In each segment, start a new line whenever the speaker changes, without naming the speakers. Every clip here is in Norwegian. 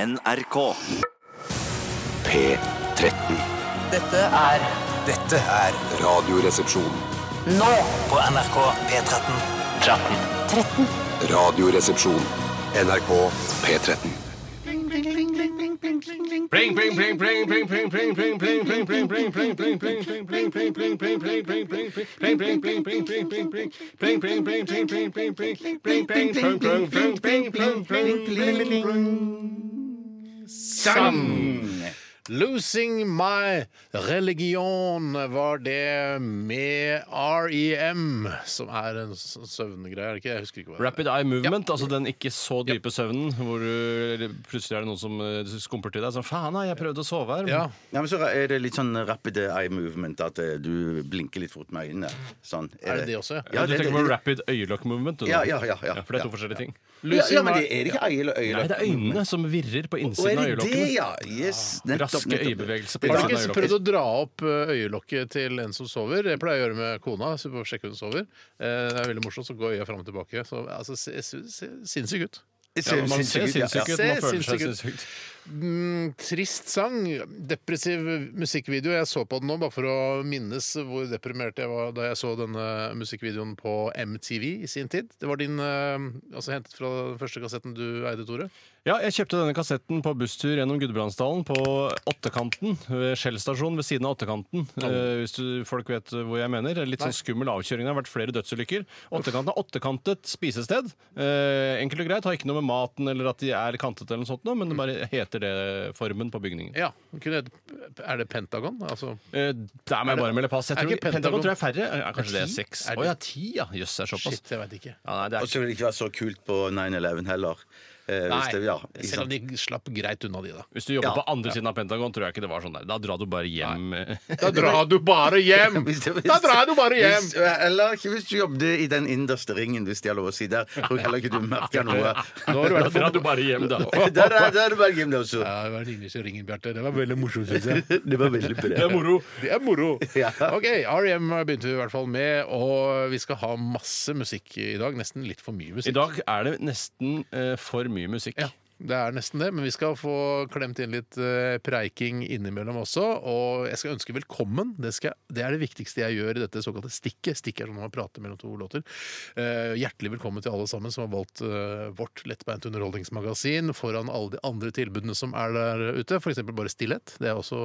NRK.
P13.
Dette er
Dette er
Radioresepsjon.
nå
på NRK P13.
Radioresepsjon. NRK P13.
Pling, pling, pling, pling, pling, pling, pling, pling, pling, pling, pling, pling, pling, pling, pling, pling, pling, pling, pling, pling, pling, pling, pling, pling, pling, pling, pling, pling, pling, pling, pling, pling, pling, pling, pling, pling, pling, pling, pling, pling, pling, pling, pling, pling, pling, pling, pling, pling. Sang!
Losing my religion var det med REM, som er en sånn søvngreie, er det ikke? Jeg husker ikke hva det
Rapid eye movement, altså den ikke så dype søvnen hvor du plutselig er det noen som eh, skumper til deg. Sånn, faen, nei, jeg prøvde å sove her.
Ja.
Ja, men så er det litt sånn rapid eye movement, at eh, du blinker litt fort med øynene. Sånn.
Er det det også?
Ja,
du
det-
tenker
det-
på rapid øyelokk movement? Du,
Ja, ja, ja, ja.
For det er to
Ja.
forskjellige ting.
Ja, ja, men det er det ikke øye eller øye?
Nei, det er øynene som virrer på
Å, er
innsiden av
det det,
øyelokket.
ja? Yes, nettopp,
Raske
nettopp.
øyebevegelser på innsiden
Har du
av
ikke
sånn
øyelokket.
prøvd å dra opp ø, øyelokket til en som sover? Det pleier jeg å gjøre med kona. Så vi får sjekke hun sover. Eh, Det er veldig morsomt, så går øya fram og tilbake. Så, altså, se, se, se, sinnssyk ut.
Ja,
Man ser sinnssyk ut, man
Se
føler seg
sinnssyk
sinnssyk ut.
Mm, trist sang. Depressiv musikkvideo. Jeg så på den nå bare for å minnes hvor deprimert jeg var da jeg så denne musikkvideoen på MTV i sin tid. Det var din eh, Altså hentet fra den første kassetten du eide, Tore.
Ja, jeg kjøpte denne kassetten på busstur gjennom Gudbrandsdalen på Åttekanten. Ved Skjell stasjon ved siden av Åttekanten. Eh, hvis du, folk vet hvor jeg mener. Litt sånn skummel avkjøring. Det har vært flere dødsulykker. Åttekanten er åttekantet spisested. Eh, enkelt og greit. Har ikke noe med maten eller at de er kantet eller noe sånt, noe, men det bare heter det formen på bygningen.
Mm. Ja. den kunne hete- Er det Pentagon? Altså
Eh, der må
Er det-
jeg bare melde pass. Jeg
er
tror,
ikke Pentagon-
Pentagon tror jeg er færre. Eh, Ja, kanskje det er
ti?
seks. Å
Er det-
ja, ti, ja. Jøss, det er såpass.
Shit, jeg veit ikke.
Ja, nei, det
Og
er
så vil det ikke være så kult på 9-11 heller. Eh, hvis det, ja, ikke
selv om
sant?
de slapp greit unna, de, da.
hvis du jobber
Ja.
på andre siden av Pentagon, tror jeg ikke det var sånn der. Da drar du bare hjem.
Da drar du bare hjem!
Hvis det-
Da drar du bare hjem!
Hvis, eh, eller ikke hvis du jobbet i den innerste ringen, hvis det er lov å si. Der tror jeg heller ikke du merker
Nå
noe.
har du
Da
vært
drar du bare hjem, da.
Der er, der er du bare hjemme, da også.
Ja, det var ingen som ringer, Bjarte. Det var veldig morsomt, syns jeg.
Det var veldig bra.
moro.
Det er moro.
Ja.
Ok, R.E.M. begynte vi i hvert fall med, og vi skal ha masse musikk i dag. Nesten litt for mye
I
musikk.
dag er det nesten eh, for mye musikk.
Ja, det er nesten det, men vi skal få klemt inn litt eh, preiking innimellom også. Og jeg skal ønske velkommen. Det, skal, det er det viktigste jeg gjør i dette såkalte stikket. Stikket er sånn man prater mellom to låter. Eh, hjertelig velkommen til alle sammen som har valgt eh, vårt lettbeint underholdningsmagasin foran alle de andre tilbudene som er der ute. F.eks. bare Stillhet. Det er også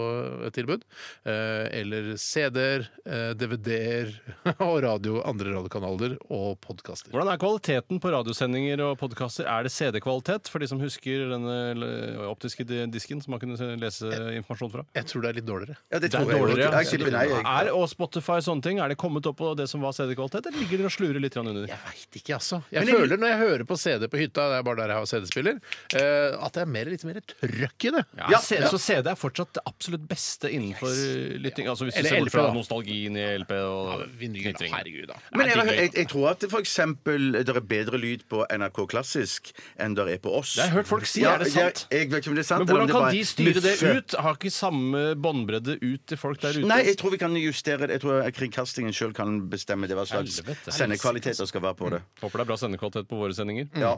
et tilbud. Eh, eller CD-er, eh, DVD-er og radio, andre radiokanaler og podkaster.
Hvordan er kvaliteten på radiosendinger og podkaster? Er det CD-kvalitet for de som husker denne l- optiske di- disken som man kunne se- lese informasjon fra?
Jeg tror det er litt dårligere.
Ja, det
Det
tror
er
jeg også.
dårligere.
Jeg tipper nei, jeg.
Er, og Spotify og sånne ting, er det kommet opp på det som var CD-kvalitet, eller ligger dere og slurer litt grann under?
Jeg veit ikke, altså. Jeg føler når jeg hører på CD på hytta, det er bare der jeg har CD-spiller, eh, at det er mer, litt mer trøkk i det.
Ja, CD, så CD er fortsatt det absolutt beste innenfor eh, lytting? Altså hvis du
Eller
ser
LP,
bort fra
da.
nostalgien i LP og
Vinyl,
knitring.
herregud, da.
Men jeg,
digg,
jeg, jeg tror at det for eksempel det er bedre lyd på NRK Klassisk enn det er på oss.
Det har jeg hørt folk si,
Ja,
er det sant?
Jeg, jeg vet ikke om det er sant.
Men
eller
hvordan
om det
kan
bare
de styre det
muffe.
ut? Har ikke samme båndbredde ut til folk der ute?
Nei, jeg tror vi kan justere det. Jeg tror Kringkastingen sjøl kan bestemme det hva slags
Helvete.
sendekvaliteter skal være på det.
Håper det er bra sendekvalitet på våre sendinger.
Ja.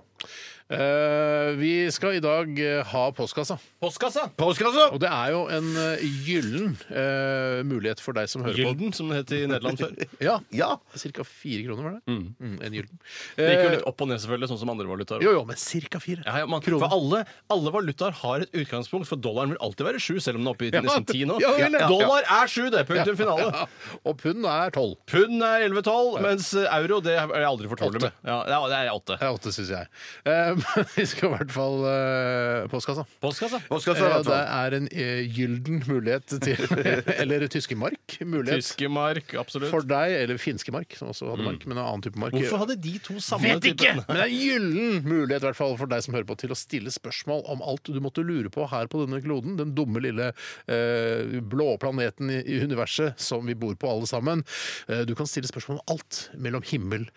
Eh, vi skal i dag eh, ha postkassa.
Postkassa!
Og det er jo en eh, gyllen eh, mulighet for deg som hører på.
Gylden, som det het i Nederland før. Det
Ja.
Ja.
Cirka fire kroner, var det? Mm, en gylden.
gikk jo
Eh,
litt opp og ned, selvfølgelig, sånn som andre valutaer.
jo, jo, men cirka fire.
Ja, ja, man, for alle, alle valutaer har et utgangspunkt, for dollaren vil alltid være sju, selv om den er oppe i
Ja.
nesten ti nå.
Ja, vel, ja.
Dollar er sju, det! Punktum finale.
Ja, Og pund er tolv.
Pund er 11-12, mens euro det er jeg aldri fortrolig med. Ja, det er- det er åtte.
Det er åtte, syns jeg. Eh, men vi skal i hvert fall eh, postkassa.
Postkassa.
Postkassa, i
Eh,
hvert
Det
fall.
er en eh, gylden mulighet til Eller tyske mark. Mulighet
Tyske mark, absolutt.
for deg, eller finske mark, som også hadde mark, men en annen type mark.
Mm. Hvorfor hadde de to samme
Vet
type-
ikke! Men det er en gyllen mulighet i hvert fall for deg som hører på, til å stille spørsmål om alt du måtte lure på her på denne kloden, den dumme lille eh, blå planeten i, i universet som vi bor på alle sammen. Eh, du kan stille spørsmål om alt mellom himmel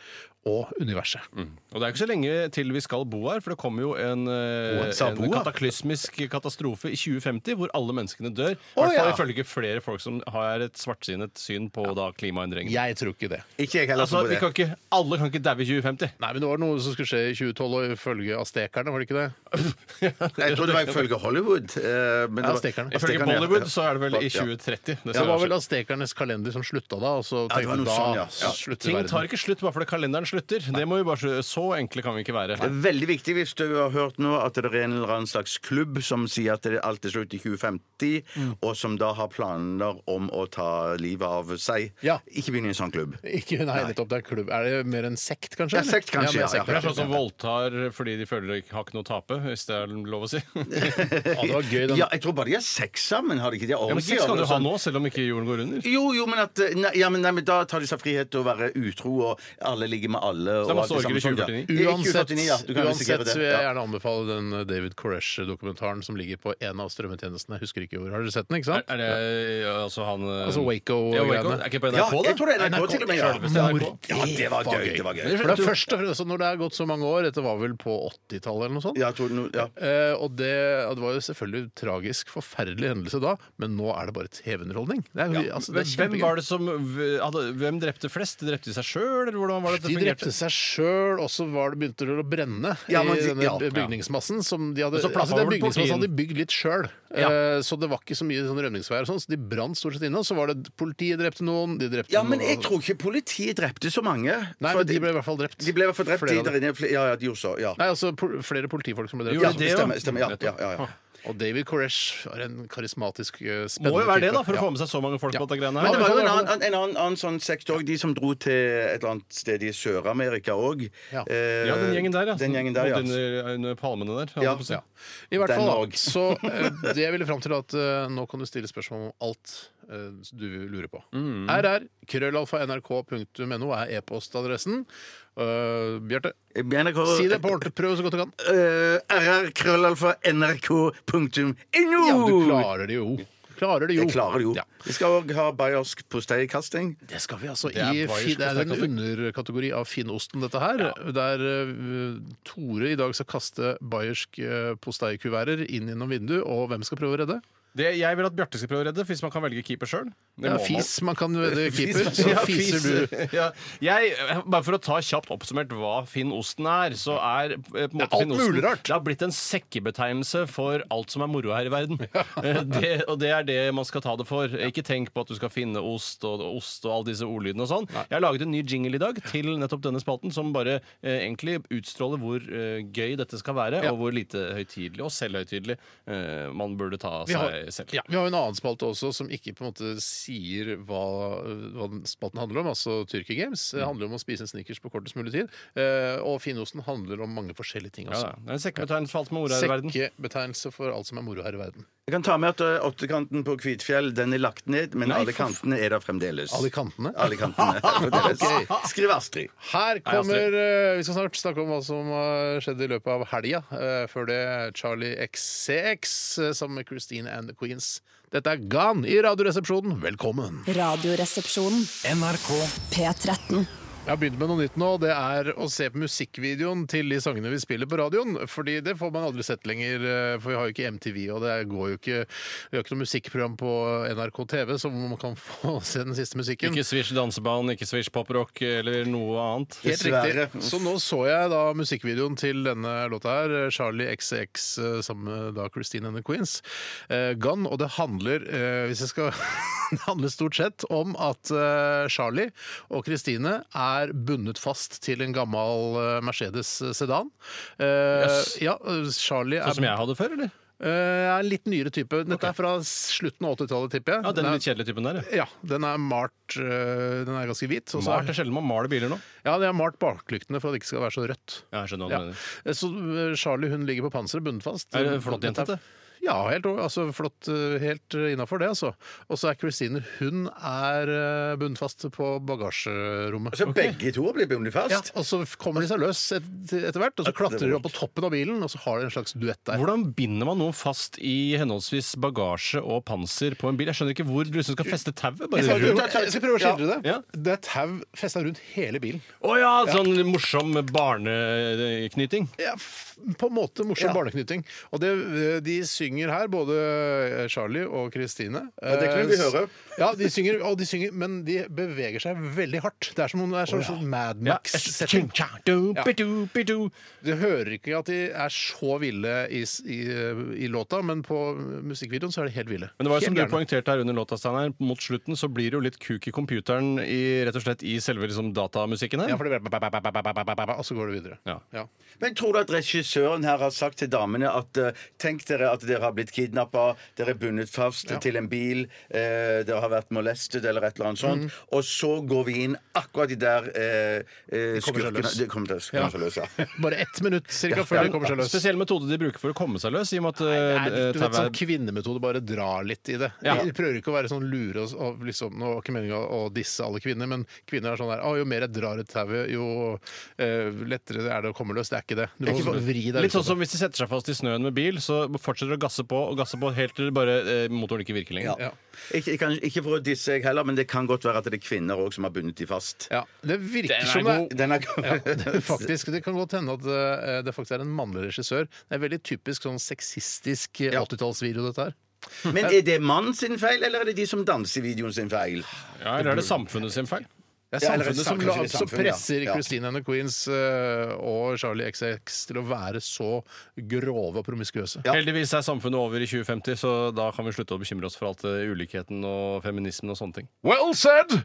og universet.
Og det er ikke så lenge til vi skal bo her, for det kommer jo en, eh,
Boa, sa
en
Boa.
kataklysmisk katastrofe i 2050 hvor alle menneskene dør. I
Å,
hvert fall
ja.
ifølge flere folk som har et svartsinnet syn på da, klimaendringene.
Jeg tror ikke det.
Ikke jeg heller.
Altså,
tror på
vi
det.
kan ikke, alle kan ikke daue i 2050.
Nei, men det var noe som skulle skje i 2012, og ifølge aztekerne, var det ikke det?
Jeg tror det var ifølge Hollywood. eh, Men
Ja,
det var-
stekerne.
Ja,
Ifølge
stekerne, ja.
Bollywood så er det vel i
Ja.
2030. Det
Det
skal
var
skje.
vel aztekernes kalender som slutta da, og så
Ja, det var
tenkte
noe
da
sånn, ja. Ja.
slutter
Ting tar
verden.
ikke slutt bare fordi kalenderen slutter. Det må vi bare, skjø- Så enkle kan vi ikke være.
Det er veldig viktig hvis du har hørt nå at det er en eller annen slags klubb som sier at det alt er slutt i 2050,
Mm.
og som da har planer om å ta livet av seg.
Ja.
Ikke begynn i en sånn klubb.
Ikke, nei, nettopp. Det er klubb. Er det mer en sekt, kanskje?
Ja, sekt, kanskje,
mer
ja,
sekt,
ja.
Det er sånn som voldtar fordi de føler de har ikke noe å tape, hvis det er lov å si.
Ja, det var gøy, den.
Ja, jeg tror bare de har sex sammen, har de ikke det? sånn.
Ja, men Sex kan du ha nå, selv om ikke jorden går under.
Jo, jo, men, at, eh, nei, ja, men, nei, men da tar de seg frihet til å være utro, og alle ligger med alle.
det er
og alt
masse orger i
samme sånt, ja.
2049.
Ja, i
Uansett,
2049, ja, du kan risikere
uansett
det,
så vil jeg
ja.
gjerne anbefale den eh, David Koresh-dokumentaren som ligger på en av strømmetjenestene. Jeg husker ikke hvor. Har dere sett den? ikke
Er,
sant?
er det altså han
Altså
ja, Waco.
Waco-greiene.
Er ikke på
Ja,
NRK, da?
jeg tror det er NRK, til og med. Ja.
Selveste NRK.
ja, det var gøy. Det var gøy.
For det er først og fremst når det er gått så mange år, dette var vel på 80-tallet eller noe sånt.
Ja, jeg tror no, ja.
Eh, og det, ja, det var jo selvfølgelig tragisk, forferdelig hendelse da, men nå er det bare TV-underholdning. Det er, jo- altså, det er
Hvem
kjempegøy.
var det som v- hadde, Hvem drepte flest? Drepte de seg sjøl, eller hvordan var det
De
det
drepte
fungerte?
seg sjøl, og så var det, begynte det å brenne
Ja, men
i
de-
denne
ja, ja.
bygningsmassen. Som de hadde,
Og så plaffa
altså, den
vel politiet
bygningsmassen hadde de bygd litt sjøl,
Ja.
eh, så det var ikke så mye sånn rømningsveier og sånn. Så de brant stort sett inne, og så var det politiet drepte noen, de drepte
ja, men jeg
noen
tror ikke politiet drepte så mange.
Nei,
For
men de ble i hvert fall drept.
de ble i hvert fall drept,
Flere
de
av
der
dem.
inne. Fle- Ja, ja, de gjorde så. Ja.
Nei, altså pol- flere politifolk som ble drept.
Gjorde
Ja,
altså.
de det, da?
stemmer. stemmer. Ja, ja, ja, ja.
Og David Koresh var en karismatisk, eh, spennende
Må jo være det, da, for å
Ja.
få med seg så mange folk
Ja.
på dette greiene
Men det var jo
her.
en annen, en annen, annen sånn sektor, de som dro til et eller annet sted i Sør-Amerika òg.
Ja.
Ja, den gjengen der, ja.
eh, Den gjengen der, ja.
Bodde
eh,
Under, eh, under palmene der.
Ja.
holdt jeg på å si.
Ja. I hvert
Den
fall,
og.
da. Så eh, det jeg ville fram til, er at eh, nå kan du stille spørsmål om alt eh, du lurer på. RR, krøllalfa, nrk.no er e-postadressen. Eh, Bjarte,
NRK,
si det på ordentlig. Prøv så godt du kan.
Eh, rrkrøllalfa.nrk.no.
Ja, du klarer det jo. Du Klarer det jo.
Jeg klarer det jo.
Ja.
Vi skal òg ha bayersk posteikasting.
Det skal vi altså.
Det er
I,
bayersk
fi- det er en
posteikasse.
underkategori av finnosten, dette her. Der eh, Tore i dag skal kaste bayersk uh, posteikuverter inn gjennom vinduet, og hvem skal prøve å redde?
Det, jeg vil at Bjarte skal prøve å redde, hvis man kan velge keeper sjøl.
Det er fis man kan redde keeper, så fiser du.
Ja. Jeg, bare for å ta kjapt oppsummert hva finnosten er, så er eh, på en måte
alt
finnosten-
mulig rart.
Det har blitt en sekkebetegnelse for alt som er moro her i verden. Eh, Det, og det er det man skal ta det for. Ikke tenk på at du skal finne ost og og ost og alle disse ordlydene og sånn. Jeg har laget en ny jingle i dag til nettopp denne spalten, som bare eh, egentlig utstråler hvor eh, gøy dette skal være, og hvor lite høytidelig og selvhøytidelig eh, man burde ta
Vi har,
seg selv.
ja, vi har jo en annen spalte også som ikke på en måte sier hva, hva den spalten handler om, altså Tyrkia Games.
Mm.
Det handler om å spise en Snickers på kortest mulig tid. Eh, og finnosten handler om mange forskjellige ting
Ja,
også.
da. det er en sekkebetegnelse for alt som er moro her i verden.
Sekkebetegnelse for alt som er moro her i verden.
Jeg kan ta med at ø, åttekanten på Kvitfjell den er lagt ned, men alle kantene er der fremdeles.
Alle kantene.
Alle kantene er fremdeles. Skriv Astrid.
Nei,
Her
altså, Astrid.
kommer eh, Vi skal snart snakke om hva som har skjedd i løpet av helga. Eh, før det Charlie XCX eh, sammen med Christine and the Queens. Dette er Gan i Radioresepsjonen. Velkommen!
Radioresepsjonen.
NRK
P13.
Jeg har begynt med noe nytt nå. Det er å se på musikkvideoen til de sangene vi spiller på radioen. Fordi det får man aldri sett lenger, eh, for vi har jo ikke MTV, og det går jo ikke Vi har ikke noe musikkprogram på NRK TV, så man kan få se den siste musikken.
Ikke Swish danseband, ikke Swish poprock eller noe annet.
Helt
Dessverre.
riktig. Så nå så jeg da musikkvideoen til denne låta her, eh, Charlie XX eh, sammen med da Christine and the Queens, eh, Gun, og det handler, eh, hvis jeg skal Det handler stort sett om at eh, Charlie og Christine er bundet fast til en gammel eh, Mercedes sedan. Eh,
Jøss.
Ja, eh, Charlie er
Sånn som jeg hadde før, eller?
Eh, er en litt nyere type. Dette er fra slutten av 80-tallet, tipper jeg.
Ja, Den
Den er-
litt kjedelige typen der. ja.
ja, den er malt eh, Den er ganske hvit. og så er-
Malt er sjelden man maler biler nå.
Ja, de har malt baklyktene for at det ikke skal være så rødt.
Ja, jeg skjønner hva du
Ja.
mener.
Så eh, Charlie hun ligger på panseret, bundet fast.
Er det en flott jente, dette?
Ja, helt, o- altså, flott, eh, helt innafor det, altså. Og så er Christine Hun er eh, bundet fast på bagasjerommet.
Så begge to blir bundet
Ja,
fast.
og så kommer de seg løs et, etter hvert, og så klatrer de opp på toppen av bilen, og så har de en slags duett der.
Hvordan binder man noe fast i henholdsvis bagasje og panser på en bil? Jeg skjønner ikke hvor du liksom skal feste tauet.
Jeg skal,
bare
prøve, jeg skal prøve å skildre det.
Ja.
Det er tau festa rundt hele bilen.
Å ja, sånn morsom barneknyting.
Ja, f- på en måte morsom barneknytting. Og det, eh, de syng, synger her, både eh, Charlie og Kristine. Eh,
Ja, det kunne vi høre.
Ja, de synger, og de synger, men de beveger seg veldig hardt. Det er som om det er sånn sånn Mad Max-setting. Du hører ikke at de er så ville i, s- i, i låta, men på musikkvideoen så er de helt ville.
Men det var jo
Helt
som du
gærne.
poengterte her under låta, Steinar, mot slutten så blir det jo litt kuk i computeren i, rett og slett, i selve liksom, datamusikken her.
Ja, for det blir Og så går det videre.
Ja.
Men tror du at regissøren her har sagt til damene at eh, tenk dere at dere har blitt kidnappa, dere er bundet fast til en bil, eh, dere har vært molestet eller et eller annet
Mhm.
sånt, og så går vi inn akkurat de der eh,
kommer
eh,
seg
skurkene
løs.
De kommer til å komme seg løs. Ja.
Bare ett minutt cirka, før de kommer seg løs.
Spesiell metode de bruker for å komme seg løs, i og med at
Nei,
eh,
du vet,
tauet-
sånn kvinnemetode, bare dra litt i det.
Ja.
De prøver ikke å være sånn lure og, og liksom, Nå var ikke meninga å disse alle kvinner, men kvinner er sånn der «Å, Jo mer jeg drar et tau, jo eh, lettere er det å komme løs. Det er ikke det. Du må vri deg
Litt
ut
sånn
av
som hvis de setter seg fast i snøen med bil, så fortsetter de å gasse på og gasse på helt til bare eh, motoren ikke virker lenger.
det. Ja.
Ikke, ikke, ikke for å disse jeg heller, men det kan godt være at det er kvinner òg som har bundet de fast.
Ja, det virker
Den er
som det er-
Den er
Ja, det, faktisk, det kan godt hende at eh, det faktisk er en mannlig regissør. Det er veldig typisk sånn sexistisk eh, 80-tallsvideo, dette her.
Men er det mannen sin feil, eller er det de som danser i videoen sin feil?
Ja, eller er det samfunnet sin feil?
Det er
Ja, eller
samfunnet som,
kanskje
la,
det er
som
samfunnet, ja.
presser
Ja.
Christine and the Queens eh, og Charlie XX til å være så grove og promiskuøse.
Heldigvis er samfunnet over i 2050, så da kan vi slutte å bekymre oss for alt eh, ulikheten og feminismen og sånne ting.
Well said!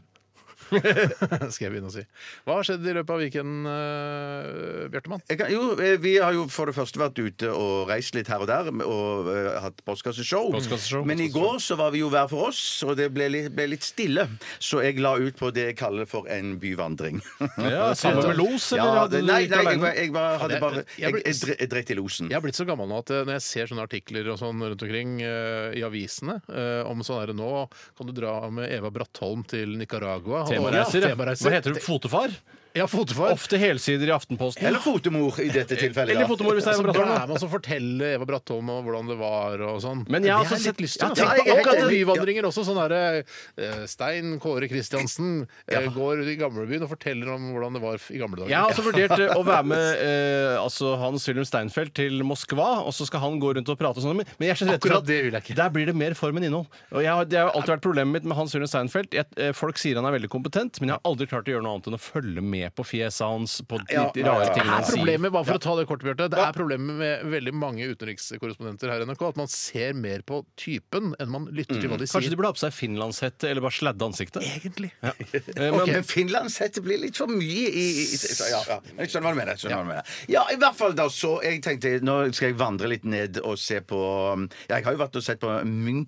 Skal jeg begynne å si. Hva har skjedd i løpet av weekenden, uh, Bjartemann?
Jeg kan, jo, eh, vi har jo for det første vært ute og reist litt her og der og eh, hatt postkasseshow.
Postkasseshow,
Men i går så var vi jo hver for oss, og det ble litt, ble litt stille. Så jeg la ut på det jeg kaller for en byvandring.
Ja, Sammen med los, eller?
Ja,
hadde
det,
du
nei,
vært
nei, jeg,
alene?
var- jeg var, hadde
det-
bare
jeg
Jeg,
ble-
jeg, dre- jeg dreit i losen.
Jeg er blitt så gammel nå at eh, når jeg ser sånne artikler og sånn rundt omkring eh, i avisene eh, om sånn her nå kan du dra med Eva Brattholm til Nicaragua og-
Temareiser,
Ja,
ja.
temareiser.
Hva heter du? Fotefar?
Ja, fotofar.
Ofte helsider i Aftenposten.
Eller fotemor i dette tilfellet.
Eller fotomor hvis det er
Altså,
en
da er
brattmann.
man som forteller Eva Brattholm om hvordan det var og sånn.
Men jeg har
Det
også
har litt
sett-
lyst til.
Ja,
å tenke
jeg er
på
helt
akkurat
enig.
byvandringer også. Sånn derre eh, Stein Kåre Kristiansen eh, går i gamlebyen og forteller om hvordan det var i gamle dager.
Jeg har også vurdert eh, å være med eh, altså Hans-Wilhelm Steinfeld til Moskva, og så skal han gå rundt og prate og sånn. men- Men jeg er så redd for
Akkurat
at
det vil jeg ikke.
der blir det mer form enn innhold. Og jeg har, det har jo alltid vært problemet mitt med Hans-Wilhelm Steinfeld. Jeg, eh, folk sier han er veldig kompetent, men jeg har aldri klart å gjøre noe annet enn å følge med på fjeset hans på de
Ja,
de rare
ja, ja.
tingene
Det
han
er
sier.
problemet, bare for å ta det kort, Bjarte. Det er problemet med veldig mange utenrikskorrespondenter her i NRK, at man ser mer på typen enn man lytter til hva Mm. de
Kanskje
sier.
de burde ha på seg finlandshette eller bare sladde ansiktet?
Egentlig.
Eh, men-
Men, men Finlandshette blir litt for mye i, i, i så- ja, ja. Jeg skjønner hva du mener. jeg skjønner hva du mener. Ja, i hvert fall da så Jeg tenkte nå skal jeg vandre litt ned og se på um, Jeg har jo vært og sett på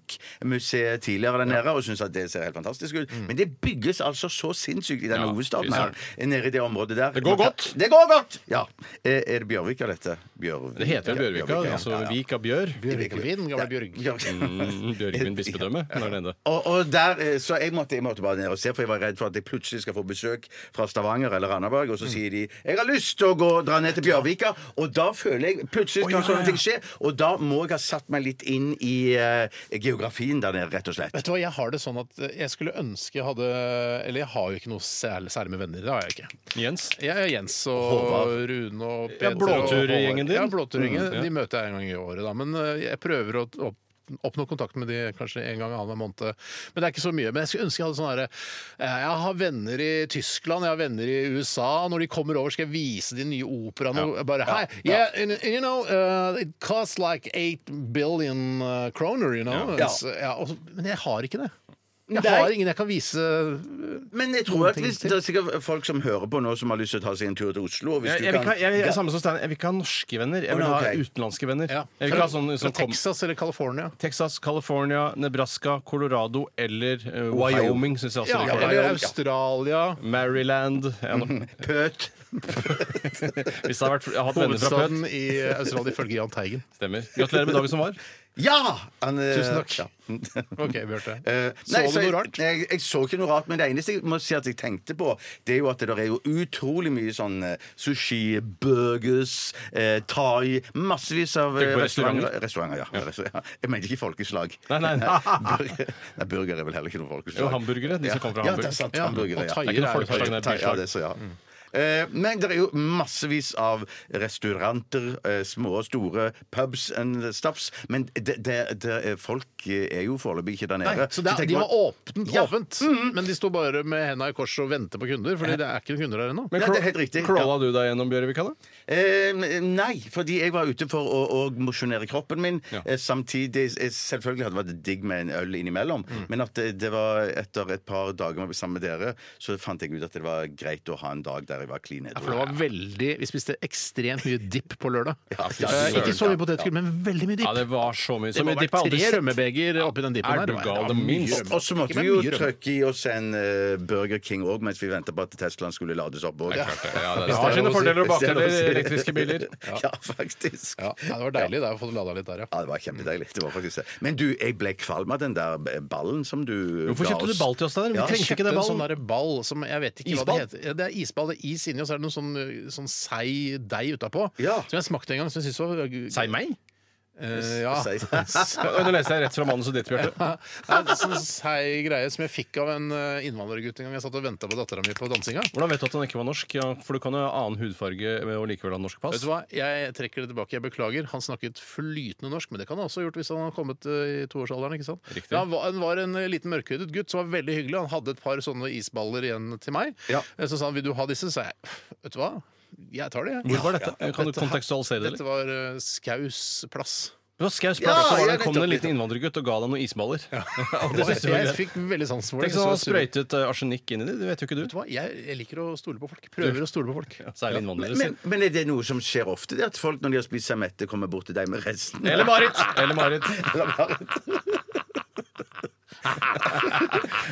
Munch-museet tidligere der nede og syns at det ser helt fantastisk ut. Men det bygges altså så sinnssykt i den
Mm. Ja,
hovedstaden
fy
her. eh, Nede i det området der.
Det går godt.
Det går godt! Ja. Eh, Er det Bjørvika dette? Bjørv-
Det heter vel Bjørvika,
ja.
altså
Ja, ja.
Vik av Bjør.
Bjørgvin, gamle Bjørg.
Bjørvika.
Mm, Bjørgvin bispedømme. Når det ender.
Og, og der, eh, så jeg måtte, jeg måtte bare ned og se, for jeg var redd for at jeg plutselig skal få besøk fra Stavanger eller Randaberg,
Mm.
og så sier de 'Jeg har lyst til å gå dra ned til Bjørvika', og da føler jeg Plutselig kan sånne ting skje, og da må jeg ha satt meg litt inn i eh, geografien der nede, rett og slett.
Vet du hva, Jeg har det sånn at jeg skulle ønske jeg hadde Eller jeg har jo ikke noe særlig, særlig med venner. Det har jeg ikke.
Jens?
Jeg er Jens og
Håvard.
Rune og
Ja,
Peter.
blåturgjengen
og Håvard.
din.
Ja, blåturgjengen.
Mm, ja.
De møter jeg en gang i året, da. Men eh, jeg prøver å opp Oppnå kontakt med de kanskje en gang annenhver måned. Men det er ikke så mye. Men jeg skulle ønske jeg hadde sånn herre eh, Jeg har venner i Tyskland, jeg har venner i USA. Når de kommer over, skal jeg vise de nye operaene. og Bare Hei! Yeah, and, and you know, uh, it costs like eight billion uh, kroner, you know.
Ja.
Så- ja, og, men jeg har ikke det. Jeg
Nei.
har ingen jeg kan vise
Men jeg tror
Noen
at hvis,
ting til.
det er sikkert folk som hører på nå, som har lyst til å ta seg en tur til Oslo. og
Jeg,
Hvis du
jeg, vil ikke,
kan,
ha- jeg, jeg, samme som Stein, jeg vil ikke ha norske venner. Jeg vil
Å,
ha
nei, ok.
utenlandske venner.
ja,
Jeg vil ikke ha sånn
fra,
som
fra
kom-
Texas eller California.
Texas, California, Nebraska, Colorado eller eh,
Ohio.
Wyoming. Synes jeg også
Ja,
vi får det.
eller Australia.
Maryland ja, nå-
Pøt.
Hvis det hadde vært, jeg har hatt venner fra Pøt.
Hovedstaden i Australia ifølge Jahn Teigen.
Stemmer. Gratulerer med dagen som var.
Ja! Han, eh,
Tusen takk.
ja.
Ok, Bjarte.
Eh,
Så
nei,
du
så
noe
jeg,
rart?
Jeg, jeg så ikke noe rart, men det eneste jeg må si at jeg tenkte på, det er jo at det der er jo utrolig mye sånn eh, sushi, burgers, eh, thai Massevis av eh,
Tenker du på
restauranter. restauranter ja. Restauranter. Jeg mente ikke folkeslag.
Nei, nei.
burger, nei, burger er vel heller ikke noe folkeslag.
Jo, hamburgere, de som kommer fra
Ja, det
hamburger.
er sant.
Ja,
Hamburgere,
og
ja.
thaier
Det er ikke noe
er jo
folkeslag,
thai.
det er
Thai, ja,
byslag.
det er så, ja. Eh, Men det er jo massevis av restauranter, eh, små og store, pubs and stuffs. Men det, det, det, er- folk er jo foreløpig ikke der nede.
Nei, så det,
tenker
De
man-
var åpent,
Ja.
åpent men de sto bare med henda i kors og venter på kunder. Fordi det er ikke noen kunder der ennå.
Men
Ja, det er helt
craw-
riktig.
crawla du deg gjennom Bjørvika, da?
Eh, nei, fordi jeg var ute for å, å mosjonere kroppen min.
Ja.
Eh, samtidig eh, Selvfølgelig hadde det vært digg med en øl innimellom,
Mm.
men at det, det var etter et par dager med å bli sammen med dere, så fant jeg ut at det var greit å ha en dag der jeg var clean
Ja,
edru.
for det var veldig, Vi spiste ekstremt mye dipp på lørdag.
Ja, fy
Eh,
søren,
ikke så mye
ja.
potetgull, men veldig mye dipp.
Ja, det var så mye.
det
Så
må
mye
ha
dipp har
vært
jeg
tre
aldri sett.
rømmebeger oppi den dippen
Er
her.
du
Det var-
gal,
det var
det
mye
minst.
rømme.
Og så måtte
Ikke med
vi jo
mye rømme.
trøkke i oss en eh, Burger King òg mens vi venta på at Teslaen skulle lades opp òg.
Det har sine fordeler og bakdeler, elektriske biler.
Ja. ja, faktisk.
Ja, nei, det var deilig det, å få lada litt der, ja.
Ja, det var kjempedeilig. Det var faktisk det. Men du, jeg ble kvalm av den der eh, ballen som du
Hvorfor
ga
kjøpte
oss.
du ball til oss, Steinar? Vi
Ja,
Jeg
trengte ikke
kjøpte
den
en
ballen.
sånn der ball som jeg vet ikke
Isball?
hva det heter. Det er isball, det er is inni, og så er det noe sånn, uh, sånn seig deig utapå.
Ja.
Som jeg smakte en gang, som jeg syntes var uh,
Si meg?
Eh, ja.
Seig.
Oi, Nå leste jeg rett fra manuset ditt, Bjarte.
Nei, det er sånn seig greie som jeg fikk av en uh, innvandrergutt en gang jeg satt og venta på dattera mi på dansinga.
Hvordan vet du at han ikke var norsk? Ja, for du kan jo ha annen hudfarge med- og likevel ha norsk pass.
Vet du hva? Jeg trekker det tilbake. Jeg beklager. Han snakket flytende norsk, men det kan han også ha gjort hvis han har kommet eh, i toårsalderen. ikke sant?
Riktig.
Ja, han, var, han var en eh, liten mørkhudet gutt som var veldig hyggelig. Han hadde et par sånne isballer igjen til meg.
Ja.
Eh, Så sa han 'vil du ha disse'? Så sa jeg 'vet du hva, jeg tar det', jeg.
Hvor var dette? Kan du
Dette her-
kontekstualisere det litt?
Dette var eh, Skaus plass.
Det var Skaus
Ja,
plass, så var
ja,
det, kom det en
nettopp,
liten innvandrergutt og ga deg noen isballer. Og det
Jeg,
synes jeg var greit.
fikk veldig sansen for det.
Tenk sånn han
Jeg synes det var
sprøytet eh, arsenikk inn i det, det vet jo ikke du.
surr. Vet du hva? Jeg, jeg liker å stole på folk. Prøver å stole på folk.
Særlig innvandrere.
Men, men er det noe som skjer ofte? Det at folk når de har spist seg mette, kommer bort til deg med resten?
Eller Marit! Eller Marit.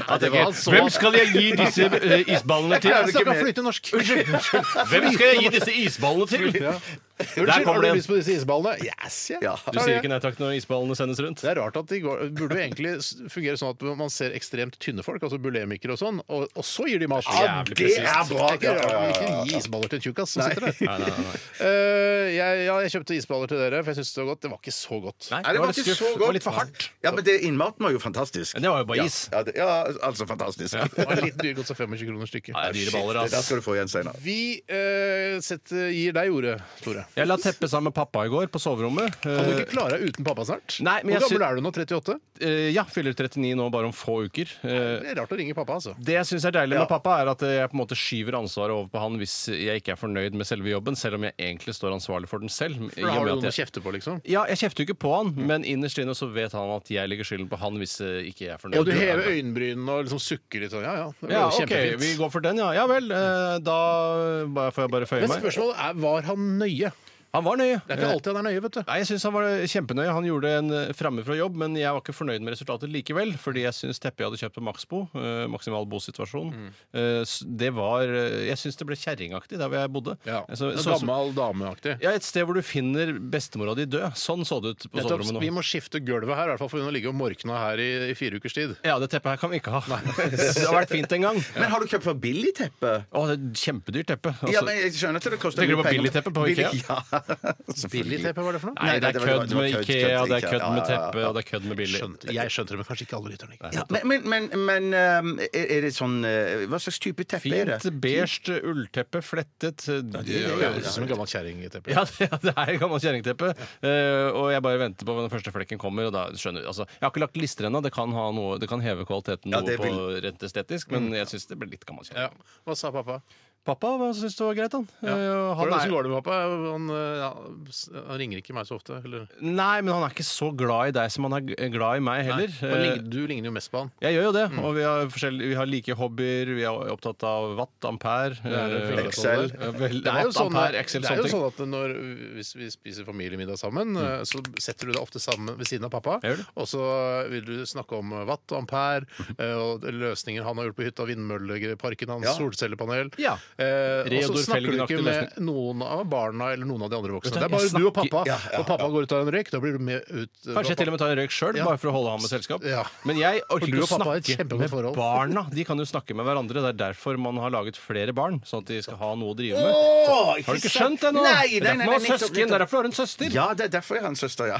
Ja, det var altså-
Hvem skal jeg gi disse eh, isballene til?
Jeg snakka flytende norsk.
Hvem skal jeg gi disse isballene til? Der
Unnskyld, har
kommer
du
det en.
lyst på disse isballene? Yes, jeg
Ja.
tar
Du
det.
sier ikke nei takk når isballene sendes rundt?
Det er rart at de går, burde jo egentlig s- fungere sånn at man ser ekstremt tynne folk, altså bulimikere og sånn, og, og så gir de mat.
Ja, Jævlig
det er
Det
bra!
er ikke rart man ikke gir isballer til en tjukkas som sitter der.
Nei, nei, nei, nei.
Eh, jeg, ja, jeg kjøpte isballer til dere, for jeg syntes det var godt. Det var ikke så godt.
Nei,
Nei, det var
litt
ikke
skuff.
så
Det
godt.
var litt for hardt.
Ja, men det innmaten var jo fantastisk.
Men det var jo bare
Ja,
is.
Ja, det, ja altså fantastisk.
Det var litt dyrt, godt så 25 kroner stykket.
Nei, dyre baller,
Det der
ass.
skal du få igjen senere.
Vi eh, setter, gir deg ordet, Tore.
Jeg la teppet sammen med pappa i går på soverommet.
Kan du
Eh,
ikke klare deg uten pappa snart?
Nei, men
Hvor
jeg
gammel er du nå? 38?
eh, ja, fyller 39 nå bare om få uker. Eh,
Det er rart å ringe pappa, altså.
Det jeg syns er deilig med pappa, er at eh, jeg på en måte skyver ansvaret over på han hvis jeg ikke er fornøyd med selve jobben, selv om jeg egentlig står ansvarlig for den selv. i
For
og
da har
med
du
at
noen å
jeg-
kjefte på, liksom.
Ja, jeg kjefter jo ikke på han, men innerst inne så vet han at jeg legger skylden på han hvis eh, ikke jeg er fornøyd.
Og du hever øyenbrynene og liksom sukker litt sånn. Ja ja, det var
Ja,
jo
ok,
kjempefint.
vi går for den, ja. Ja vel, eh, da bare- får jeg bare føye
Men
meg.
spørsmålet er, var han nøye?
Han var nøye. Eh,
Det er ikke alltid han er nøye, vet du.
Nei, jeg synes Han var kjempenøye. Han gjorde en eh, fremme fra jobb, men jeg var ikke fornøyd med resultatet likevel. Fordi jeg syns teppet jeg hadde kjøpt på Maxbo, eh, maksimal bosituasjon,
Mm.
eh, s- det var eh, Jeg syns det ble kjerringaktig der hvor jeg bodde. Altså,
Noe
så- så-
gammel dameaktig.
ja, Et sted hvor du finner bestemora di død. Sånn så det ut på
Nettopp,
soverommet
vi
nå.
må skifte gulvet her, i hvert fall, for hun har ligget og morkna her i, i fire ukers tid.
Ja, det teppet her kan vi ikke ha. det har vært fint en gang.
Men har du kjøpt for billig teppe?
Å, det er et kjempedyrt teppe. Altså,
Ja, men jeg skjønner at det koster
Tenker du
mye
på
penger.
billigteppe på
Billig-
Ikea?
Ja, selvfølgelig.
Billigteppe, var det for noe?
Nei, det er
det var- det var-
kødd
det var
med
kødd,
Ikea,
kødd,
det er
Ikea.
kødd med
Ja, ja, ja.
teppe, og det er kødd med billig.
Skjønte, jeg skjønte det, men kanskje ikke alle lytterne.
Ja, men, men, men, men, um, er er det sånn uh, Hva slags type teppe er det?
Fint, beige ullteppe, flettet. eh,
Det
ja,
høres ut som en gammel kjerringteppe.
Ja, det, ja, det er et gammelt kjerringteppe. Eh, og jeg bare venter på når den første flekken kommer. Og da skjønner du, altså, Jeg har ikke lagt lister ennå. Det, kan ha noe- det kan heve kvaliteten
Ja,
noe
det Mm.
på rent estetisk, men jeg syns det ble litt gammel kjerring.
Ja. Hva sa pappa?
Pappa hva syns det var greit, han. Eh, han
Hvordan
er-
går det med pappa? Han, eh, ja, s- han ringer ikke meg så ofte. Eller?
Nei, men han er ikke så glad i deg som han er g- glad i meg heller.
Han
Eh,
ligner- du ligner jo mest på han.
Jeg gjør jo det.
Mm.
Og vi har, forskjell- vi har like hobbyer. Vi er opptatt av watt, ampere
Det
eh,
er
Excel.
sånn
eh, vel-
Det er jo
watt,
sånn,
ampere, Excel,
det er
sånne
jo
ting.
sånn at når, hvis vi spiser familiemiddag sammen, eh, så setter du deg ofte sammen ved siden av pappa.
Jeg Mm. gjør det.
Og så vil du snakke om watt og ampere, eh, og løsninger han har gjort på hytta, vindmølleparken hans,
Ja.
solcellepanel.
Ja.
Eh, og så
Reodor
snakker du
Felgen-aktig
ikke med noen av barna eller noen av de andre
Vet
voksne.
du,
Det er bare
jeg
du og
snakker-
pappa.
Ja, ja,
Og pappa går ut av en røyk, da blir du med ut.
Kanskje jeg til og med tar en røyk sjøl,
Ja.
bare for å holde han med selskap.
Ja.
Men jeg
For
orker
du
ikke å
og pappa har et
snakke
kjempegodt
med
forhold.
barna. De kan jo snakke med hverandre. Det er derfor man har laget flere barn, sånn at de skal ha noe å drive med.
Åh,
Har du ikke skjønt
sant?
det nå?
Nei,
Det er
nei,
derfor man
nei,
har
nei, nettopp,
søsken, Mm. det er derfor du har en søster.
Ja, det er derfor jeg har en søster, ja.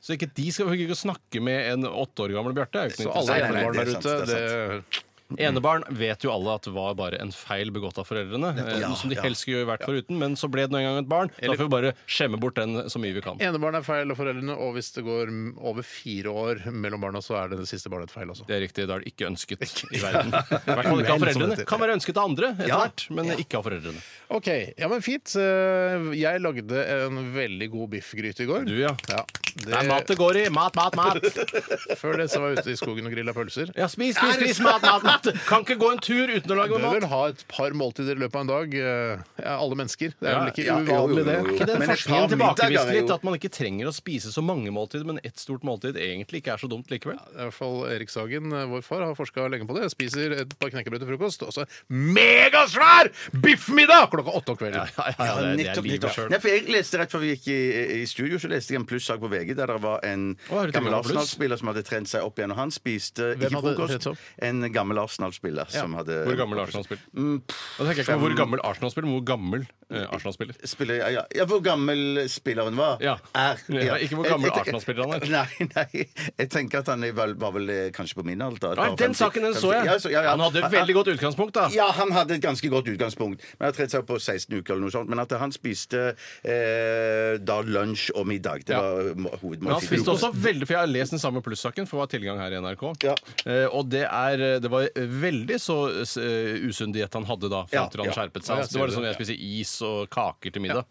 Så ikke de skal ikke snakke med en åtte år gammel Bjarte. er jo ikke noe
Så
interessant.
alle
Nei, nei, nei,
enebarn
det er
der
sant,
ute,
det
det
Enebarn vet jo alle at det var bare en feil begått av foreldrene. eh,
Ja,
som de
ja.
helst skulle vært foruten, men så ble det nå engang et barn. Da får vi bare skjemme bort den så mye vi kan.
Enebarn er feil av foreldrene, og hvis det går m- over fire år mellom barna, så er det det siste barnet feil altså. også.
Det er riktig, da er det ikke ønsket i verden. I hvert fall ikke av
Men, som det
foreldrene.
heter.
Kan være ønsket av andre etter
Ja.
hvert, men ikke av foreldrene.
OK. Ja, men fint. Eh, Jeg lagde en veldig god biffgryte i går.
Du, ja.
Ja,
Det er mat det går i! Mat, mat, mat!
Før det så var jeg ute i skogen og grilla pølser.
Ja, spis, spis, spis! Mat, mat, mat! Kan ikke gå en tur uten å
Du
lage
bør vel
mat.
ha et par måltider i løpet av en dag. eh, Ja, alle mennesker. Det er
Ja,
vel ikke
ja, jo, jo,
uvanlig, det.
jo, jo.
Ikke den
Men et
forskningen
par middager er
tilbakeviser litt
jo-
at man ikke trenger å spise så mange måltider, men ett stort måltid egentlig ikke er så dumt likevel.
Det er i hvert fall Erik Sagen, eh, vår far, har forska lenge på det. Spiser et par knekkebrød til frokost, og så megasvær biffmiddag klokka åtte om kvelden.
Ja, det, det er
nettopp,
livet
nettopp.
sjøl.
Nei, for jeg leste rett før vi gikk i, i studio, så leste jeg en plussak på VG der det var en
Å, har du til og med
gammel
pluss?
Arsenal-spiller som hadde trent seg opp igjen, og han spiste
Hvem
ikke
hadde trent
frokost.
seg opp?
En gammel Arsenal-spiller som hadde
Hvor gammel Arsenal-spiller? Da tenker jeg ikke på hvor gammel Arsenal-spiller, men hvor gammel eh, Arsenal-spiller.
Spiller, ja, ja. ja, hvor gammel spilleren var.
Ja.
Er,
Ja, ikke hvor gammel
Jeg- jeg-
Arsenal-spiller han er.
Nei, nei, jeg tenker at han er vel, var vel eh, kanskje på min alder.
Nei, den
50,
saken den så jeg.
50. Ja, ja, ja.
Han hadde et veldig godt utgangspunkt, da.
Ja, han hadde et ganske godt utgangspunkt. Men han tredde seg opp på 16 uker eller noe sånt. Men at han spiste eh, da lunsj og middag. Det
Ja.
var må-
Men han spiste
hovedmåltidet.
også veldig, for jeg har lest den samme plussaken, for det var tilgang her i NRK.
Ja.
Eh, og det, er, det var veldig så eh, usunn diett han hadde da, fram
Ja,
til han
ja.
skjerpet seg.
Ja,
Så det var litt sånn jeg spiser is og kaker til middag.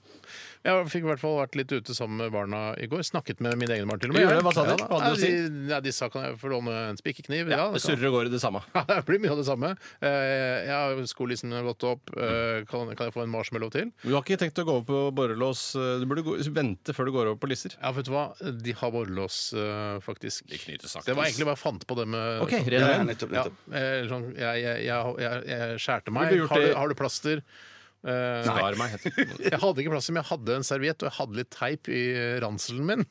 Jeg fikk i hvert fall vært litt ute sammen med barna i går. Snakket med mine egne barn til og med.
Gjorde det? Hva sa de?
Ja, da.
Hva hadde de å si?
Nei, de, nei, de sa kan jeg få låne en spikerkniv? Ja,
det
det kan.
surrer og går i det samme.
det blir mye av det samme. Eh, Ja, Skolissen har gått opp. Eh, Kan, kan jeg få en marshmallow til?
Du har ikke tenkt å gå over på borrelås? eh, Du burde gå, vente før du går over på lisser.
Ja, vet du hva? De har borrelås, eh, faktisk.
De knyter sakte.
det var egentlig bare jeg fant på det med
OK, ren
Ja, ja,
løgn.
nettopp,
Ja,
nettopp.
eh, sånn, jeg, jeg, jeg, jeg, jeg skjærte meg.
Ville du gjort
Har du,
det-
har du plaster? Eh,
Spar meg. heter det.
jeg hadde ikke plaster, men jeg hadde en serviett og jeg hadde litt teip i eh, ranselen min.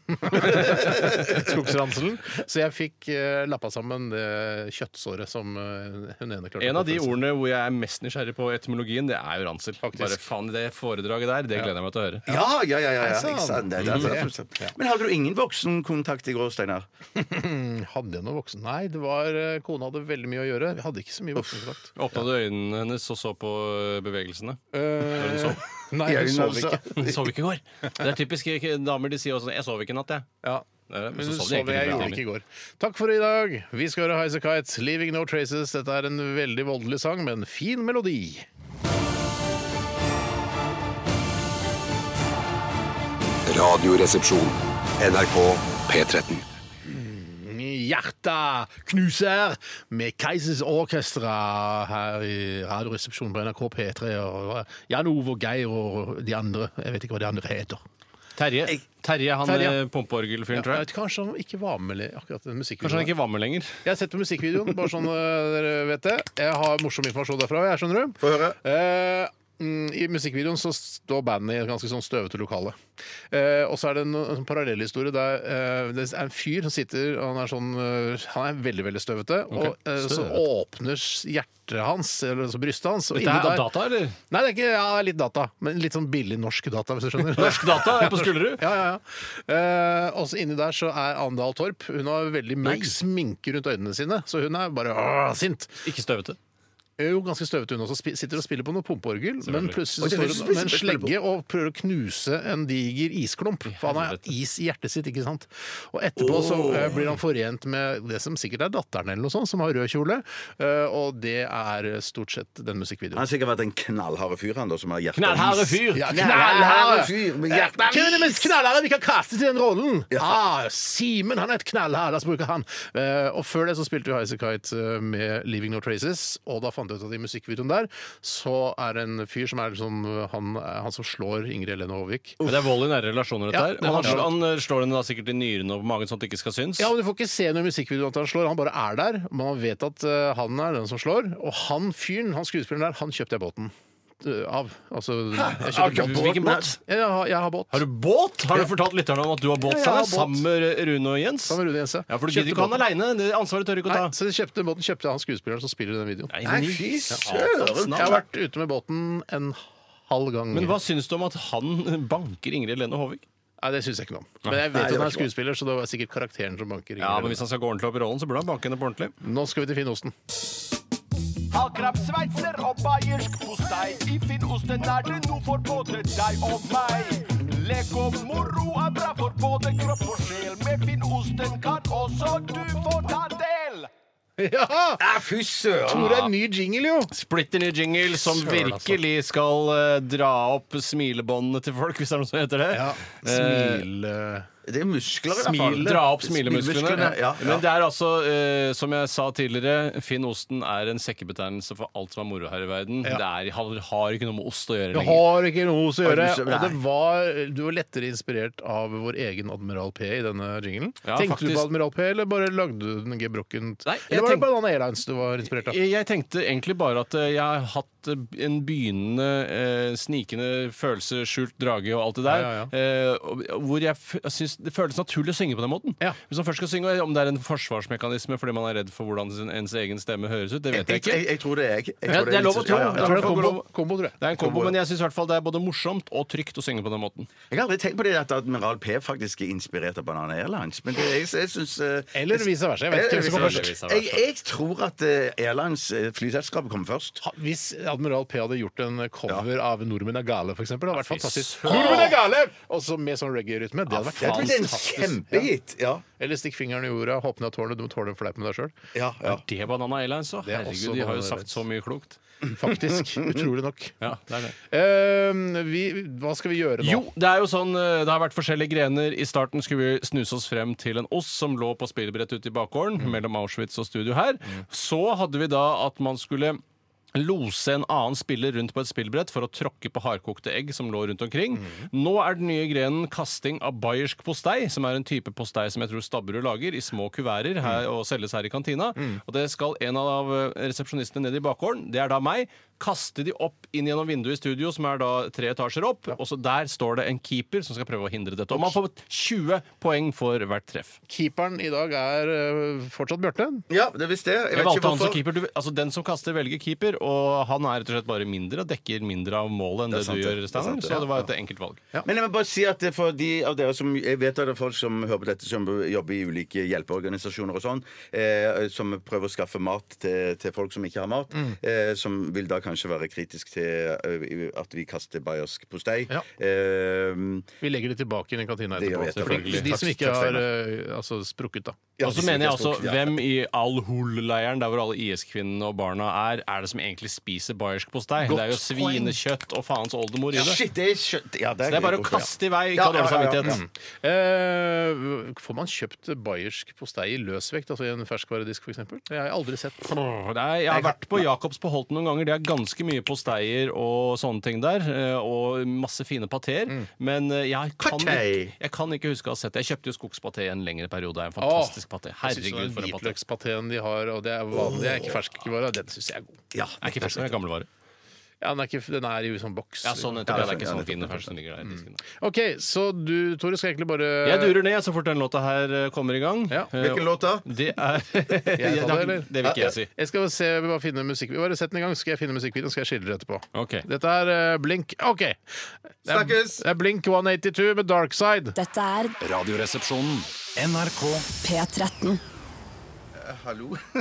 Skogsranselen. Så jeg fikk eh, lappa sammen det kjøttsåret som eh, hun ene klarte.
En av de
å-
ordene hvor jeg er mest nysgjerrig på etymologien, det er jo ransel. Bare faen, Det foredraget der, det gleder jeg meg til å høre.
Ja, ja, ja. ja, ja.
sånn.
sant?
Ikke sant? Det, det, det, det. Men hadde du ingen voksenkontakt i går, Steinar?
Hadde jeg noe voksen? Nei, det var, eh, kona hadde veldig mye å gjøre. Jeg hadde ikke så mye voksenkontakt.
Åpna du øynene hennes og så på eh, bevegelsene?
Eh, Nei,
I
hun
øynene
sov
også.
ikke.
Jeg sov ikke i går. Det er typisk ikke- damer de sier også sånn 'jeg sov ikke i natt', jeg.
Ja.
Eh, Men
Men
så
du
sov
så
de
det
egentlig
jeg gjorde
flere
ikke i
timer.
går. Takk for i dag. Vi skal høre Highasakite, 'Leaving No Traces'. Dette er en veldig voldelig sang, men fin melodi.
Radioresepsjon. NRK P13.
Hjerta knuser med Keisers Orkestra her i Radioresepsjonen på NRK P3. Og Jan Ove og Geir og de andre. Jeg vet ikke hva de andre heter.
Terje, Terje han
Terje.
eh, pumpeorgelfyren,
Jeg
tror jeg.
vet, kanskje han ikke var med i akkurat den
Kanskje han
musikkvideoen.
ikke var med lenger.
Jeg har sett på musikkvideoen, bare sånn eh, dere vet det. Jeg har morsom informasjon derfra, jeg, skjønner du.
Få høre.
Eh, mm, I musikkvideoen så står bandet i et ganske sånn støvete lokale. Eh, og så er det en, en parallellhistorie der eh, det er en fyr som sitter og han er sånn eh, Han er veldig, veldig støvete. Og eh, så
Støvete.
åpner hjertet hans, eller altså brystet hans, og
Dette
inni
er
der
data, eller?
Nei, det er ikke ja, litt data, men litt sånn billig norsk data, hvis du skjønner.
Norsk data er på Skullerud.
Ja, ja, ja. Eh, også inni der så er Andal Torp. Hun har veldig mørk sminke rundt øynene sine, så hun er bare «Åh, sint.
Ikke støvete.
Er Jo, ganske støvete hun også. Spi- Sitter og spiller på noe pumpeorgel, men plutselig så
Og det
står
høres
hun med en
plutselig
slegge og prøver å knuse en diger isklump. For han har
helvete.
is i hjertet sitt, ikke sant. Og etterpå så eh, blir han forent med det som sikkert er datteren eller noe sånt, som har rød kjole. Eh, og det er stort sett den
Han
musikkvideoen.
har sikkert vært en knallharde fyr, han da, som har hjerte
Knallharde fyr!
Ja,
Knallharde
knallharde! Eh,
fyr med
Ja,
hjerte
Hvem er den mest knallharde vi kan kaste til den rollen? Ah, Simen han er et knallhard, altså bruker han. Eh, og før det så spilte vi Highasakite eh, med 'Leaving No Traces', og da fant jeg ut at i musikkvideoen der så er det en fyr som er liksom han, han som slår Ingrid Helene Håvik.
Men det er vold i nære relasjoner, dette
Ja,
her.
det
Men han,
handler
slår- han eh, slår henne da sikkert i nyrene og på magen, sånn at det ikke skal synes.
Ja, men Du får ikke se noe i musikkvideoen at han slår, han bare er der. Man vet at eh, han er den som slår. Og han fyren, han skuespilleren der, han kjøpte jeg båten eh, av. Altså, jeg kjøpte båten.
Hvilken båt?
Jeg, jeg, har, jeg har båt.
Har du båt? Har du fortalt lytterne om at du har båt,
Ja, jeg
Steinar?
har båt.
Sammen med Rune og Jens?
Sammen med Rune og Jens, ja.
ja. For du
Kjøpte
gidder ikke han
båten.
aleine. Det ansvaret tør du ikke å
Nei,
ta.
så jeg kjøpte båten kjøpte jeg han skuespilleren som spiller i den videoen.
Nei,
Nei,
men-
fy
Satan.
søren!
Jeg har vært ute med båten en halv gang.
Men hva syns du om at han banker Ingrid Lene Håvik?
Nei, Det syns jeg ikke noe om. Men jeg vet
Nei,
at
det
han
var
er skuespiller, så det var sikkert karakteren som
Ja,
banker.
men Ah.
Ingrid.
Hvis han skal gå ordentlig opp i rollen, så burde han banke henne på ordentlig.
Nå skal vi til finnosten.
Hallkrabb, sveitser og bayersk postei. I Finnosten er det noe for både deg og meg. Lek og moro er bra for både kropp og sjel. Med Finnosten kan også du få ta del.
Ja!
Ah, Fy søren!
Tore er ny jingle, jo!
Splitter ny jingle som
Søren, altså.
virkelig skal eh, dra opp smilebåndene til folk, hvis det er noe som heter det. Eh,
Smile...
Det er muskler, i hvert fall.
Smil, dra opp smilemusklene.
Smilemusklene, Ja, ja.
Men det er altså, eh, som jeg sa tidligere, Finn Osten er en sekkebetegnelse for alt som er moro her i verden.
Ja.
Det er, har, har ikke noe med ost å gjøre
Det
lenger.
har ikke noe å gjøre.
Nei.
Og det var, du var lettere inspirert av vår egen Admiral P i denne jinglen.
Ja,
Tenkte du
faktisk.
på Admiral P, eller bare lagde du den gebrokkent?
Nei, jeg
Eller var det
tenk-
Banana Airlines du var inspirert av?
Jeg jeg tenkte egentlig bare at eh, jeg har hatt eh, en begynnende, eh, snikende følelse, skjult drage og alt det der,
Ja, ja,
eh, og- og hvor jeg, f- jeg syns det føles naturlig å synge på den måten.
Ja.
Hvis man først skal synge, og om det er en forsvarsmekanisme fordi man er redd for hvordan sin, ens egen stemme høres ut, det vet jeg
Jeg,
ikke.
jeg, jeg tror det er jeg. jeg
Ja,
tror
det er lov å tro.
Ja, ja,
Jeg tror det er
ja.
Ja, det
en
er
kombo, kombo, tror jeg.
Det er en kombo,
Kombo, ja.
men jeg syns i hvert fall det er både morsomt og trygt å synge på den måten.
Jeg har aldri tenkt på det at Admiral P faktisk er inspirert av Banana Airlines. Men det, jeg, jeg syns eh,
Eller vice versa. Jeg vet ikke hvem som kom
Eller
først.
vice versa.
jeg, jeg tror at eh, Airlines, eh, flyselskapet, kommer først.
Ha- Hvis Admiral P hadde gjort en cover av 'Nordmenn er gale', f.eks., hadde det vært fantastisk.
søren.
Nordmenn er gale! Også med sånn reggae-rytme. Det hadde vært
Det er vel en
fantastisk.
kjempehit. Ja.
Eller stikk fingeren i jorda, hopp ned av tårnet, du må tåle en fleip med deg sjøl.
Ja, ja.
Det er Banana Airlines òg.
Det er
Herregud,
også
de har
Banana
jo sagt
Airlines.
så mye klokt.
Faktisk. Utrolig nok.
Ja, det er det.
Eh, vi, hva skal vi gjøre nå?
Jo, det er jo sånn eh, Det har vært forskjellige grener. I starten skulle vi snuse oss frem til en ost som lå på spillbrett ute i bakgården
Mm.
mellom Auschwitz og studio her. Så hadde vi da at man skulle Lose en annen spiller rundt på et spillbrett for å tråkke på hardkokte egg som lå rundt omkring.
Mm.
Nå er den nye grenen kasting av bayersk postei, som er en type postei som jeg tror Stabburud lager i små kuverter her,
Mm.
og selges her i kantina. Og det skal en av eh, resepsjonistene ned i bakgården, det er da meg, kaste de opp inn gjennom vinduet i studio, som er da tre etasjer opp. Og så der står det en keeper som skal prøve å hindre dette. Og man får 20 poeng for hvert treff.
Keeperen i dag er eh, fortsatt Bjarte.
ja, det visste jeg.
Jeg valgte han som keeper. Du, altså Den som kaster, velger keeper. Og han er rett og slett bare mindre og dekker mindre av målet enn
Det
det,
er sant,
du
det.
gjør,
Det er
Steinar.
sant, det.
Så det var
Ja,
et enkelt valg.
Men jeg må bare si at det er for de av dere som Jeg vet at det er folk som hører på dette, som jobber i ulike hjelpeorganisasjoner og sånn, eh, som prøver å skaffe mat til, til folk som ikke har mat,
Mm.
eh, som vil da kanskje være kritisk til eh, at vi kaster bayersk postei.
Ja.
Eh,
Vi legger det tilbake inn i kantina
Det
etterpå.
gjør vi etterpå.
selvfølgelig. De
Takk-
som ikke
takk,
har
Steinar.
eh, altså, sprukket, da.
ja,
og så
hvis
mener jeg
ikke er
også
stort, ja.
hvem i Al-Hol-leiren, der hvor alle IS-kvinnene og barna er, er det som egentlig spiser bayersk postei? Det er jo
poeng.
svinekjøtt og faens oldemor i det.
Shit, det er skjønt. Ja,
Så det er bare å kaste i vei. Ikke
Ja,
ha dårlig
ja, Mm. ja, ja.
samvittighet.
Eh, får man kjøpt bayersk postei i løsvekt, altså i en ferskvaredisk f.eks.? Det har jeg aldri sett.
Åh, det er, jeg har vært på Jacobs på Holten noen ganger. De har ganske mye posteier og sånne ting der. eh, Og masse fine pateer. Men eh, jeg kan,
Patei.
ikke, jeg kan ikke huske å ha sett det. Jeg kjøpte jo skogspaté en lengre periode. Det er En fantastisk paté. Herregud, for en paté.
Hvitløkspateen de har, og det er vanlig, det er ikke ferskvare, den syns jeg er god.
Ja,
Er ikke fersk, det er gammelvare.
Ja, den, er ikke, den er i sånn boks.
Ja, sånn, nettopp. ja, det er ikke sånn fin fersk som ligger der i disken.
OK, så du, Tore, skal egentlig bare
Jeg durer ned så fort den låta her eh, kommer i gang.
Ja.
Eh,
Hvilken låt da?
Det er
Jeg tar det, eller?
Det vil ikke jeg si.
Jeg skal se, vi bare finne musikk... Bare sett den i gang, så skal jeg finne musikkvideoen, så skal jeg skildre etterpå.
Ok.
Dette er eh, Blink OK. Det er,
Snakkes!
det er Blink 182 med Dark Side.
Dette er
Radioresepsjonen. NRK
P13.
Hallo.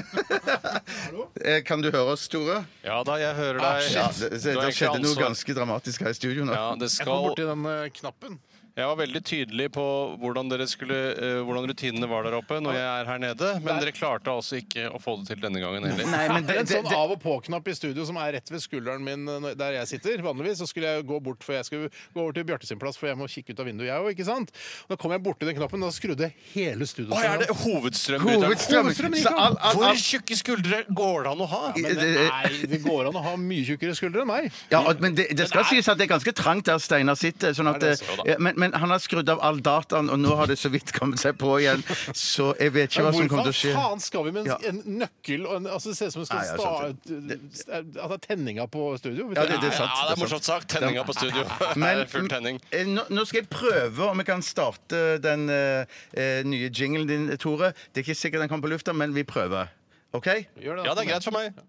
Eh, kan du høre oss, Tore?
Ja da, jeg hører deg.
Ja, det, det,
Du har egentlig
skjedde noe
ansvar.
ganske dramatisk her i studio nå.
ja, det
Jeg kom
skal
borti den eh, knappen.
Jeg var veldig tydelig på hvordan, dere skulle, eh, hvordan rutinene var der oppe når jeg er her nede, men dere klarte altså ikke å få det til denne gangen heller.
Nei, men
Det er en sånn
det-
av og på-knapp i studio som er rett ved skulderen min eh, når- der jeg sitter. Vanligvis så skulle jeg gå bort for jeg skulle gå over til Bjarte sin plass, for jeg må kikke ut av vinduet, jeg òg, ikke sant? Og Da kom jeg borti den knappen, og da skrudde hele studioet
Å,
seg
er det
av.
hovedstrømbryteren?
Hovedstrømmen! Så all- all-
Hvor
all-
tjukke skuldre går det an å ha?
Men det- Nei, det går an å ha mye tjukkere skuldre enn meg.
Ja, og- men det, det skal sies at det er ganske trangt der Steinar sitter. Sånn at,
Ja, det er så, da.
eh, men, men han har skrudd av all dataen, og nå har det så vidt kommet seg på igjen. Så jeg vet ikke hva som kommer til å skje.
faen skal vi med en,
Ja.
en nøkkel og en, altså Det ser ut som vi
Nei,
skal
jeg
sta...
skjønte.
At det er altså, tenninga på studio. vet
Ja,
du.
det- det er sant.
Ja, det er morsomt sagt. Tenninga på studio.
Men
er full tenning.
eh, nå, nå skal jeg prøve om jeg kan starte den eh, eh, nye jinglen din, Tore. Det er ikke sikkert den kommer på lufta, men vi prøver. OK?
Gjør det, altså. da.
Ja, det er greit for meg.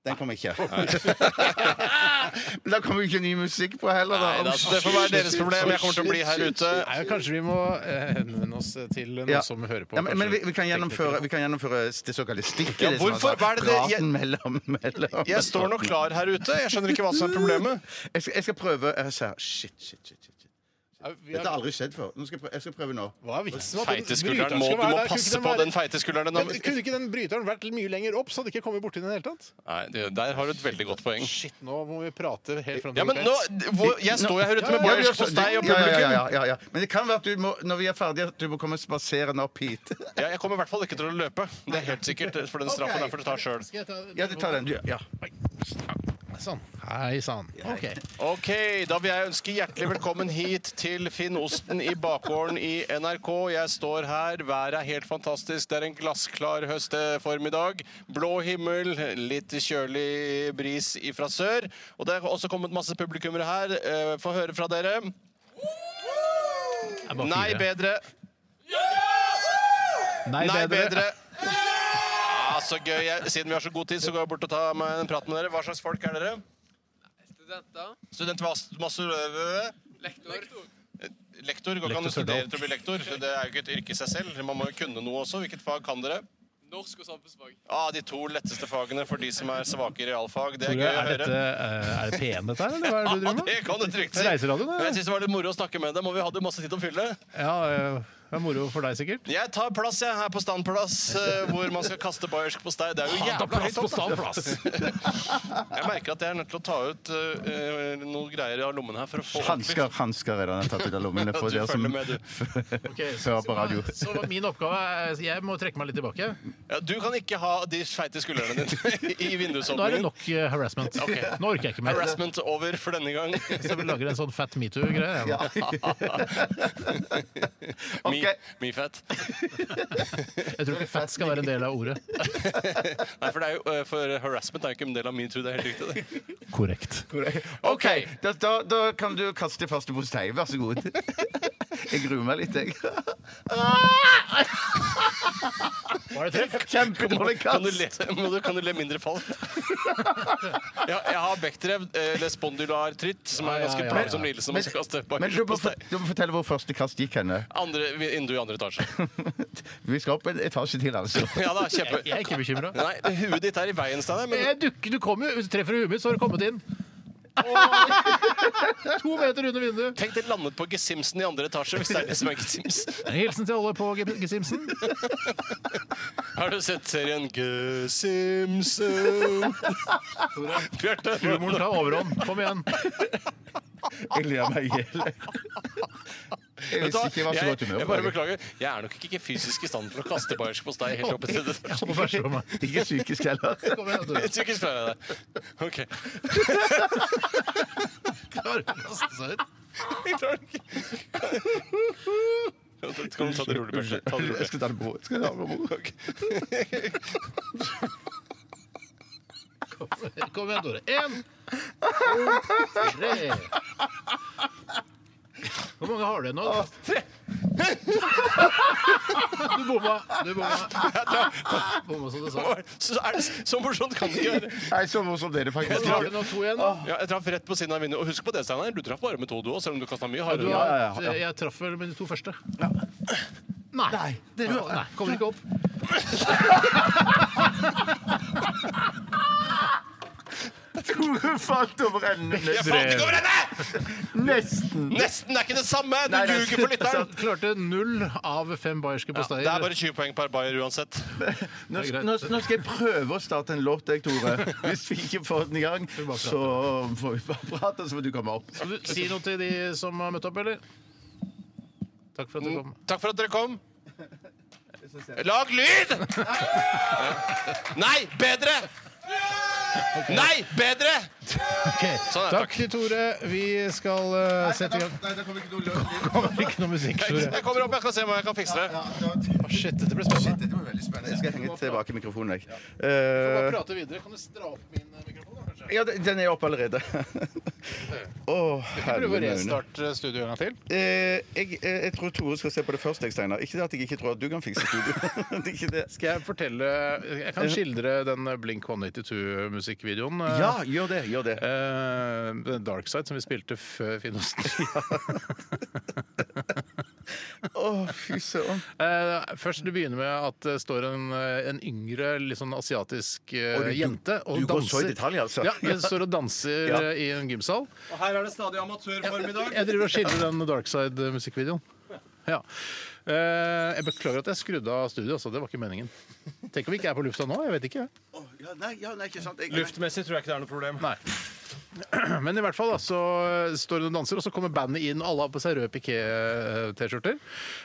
Den kom ikke. Men da kommer jo ikke ny musikk på heller, da.
Nei, da, det får være deres problem. Jeg kommer til å bli her ute.
Nei, men kanskje vi må eh, henvende oss til noen
Ja.
som hører på.
Ja, men men vi,
kanskje
vi, kan gjennomføre,
teknikere.
vi kan gjennomføre det såkalte stikket.
Ja,
det som
hvorfor?
altså
Hva er det det- jeg-
Praten mellom, mellom
Jeg står nå klar her ute. Jeg skjønner ikke hva som er problemet.
Jeg skal, jeg skal prøve jeg ser, Shit, shit, shit. shit. shit.
Ja, vi
Dette
har-
har aldri skjedd før. Nå skal jeg, prøve, jeg skal prøve nå.
Hva er vitsen med at den
Feite skulderen
bryteren
må,
skal
Du må
være der? Kunne ikke
passe
den
på
være-
den feite skulderen.
Men Kunne ikke den bryteren vært mye lenger opp, så hadde ikke kommet borti den i det hele tatt?
Nei, det- Der har du et veldig godt poeng.
Shit, nå må vi prate helt fram til
Ja, men nå, hvor, Jeg står jo her ute med
Ja, vi gjør
bayersk
så-
postei og
ja, ja, ja,
publikum.
ja, ja, ja. Men det kan være at du må, når vi er ferdige, at du må komme spaserende opp hit.
Ja, jeg kommer i hvert fall ikke til å løpe. Det er helt sikkert, eh, for den straffen er for å ta sjøl.
Ja, du tar den, du. Ja.
Sånn. Hei sann. OK.
Ok, Da vil jeg ønske hjertelig velkommen hit til Finn Osten i bakgården i NRK. Jeg står her, været er helt fantastisk. Det er en glassklar høstformiddag. Blå himmel, litt kjølig bris fra sør. Og det er også kommet masse publikummere her. Eh, Få høre fra dere. Nei, bedre. Nei, bedre. Ja, så gøy. Jeg, siden vi har så god tid, så går jeg bort og tar meg en prat med dere. Hva slags folk er dere?
Studenter.
Student Vas- Masur...
Lektor.
Lektor, går ikke an å studere til å bli lektor. Det er jo ikke et yrke i seg selv. Man må jo kunne noe også. Hvilket fag kan dere?
Norsk og samfunnsfag.
Ah, de to letteste fagene for de som er svake i realfag. Det er gøy å
Er, dette,
høre.
eh, er det PN, dette her, eller hva er det
Ja,
du driver
det
med?
kan du trygt si.
Det er reiseradioen, det.
Men Jeg synes det var litt moro å snakke med dem, og vi hadde jo masse tid å fylle.
Ja, eh, det er moro for deg, sikkert.
Jeg tar plass jeg, her på standplass, eh, hvor man skal kaste bayersk postei. Det er jo jævla høyt opp, da. Jeg merker at jeg er nødt til å ta ut eh, eh, noen greier av lommen her for å få
Hansker, hansker er det han har tatt ut av lommene. For
Du
dere som
følger med, du.
hører på radio.
Så min oppgave er Jeg må trekke meg litt tilbake.
Ja, du kan ikke ha de feite skuldrene dine i
Nå er det
vindusåpningen.
nok eh, harassment.
Ok.
Nå orker jeg ikke mer.
Harassment over for denne gang.
Så vi lager en sånn fat metoo-greie. Ja.
Me,
Ok.
me fat.
Jeg tror ikke fat skal være en del av ordet.
Nei, for, det er jo, eh, for harassment er jo ikke en del av metoo. Det er helt riktig. det.
Korrekt.
OK, da, da, da kan du kaste første postei. Vær så god. Jeg gruer meg litt, jeg.
Var det treff?
Kjempedårlig
Kan du
kast.
le, må du, kan du le mindre fall? Ja, jeg har eh, bekkdrev eller spondylartritt, som er en ganske
Ja, ja, ja, ja.
plagsom lidelse. når Man skal kaste bare
Men du må,
på
for,
stein.
du må fortelle hvor første kast gikk henne.
andre, vi- Vindu i andre etasje.
Vi skal opp en etasje til, altså.
Ja da, kjempe.
Jeg er ikke bekymra.
Nei, huet ditt er i veien, Steinar. men-
Jeg dukker, Eh, du kommer jo, hvis du treffer i huet mitt, så har du kommet inn. To meter under vinduet.
Tenk det landet på Gesimsen i andre etasje, hvis det er det som er Gesims.
Hilsen til alle på G- Gesimsen.
Har du sett serien Gesimsen? Bjarte,
Humoren tar overhånd. Kom igjen.
Jeg ler meg i hjel. Jeg
Vet du
visste
hva?
ikke jeg var så
Jeg,
godt humør.
jeg bare beklager. Jeg er nok ikke fysisk i stand til å kaste bayersk postei helt opp til det.
Må bæsje på meg.
Ikke psykisk heller.
Kom igjen, du.
Psykisk klarer jeg det. OK.
Klarer du å kaste seg ut?
Jeg klarer det ikke. Kan du ta det rolig, Bjarte? Ta det rolig.
Jeg skal ta det på. Jeg skal ta det på.
Kom igjen, Tore. Én, to, tre. Hvor mange har du igjen nå? Tre! Du bomma. Du bomma. Bomma som du sa.
Så, er det, så morsomt kan det ikke være.
Nei, så morsomt er det
Nå
faktisk.
har du nå to igjen. da.
Ja, jeg traff rett på siden av vinduet. Og husk på det, Steinar. Du traff bare med to, du òg, selv om du kasta mye
Du
hardere.
har,
ja, ja, ja.
Jeg traff vel med de to første. Nei. det, nei. Kommer ikke opp.
Tore falt over enden.
Jeg falt ikke over henne!
Nesten.
Nesten er ikke det samme! Du
Nei, nei.
ljuger for lytteren.
Klarte null av fem bayerske
Ja,
posteier.
det er bare 20 poeng per bayer uansett.
Nå,
Det er greit.
nå, nå skal jeg prøve å starte en låt, jeg, Tore. Hvis vi ikke får den i gang, så får vi bare prate, så får du komme opp.
Skal du si noe til de som har møtt opp, eller? Takk for at du kom.
Takk for at dere kom. Lag lyd! Nei, bedre! Nei, bedre! Sånn er det,
Takk til Tore. Vi skal eh, sette i gang.
Nei, det kommer ikke noe låt.
Kommer ikke noe musikk, Tore.
Jeg kommer opp, jeg skal se om jeg kan fikse det.
Shit, dette ble spennende.
Dette var veldig spennende. Jeg skal henge tilbake mikrofonen, jeg.
Bare
Eh,
prate videre. Kan du dra opp min eh, mikrofon, da, kanskje?
Ja, den den er oppe allerede. Å,
Prøv å
helvene øyne.
restarte studioet en gang til.
Eh, jeg, eh, jeg tror Tore skal se på det først, jeg, Steinar. Ikke det at jeg ikke tror at du kan fikse studio. det er ikke det.
Skal jeg fortelle Jeg kan skildre den Blink 182-musikkvideoen.
Ja, gjør det. gjør det
Eh, Dark Side, som vi spilte før Finnosten.
Å, fy søren.
Eh, først det begynner med at det står en, eh, en yngre, litt sånn asiatisk eh,
Og du- du-
jente og
du går så
danser.
i detalj, altså.
Ja, hun står og danser
Ja.
eh, i en gymsal.
Og her er det stadig amatørformiddag.
Jeg driver og skildrer den Dark Side-musikkvideoen. Ja. Eh, jeg beklager at jeg skrudde av studioet, altså. Det var ikke meningen. Tenk om vi ikke er på lufta nå? Jeg vet ikke.
Å, ja, nei, ja, nei, ikke sant. Jeg,
Luftmessig tror jeg ikke det er noe problem.
Nei. Men i hvert fall da, så står hun og danser, og så kommer bandet inn. Alle har på seg røde piké-T-skjorter.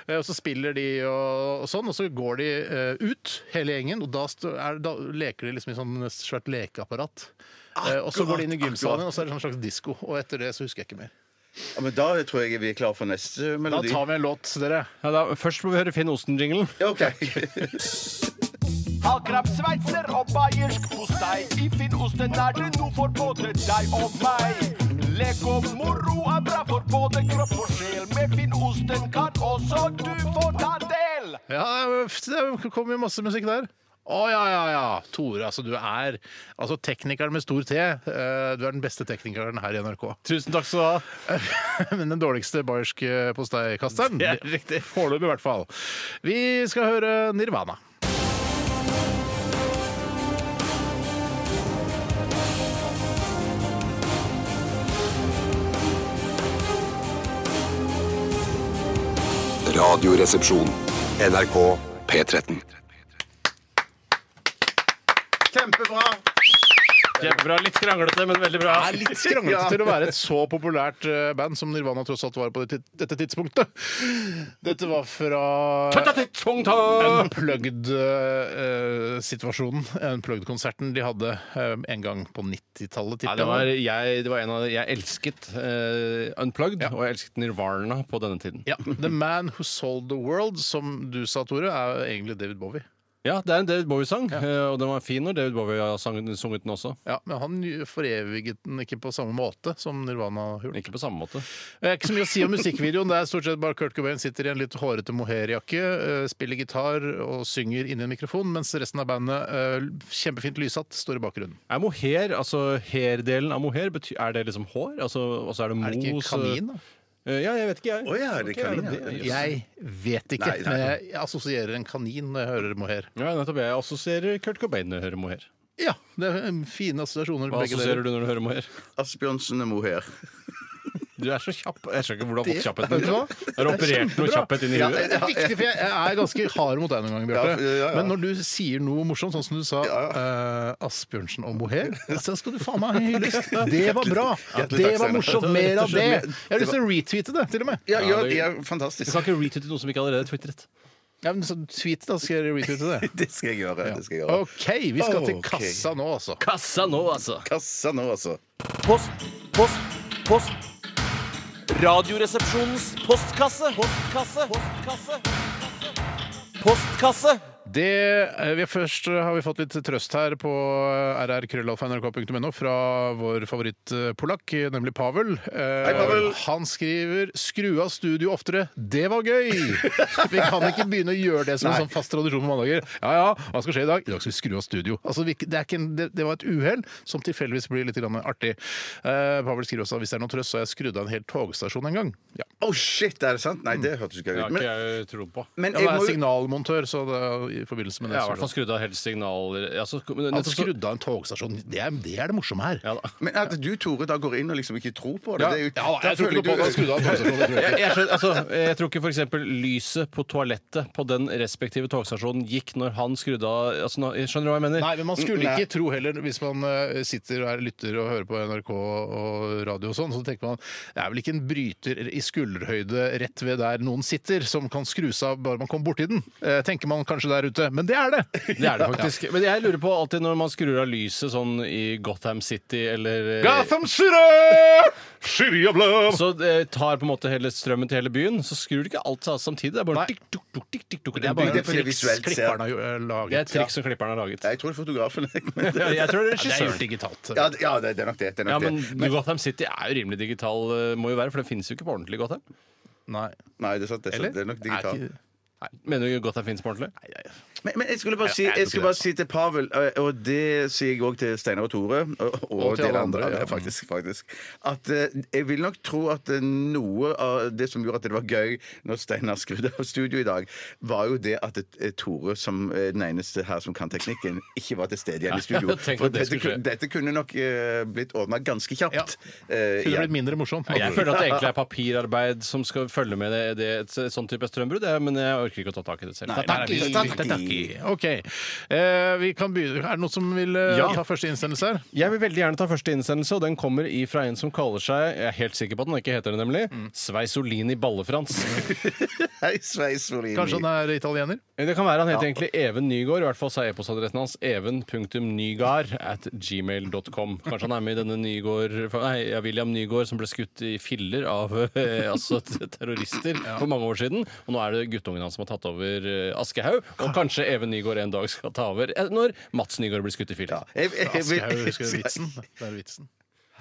Eh, Og så spiller de og, og sånn, og så går de eh, ut, hele gjengen. Og da, stå- er, da leker de liksom i sånn svært lekeapparat. Eh, og så går de inn i gymsalen,
akkurat.
og så er det sånn slags disko. Og etter det så husker jeg ikke mer.
ja, men da tror jeg vi er klare for neste
Da
melodi.
tar vi en låt, dere.
Ja, da, først må vi høre Finn Osten-jinglen.
Ja, ok.
Halvkrabb sveitser og bayersk postei. I Finnosten er det noe for både deg og meg. Lek og moro er bra for både kropp og sjel. Med Finnosten kan også du få ta del.
Ja, det kom jo masse musikk der. Å ja, ja, ja. Tore, altså du er altså, teknikeren med stor T. Eh, Du er den beste teknikeren her i NRK.
Tusen takk skal du ha.
Men den dårligste bayerske posteikasteren.
Det er riktig.
Foreløpig, i hvert fall. Vi skal høre Nirvana.
Radioresepsjon. NRK P13.
Kjempebra.
Kjempebra. Litt kranglete, men veldig bra.
Litt skranglete til å være et så populært eh, band som Nirvana tross alt var på det tid- dette tidspunktet. Dette var fra Unplugged-situasjonen. eh, Unplugged-konserten de hadde eh, en gang på 90-tallet,
Ja,
tipper
det, var,
jeg.
jeg, det var en av Jeg elsket eh, Unplugged, og jeg elsket Nirvana på denne tiden.
Ja, The Man Who Sold The World, som du sa, Tore, er egentlig David Bowie.
Ja, det er en David Bowie-sang, eh, og den var fin når David Bowie har sang- sunget den også.
Ja, Men han foreviget den ikke på samme måte som Nirvana gjorde.
Ikke på samme måte.
Det er ikke så mye å si om musikkvideoen. Det er stort sett bare Kurt Cobain sitter i en litt hårete mohairjakke, eh, spiller gitar og synger inni en mikrofon, mens resten av bandet, eh, kjempefint lyssatt, står i bakgrunnen.
Er mohair, altså hair-delen av mohair, bety- er det liksom hår? Altså, og så er det mos
Er det ikke kanin, da?
eh, Ja, jeg vet ikke, jeg.
Å ja, det er
Ok, er det
kanin, ja.
det?
Jeg vet ikke,
Nei, nei.
men jeg assosierer en kanin når jeg hører mohair.
Ja, nettopp. Jeg assosierer Kurt Cobain når jeg hører mohair.
Ja, det er um, fine assosiasjoner,
Hva
begge dere.
assosierer du når du hører mohair?
Asbjørnsen og Moher.
Du er så kjapp. Jeg skjønner ikke hvor du har fått kjappheten.
Vet du
din.
hva?
Du har operert noe kjapphet inn i
Det
huet.
er viktig, for jeg er ganske hard mot deg noen ganger, Bjarte.
Ja, ja, ja.
Men når du sier noe morsomt, sånn som du sa eh, Asbjørnsen og mohair, så skal du faen meg ha hyllest. Det var bra!
Hjertelig
Det
takk,
var
Steinar.
morsomt. Mer av det! Jeg har lyst til å retweete det, til og med.
Ja, ja,
det-
de er
Du
fantastisk.
kan ikke retweete noe som ikke allerede er twitret.
Ja, men så tweet, da. Skal jeg retweete det?
Det skal jeg gjøre. Det skal jeg gjøre.
OK, vi skal til
Ok.
kassa nå, altså.
Kassa nå, altså!
Kassa nå, altså.
Post, post, post. Radioresepsjonens postkasse. Postkasse. Postkasse. Postkasse.
Det, eh, vi først eh, har vi fått litt trøst her på eh, rrkrøllalfa.nrk.no fra vår favorittpolakk, nemlig Pavel. Eh,
Hei, Pavel.
Han skriver 'skru av studio oftere'. Det var gøy! Vi kan ikke begynne å gjøre det som en sånn fast tradisjon på mandager. Ja ja, hva skal skje i dag? I dag skal vi skru av studio. Altså, vi, det, er ikke en, det, det var et uhell som tilfeldigvis blir litt grann artig. Eh, Pavel skriver også 'hvis det er noe trøst, så har jeg skrudd av en hel togstasjon en gang'. Ja.
Å, shit, er det sant? Nei, det hørtes ikke
Det
ut.
har
Men,
ikke jeg tro på.
men
Ja,
jeg
han er
må jo
signalmontør, så det, er i forbindelse med det
Jeg har i
så-
hvert fall skrudd av helt signaler altså, men-
Han
nettopp så-
skrudde av en togstasjon. Det er det, er det morsomme her.
ja, da.
men at du, Tore, da går inn og liksom ikke tror på det, det er jo
Ja,
da
jeg tror ikke
føler
noe på
du-
at han skrudde av en togstasjon. Det tror jeg
jeg,
ikke.
jeg, skjønner, altså, jeg tror ikke for eksempel lyset på toalettet på den respektive togstasjonen gikk når han skrudde av altså, nå- Skjønner du hva jeg mener?
Nei, men man skulle
Nei.
ikke tro heller, hvis man eh, sitter og er lytter og hører på NRK og radio og sånn, så tenker man det er vel ikke en bryter i skulderhøyde rett ved der noen sitter, som kan skrus av bare man kommer borti den. Eh, tenker man kanskje der der ute, men det er det.
Det er det faktisk. Men jeg lurer på alltid når man skrur av lyset sånn i Gotham City eller eh,
Gotham City! City of love!
Så det tar på en måte hele strømmen til hele byen, så skrur du ikke alt av samtidig. Det er bare tikk, tuk, tuk, tikk, tikk, tuk. Det er
Det
bare
er fordi visuelt ser-
Klipperen har jo eh,
det er
laget.
et triks som klipperen har laget.
Nei, Jeg tror det er fotografen. men det-
Ja, Jeg tror det er
Ja, det er gjort
regissøren.
digitalt.
Ja, det- ja, det det er nok det. det, er nok
Ja, men
det. Men,
Gotham City er jo rimelig digital, eh, må jo være, for det fins jo ikke på ordentlig Gotham.
Nei.
nei, det er sant. Det er, sant,
Eller?
det er nok
Er
digitalt.
ikke-
Mener du Gotham fins på ordentlig?
Men, men jeg skulle bare si,
jeg tror
jeg skulle
ikke
bare si til Pavel, og- og det sier jeg òg til Steinar og Tore Og, og,
Og til
dere
alle
andre,
andre,
ja,
ja.
faktisk, faktisk. At eh, jeg vil nok tro at eh, noe av det som gjorde at det var gøy når Steinar skrudde av studio i dag, var jo det at eh, Tore, som eh, den eneste her som kan teknikken, ikke var til stede igjen i studio.
Tenk
For
at det
dette,
skulle
kunne-
skje.
dette kunne nok eh, blitt ordna ganske kjapt.
Kunne
eh, igjen.
blitt mindre morsomt.
Jeg føler at det egentlig er papirarbeid som skal følge med det, det, et, et sånn type strømbrudd, jeg- men jeg orker ikke å ta tak i det selv.
Nei,
Ta tak i-
nei, nei,
ta
nei.
tak i-
OK. Eh, vi kan begynne. Er det noen som vil eh,
Ja.
ta første innsendelse her?
Jeg vil veldig gjerne ta første innsendelse, og den kommer ifra en som kaller seg Jeg er helt sikker på at den ikke heter det, nemlig. Sveisolini Ballefrans.
Hei, Sveis Molini.
Kanskje han er italiener?
Det kan være han heter egentlig Even Nygaard. I hvert fall så er e-postadressen hans even.nygaard at gmail.com. Kanskje han er med i denne Nygaard Nei, ja, William Nygaard som ble skutt i filler av eh, altså, t- terrorister for mange år siden. Og nå er det guttungen hans som har tatt over eh, Aschehoug. Og kanskje Even Nygaard en dag skal ta over eh, når Mats Nygaard blir skutt i
Ja,
filler.
jeg- jeg- jeg vil-
Aschehoug, husker du vitsen? Det er vitsen.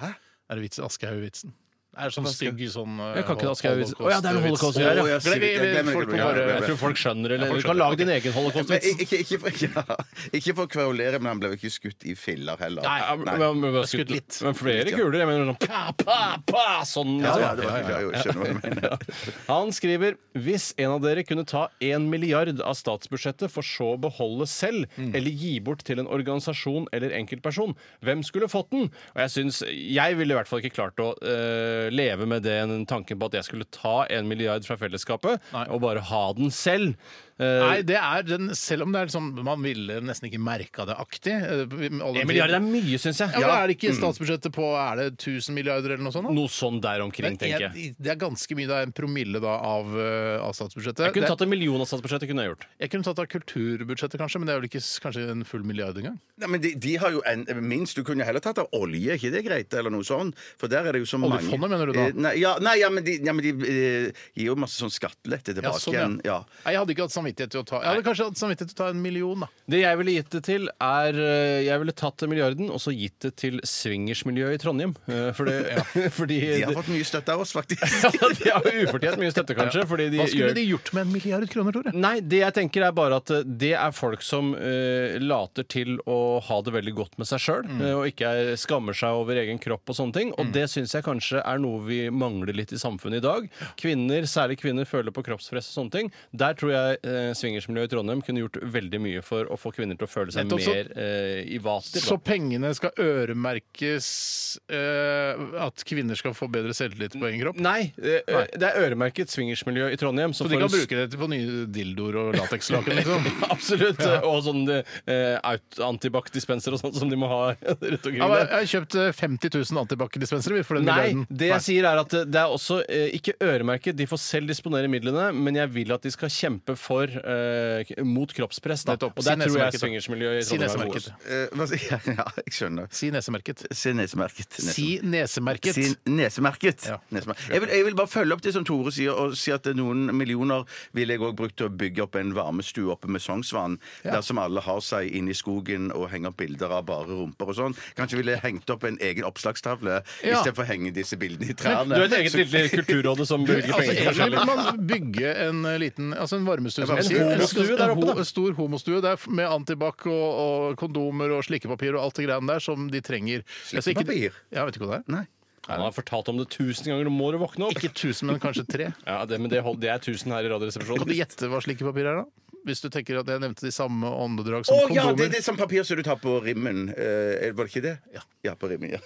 Er det vits- Aschehoug-vitsen? Er det sånn stygg sånn eh,
Jeg kan ikke Aschehoug-vitsen. Å ja, det er jo holocaust vi
holocaust-vits.
gjør, ja.
Å, ja,
Glem- vi- vi-
jeg glemmer
folk
det,
må
ja,
bare-
ja, ja.
Jeg tror folk skjønner eller Du
folk
kan
skjønner,
lage din egen
Men
holocaust-vits.
ikke, ikke, ikke, for, ja, ikke for å kverulere, men han ble jo ikke skutt i filler heller.
Nei, men- men- men-
skutt litt.
Men flere kuler. Jeg mener sånn pa, pa, pa! Sånn.
Ja,
liksom.
ja, det var, ja, jo, jeg skjønner hva du mener.
Han skriver hvis en av dere kunne ta en milliard av statsbudsjettet for så å beholde selv, eller gi bort til en organisasjon eller enkeltperson, hvem skulle fått den? Og jeg synes, jeg ville i hvert fall ikke klart å eh, leve med den tanken på at jeg skulle ta en milliard fra fellesskapet
Nei.
og bare ha den selv. Eh,
Nei, det er den, selv om det er liksom, man ville nesten ikke merka det aktig. eh, all den
en milliard
tid.
er mye, syns jeg.
ja, men Er
Mm.
det ikke statsbudsjettet på er det 1000 milliarder eller noe sånt? da?
Noe sånn der omkring,
Det er-
tenker jeg.
Det er ganske mye. Det er en promille da, av, eh, av statsbudsjettet.
Jeg kunne
Det-
tatt en million av statsbudsjettet. kunne jeg gjort
jeg kunne tatt av kulturbudsjettet, kanskje, men det er vel ikke s- kanskje en full milliard engang?
Nei, men de, de har jo en, minst Du kunne heller tatt av olje, ikke det greit? Eller noe sånt? For der er det jo så mange
Oljefondet, mener du da?
Eh, Nei, ja, nei, ja, men de, ja, men de eh, gir jo masse sånn skattelette
Ja,
tilbake
sånn, ja.
igjen. Ja.
Nei, jeg hadde ikke hatt samvittighet til å ta Jeg hadde kanskje hatt samvittighet til å ta en million, da.
Det jeg ville gitt det til, er eh, Jeg ville tatt milliarden og så gitt det til swingersmiljøet i Trondheim. Eh, For det, fordi
De har fått mye støtte av oss, faktisk.
ja, de har jo ufortjent mye støtte, kanskje. Fordi de
Hva skulle
gjør- Mm,
de gjort med en milliard kroner, Tore?
Nei, det jeg tenker er bare at eh, det er folk som eh, later til å ha det veldig godt med seg sjøl,
Mm.
og ikke er, skammer seg over egen kropp og sånne ting. Og det syns jeg kanskje er noe vi mangler litt i samfunnet i dag. Kvinner, særlig kvinner, føler på kroppspress og sånne ting. Der tror jeg eh, swingersmiljøet i Trondheim kunne gjort veldig mye for å få kvinner til å føle seg
Nettopp, så-
mer eh, i vater. da.
Så pengene skal øremerkes eh, at kvinner skal få bedre selvtillit på egen kropp?
Nei, eh, det er øremerket swingersmiljø i Trondheim. som
Så
får
de kan
en s-
bruke det på nye dildoer og latekslaken, liksom?
Absolutt. Og sånn eh, aut- antibac-dispenser og sånt som de må ha rundt omkring.
Ja, men
der.
jeg har kjøpt eh, 50 000 antibac-dispensere vi, for den
Nei,
milliarden.
det jeg sier er at eh, det er også eh, ikke øremerket. De får selv disponere midlene, men jeg vil at de skal kjempe for eh, k- mot kroppspress. Da.
Nettopp.
Og
Si
der tror jeg
nesemerket, da.
swingersmiljøet i
Si
Trondheim er
nesemerket.
gode.
Eh, hva sier- ja, ja, jeg skjønner.
Si nesemerket.
Se nesemerket. Nesemerket.
Si nesemerket.
Si nesemerket.
Ja.
nesemerket. Jeg, vil, jeg vil bare følge opp det som Tore sier, og si at noen millioner ville jeg òg brukt til å bygge opp en varmestue oppe med Sognsvann, der som alle har seg inne i skogen og henger opp bilder av bare rumper og sånn. Kanskje ville jeg hengt opp en egen oppslagstavle
Ja.
istedenfor å henge disse bildene i
Du
trærne.
har et eget lille kulturråd som bevilger penger
Altså,
til
egentlig
forskjellig.
vil man bygge en eh, liten altså en varmestue. som
En
man sier.
homostue
En-
der oppe, da.
En ho- stor homostue der f- med antibac og, og kondomer og slikkepapir og alt det greiene der som de trenger. Altså, ikke-
Slikkepapir?
Ja, vet ikke hva det er.
Nei.
Han har fortalt om det tusen ganger. Nå må du våkne opp!
Ikke tusen, men kanskje tre.
Ja, det, men det, hold, det er tusen her i
Kan du
Radioresepsjonen.
gjette hva slikkepapir er, da? Hvis du tenker at jeg nevnte de samme åndedrag
Å
som
ja, det,
kondomer.
det er sånn papir som du tar på rimmen. Eh, var det ikke det? Ja. på rimmen, ja.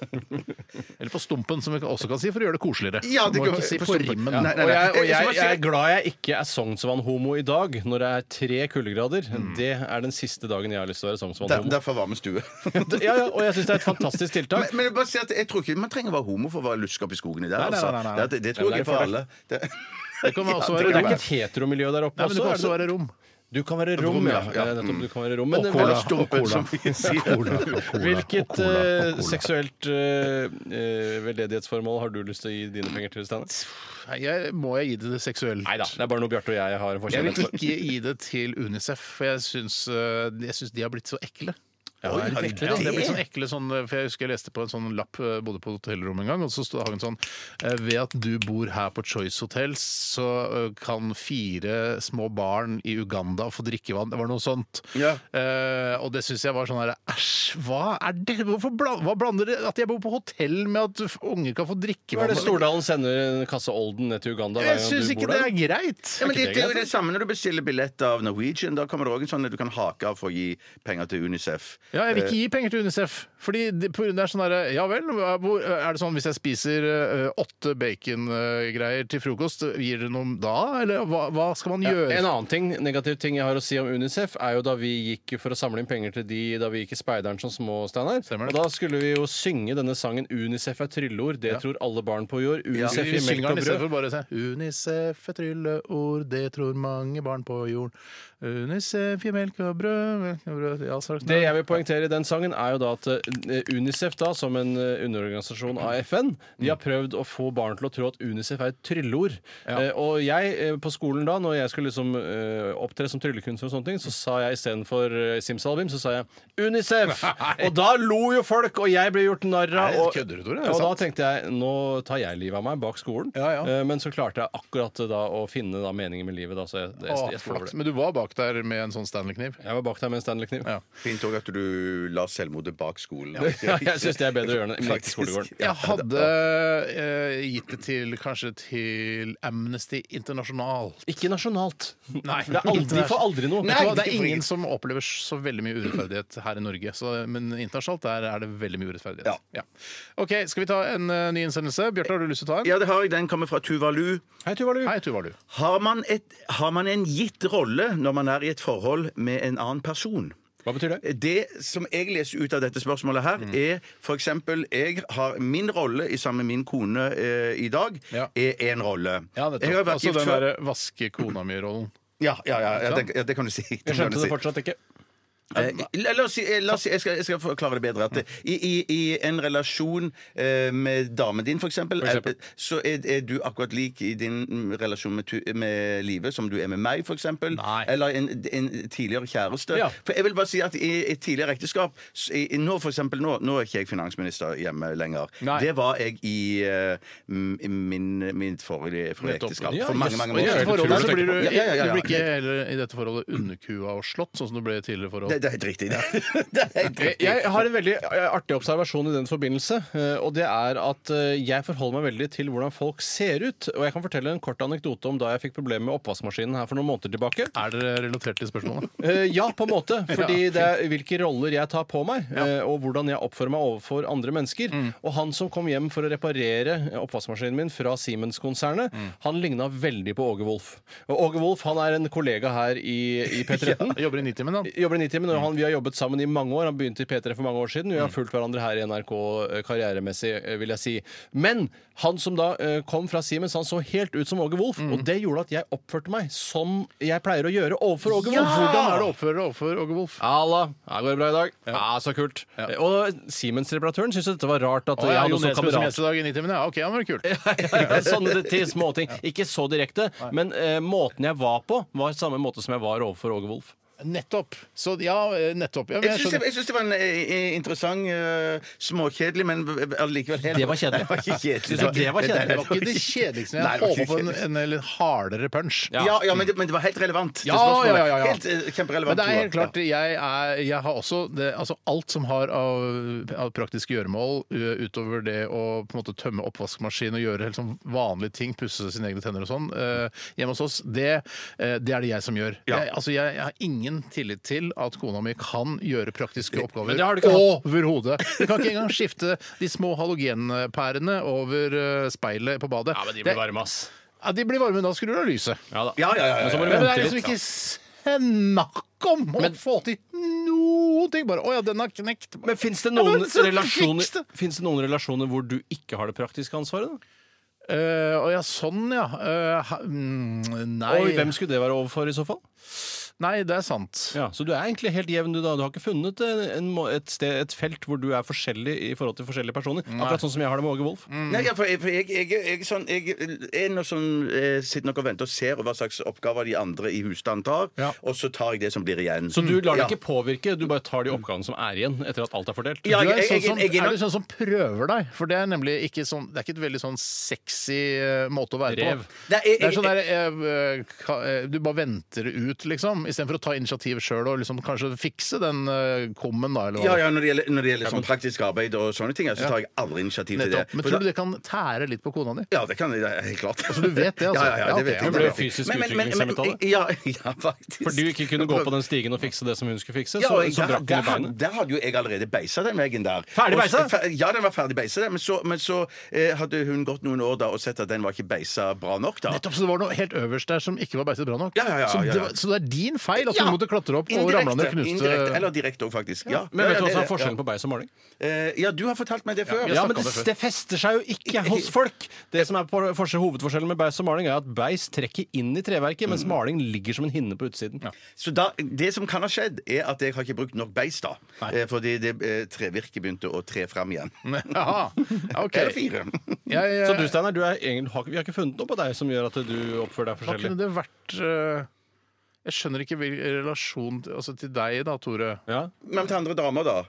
Eller på stumpen, som vi også kan si, for å gjøre det koseligere.
Ja, det
Må
går-
ikke si
på
på,
stumpen.
rimmen.
Ja. Nei, nei,
Og
nei.
jeg, og
Jeg- jeg
jeg,
må si-
jeg er glad jeg ikke er Sognsvann-homo i dag, når det er tre kuldegrader.
Mm.
Det er den siste dagen jeg har lyst til å være
Der,
Sognsvann-homo.
derfor varmestue.
Ja, ja, og jeg syns det er et fantastisk tiltak.
Men, men jeg, bare sier at jeg tror ikke man trenger å være homo for å være luske opp i skogene der.
Nei, nei,
Altså.
nei, nei, nei.
Det, det, det
Nei, men
tror jeg
det
for
er
alle. Det,
Det kan også
Ja,
være
Det er
rom.
ikke et heteromiljø der oppe
Nei, men det
også?
kan
er
også være rom.
Du kan være rom,
Rom,
ja.
ja, ja.
Eh, nettopp,
Mm.
du kan være rom. Men det-
cola.
hva-
Stumpen, som vi sier.
Hvilket eh, seksuelt eh, eh, veldedighetsformål har du lyst til å gi dine penger til, Steinar?
Nei, jeg, må jeg gi det det seksuelt?
Nei da, det er bare noe Bjarte og jeg har en
Jeg
forskjell
vil ikke gi det til Unicef, for jeg syns, øh, jeg syns de har blitt så ekle. Ja,
Oi,
de er
har de
ekle, ja.
det?
De har blitt sånn ekle sånn, øh, for Jeg husker jeg leste på en sånn lapp øh, bodde på et hotellrom en gang, og så sto- hang det sånn øh, Ved at du bor her på Choice Hotels, så øh, kan fire små barn i Uganda få drikkevann. Det var noe sånt.
Ja.
Eh, og det syns jeg var sånn her Æsj, hva er det? Hvorfor bla- hva blander det at jeg bor på hotell med at unge kan få
Hva er
drikkevann?
det Stordalen sender en kasse Olden ned til Uganda hver gang
jeg syns
du
ikke
bor
det
der?
er greit.
Ja, men
ikke
det,
det
det er jo
greit,
det samme når du bestiller billett av Norwegian. Da kommer det òg en sånn at du kan hake av for å gi penger til Unicef.
Ja, jeg vil
Eh.
ikke gi penger til Unicef. Fordi det, på grunn av det er sånn der, ja vel, hvor, er det sånn hvis jeg spiser ø, åtte bacongreier til frokost, gir det noe da? Eller hva, hva skal man gjøre?
En annen ting, negativ ting jeg har å si om Unicef, er jo da vi gikk for å samle inn penger til de da vi gikk i Speideren som små, Steinar.
Stemmer
Og
det.
da skulle vi jo synge denne sangen 'Unicef er trylleord'. Det tror alle barn på jord. Unicef
Vi
i melk
synger
og
den
brød.
istedenfor bare å si Unicef er trylleord, det tror mange barn på jorden. Unicef gir melk og brød, melk og brød ja, sagt,
Det jeg vil poengtere i den sangen, er jo da at eh, Unicef, da, som en eh, underorganisasjon av FN, de har prøvd å få barn til å tro at Unicef er et trylleord. Eh, Og jeg eh, på skolen da, når jeg skulle liksom eh, opptre som tryllekunstner og sånne ting, så sa jeg istedenfor eh, Simsalabim, så sa jeg Unicef! Og da lo jo folk, og jeg ble gjort narr
Nei,
av. Og,
kødder du, Tore? Er det
og da
sant?
tenkte jeg nå tar jeg livet av meg bak skolen.
Ja, ja.
Eh, Men så klarte jeg akkurat eh, da å finne da meningen med livet, da, så jeg, jeg,
Å,
jeg, jeg står
flaks.
over det.
Men du var bak der med en sånn Stanley-kniv?
Jeg var bak deg med en Stanley-kniv.
Ja.
Fint òg at du la selvmordet bak skolen.
Ja, jeg syns det er bedre å gjøre det enn i
Faktisk.
skolegården.
Jeg hadde eh, gitt det til kanskje til Amnesty International.
Ikke nasjonalt.
Nei.
For det er aldri, de får aldri noe.
Vet du hva, det er
ikke
ingen som opplever så veldig mye urettferdighet her i Norge. Så, men internasjonalt der er det veldig mye urettferdighet. Ja. OK, skal vi ta en eh, ny innsendelse? Bjarte, har du lyst til å ta en?
Ja, det har jeg. Den kommer fra Tuvalu.
Hei, Tuvalu.
Hei, Tuva du.
Har man, et, har man en gitt rolle når man er i et forhold med en annen person?
Hva betyr det?
Det som jeg leser ut av dette spørsmålet her,
Mm.
er f.eks. jeg har min rolle i sammen med min kone eh, i dag,
Ja.
er én rolle. Jeg har vært
Altså
gift
den
før-
derre vaske kona mi-rollen.
ja, ja, ja, ja, det, ja, det kan du si. Det
Jeg
kan du
skjønte
si.
det fortsatt ikke.
Eh, La la oss si, eh, la oss si jeg, skal, jeg skal forklare det bedre. At eh, i, i, I en relasjon eh, med damen din, f.eks.,
eksempel.
så er, er du akkurat lik i din mm, relasjon med, tu- med livet som du er med meg, f.eks.
Nei.
Eller en, en tidligere kjæreste.
Ja.
For jeg vil bare si at i et tidligere ekteskap s- i, i Nå for eksempel, nå, nå er ikke jeg finansminister hjemme lenger.
Nei.
Det var jeg i eh, m- min, mitt forrige, forrige
Nettopp.
ekteskap.
Ja,
For
jøss.
mange, mange
Og i dette
år siden.
forholdet så
blir du,
Ja, ja, ja, ja.
du blir ikke heller i dette forholdet underkua og slått, sånn som du ble i tidligere forhold.
Det, det er helt riktig. Det, det er helt
Jeg
riktig.
jeg har en veldig eh, artig observasjon i den forbindelse. eh, Og det er at eh, jeg forholder meg veldig til hvordan folk ser ut. Og jeg kan fortelle en kort anekdote om da jeg fikk problemer med oppvaskmaskinen her for noen måneder tilbake.
Er dere relatert til spørsmålet?
Eh, ja, på en måte. Fordi
Ja,
det er hvilke roller jeg tar på meg, eh, og hvordan jeg oppfører meg overfor andre mennesker. Og han som kom hjem for å reparere eh, oppvaskmaskinen min fra Siemens-konsernet, han ligna veldig på Åge Wolff. Og Åge Wolff han er en kollega her i, i P13.
Jeg jobber i 90 min, da.
Jobber i 90, men han, Vi har jobbet sammen i mange år. Han begynte i P3 for mange år siden. Vi har fulgt hverandre her i NRK eh, karrieremessig, eh, vil jeg si. Men han som da eh, kom fra Siemens, han så helt ut som Åge Wolff. Og det gjorde at jeg oppførte meg som jeg pleier å gjøre overfor Åge Wolff.
Hvordan er det å oppføre deg overfor Åge Wolff?
Halla, her går det bra i dag. Ja, så kult. Eh, Og Siemens-reparatøren syntes dette var rart. at
Å, ja,
jeg hadde
Jon
sånn
Nesbø som gjest
kamerat.
i dag i 90 min, ja. OK, han var kul.
Ja, Sånne til småting. Ikke så direkte, men eh, måten jeg var på, var samme måte som jeg var overfor Åge Wolff.
Nettopp. Så ja, eh, nettopp. Ja, men jeg
Jeg syns det,
skjønner.
jeg syns det var en eh, interessant, eh, småkjedelig, men eh, allikevel helt
Det var kjedelig.
Det var ikke kjedelig.
Syns du det var kjedelig?
Nei,
Det var ikke det kjedeligste.
Nei,
Jeg
det var
håpa
ikke
på en,
kjedelig.
en, litt hardere punch.
Ja.
Ja, ja men, det, men det var helt relevant. til
Ja,
spørsmålet.
ja, ja, ja.
Helt eh, kjemperelevant.
Men det er helt
Tor.
klart, jeg, er, jeg har også det, altså alt som har av, av praktiske gjøremål, ø, utover det å på en måte tømme oppvaskmaskin og gjøre helt sånn vanlige ting, pusse sine egne tenner og sånn, ø, hjemme hos oss, det, ø, det er det jeg som gjør.
Ja.
Jeg, altså, jeg, jeg har ingen tillit til at kona mi kan gjøre praktiske
Men
oppgaver
det har du ikke hatt.
overhodet. Hun kan ikke engang skifte de små halogenpærene over ø, speilet på badet. Det-
varme, ass.
Ja, de blir varme, men da skrur du av lyset.
Ja da.
Ja, ja, ja, ja,
Men så må du
Men
vente
det er
litt.
liksom ikke snakk om å få til noen ting. Bare 'Å ja, den har knekt'.
Men fins det,
Ja,
noen
men så
relasjoner-
fiks det.
finnes det noen relasjoner hvor du ikke har det praktiske ansvaret? da?
Eh, Å ja, «Øh, sånn ja. Eh, ha- mm, nei
Og hvem skulle det være overfor i så fall?
Nei, det er sant.
Ja, så du er egentlig helt jevn, du da. Du har ikke funnet en, en, må- et, sted, et felt hvor du er forskjellig i forhold til forskjellige personer. Akkurat sånn som jeg har det med Åge Wolff.
Nei, ja, for jeg, for jeg, jeg, jeg, er sånn, jeg er noe sånn, eh, sitter nok og venter og ser hva slags oppgaver de andre i husstanden tar,
Ja.
og så tar jeg det som blir igjen.
Så du lar deg
Ja.
ikke påvirke, du bare tar de oppgavene som er igjen etter at alt er fordelt.
Ja,
Du er,
jeg-
sånn
jeg-
som,
jeg- jeg-
er du sånn som prøver deg? For det er nemlig ikke sånn Det er ikke et veldig sånn sexy eh, måte å være
Rev.
på.
Nei, jeg-
det er sånn
jeg-
der, eh, ka- eh, Du bare venter det ut, liksom. Istedenfor å ta initiativ sjøl og liksom kanskje fikse den eh, kummen, da. Eller hva
Ja,
det er.
ja, når det gjelder, når det gjelder sånn praktisk arbeid og sånne ting, ja, så tar jeg aldri initiativ til det.
Nettopp. Men tror du det kan tære litt på kona di?
Ja, det kan jeg, det er helt klart.
Altså, du vet det, altså?
Ja, ja, ja,
Ja, ok.
det vet jeg.
Hun
det
ble
vet jeg.
fysisk
Men- men- men-
utviklingshemmet av det.
Ja, ja, faktisk.
For du ikke kunne gå på den stigen og fikse det som hun skulle fikse,
Ja,
så,
og jeg,
så
der,
brakk
der,
hun i beinet.
der hadde jo jeg allerede beisa den veggen der.
Ferdig
Og-
beisa?
fe- Ja, den var ferdig beisa, den, men så, men så eh, hadde hun gått noen år da og sett at den var ikke beisa bra nok, da.
Nettopp, så det var noe helt øverst der som ikke var beiset bra nok?
Ja, ja, ja,
så,
ja,
det
ja.
var, så det er din feil at du
Ja.
måtte klatre opp og
Indirekte,
ramla ned og knuste
Indirekte, eller direkte òg, faktisk. Ja.
Men
Ja,
vet du hva
ja, det
som
det,
er forskjellen på beis og maling?
Eh, Ja, du har fortalt meg det før.
Ja, men det, det fester seg jo ikke hos folk! Det som er på- forskjell- Hovedforskjellen med beis og maling er at beis trekker inn i treverket, mens maling ligger som en hinne på utsiden.
Så da, det som kan ha skjedd, er at jeg har ikke brukt nok beis, da. Eh, Fordi det eh, trevirket begynte å tre fram igjen.
Jaha, ja, ok.
Eller fire.
Jeg, eh,
Så du, Steinar, du er egentlig, har ikke- vi har ikke funnet noe på deg som gjør at du oppfører deg
Hva
forskjellig?
kunne det vært eh, Jeg skjønner ikke hvilken relasjon til, altså til deg da, Tore.
Ja.
Men til andre damer, da?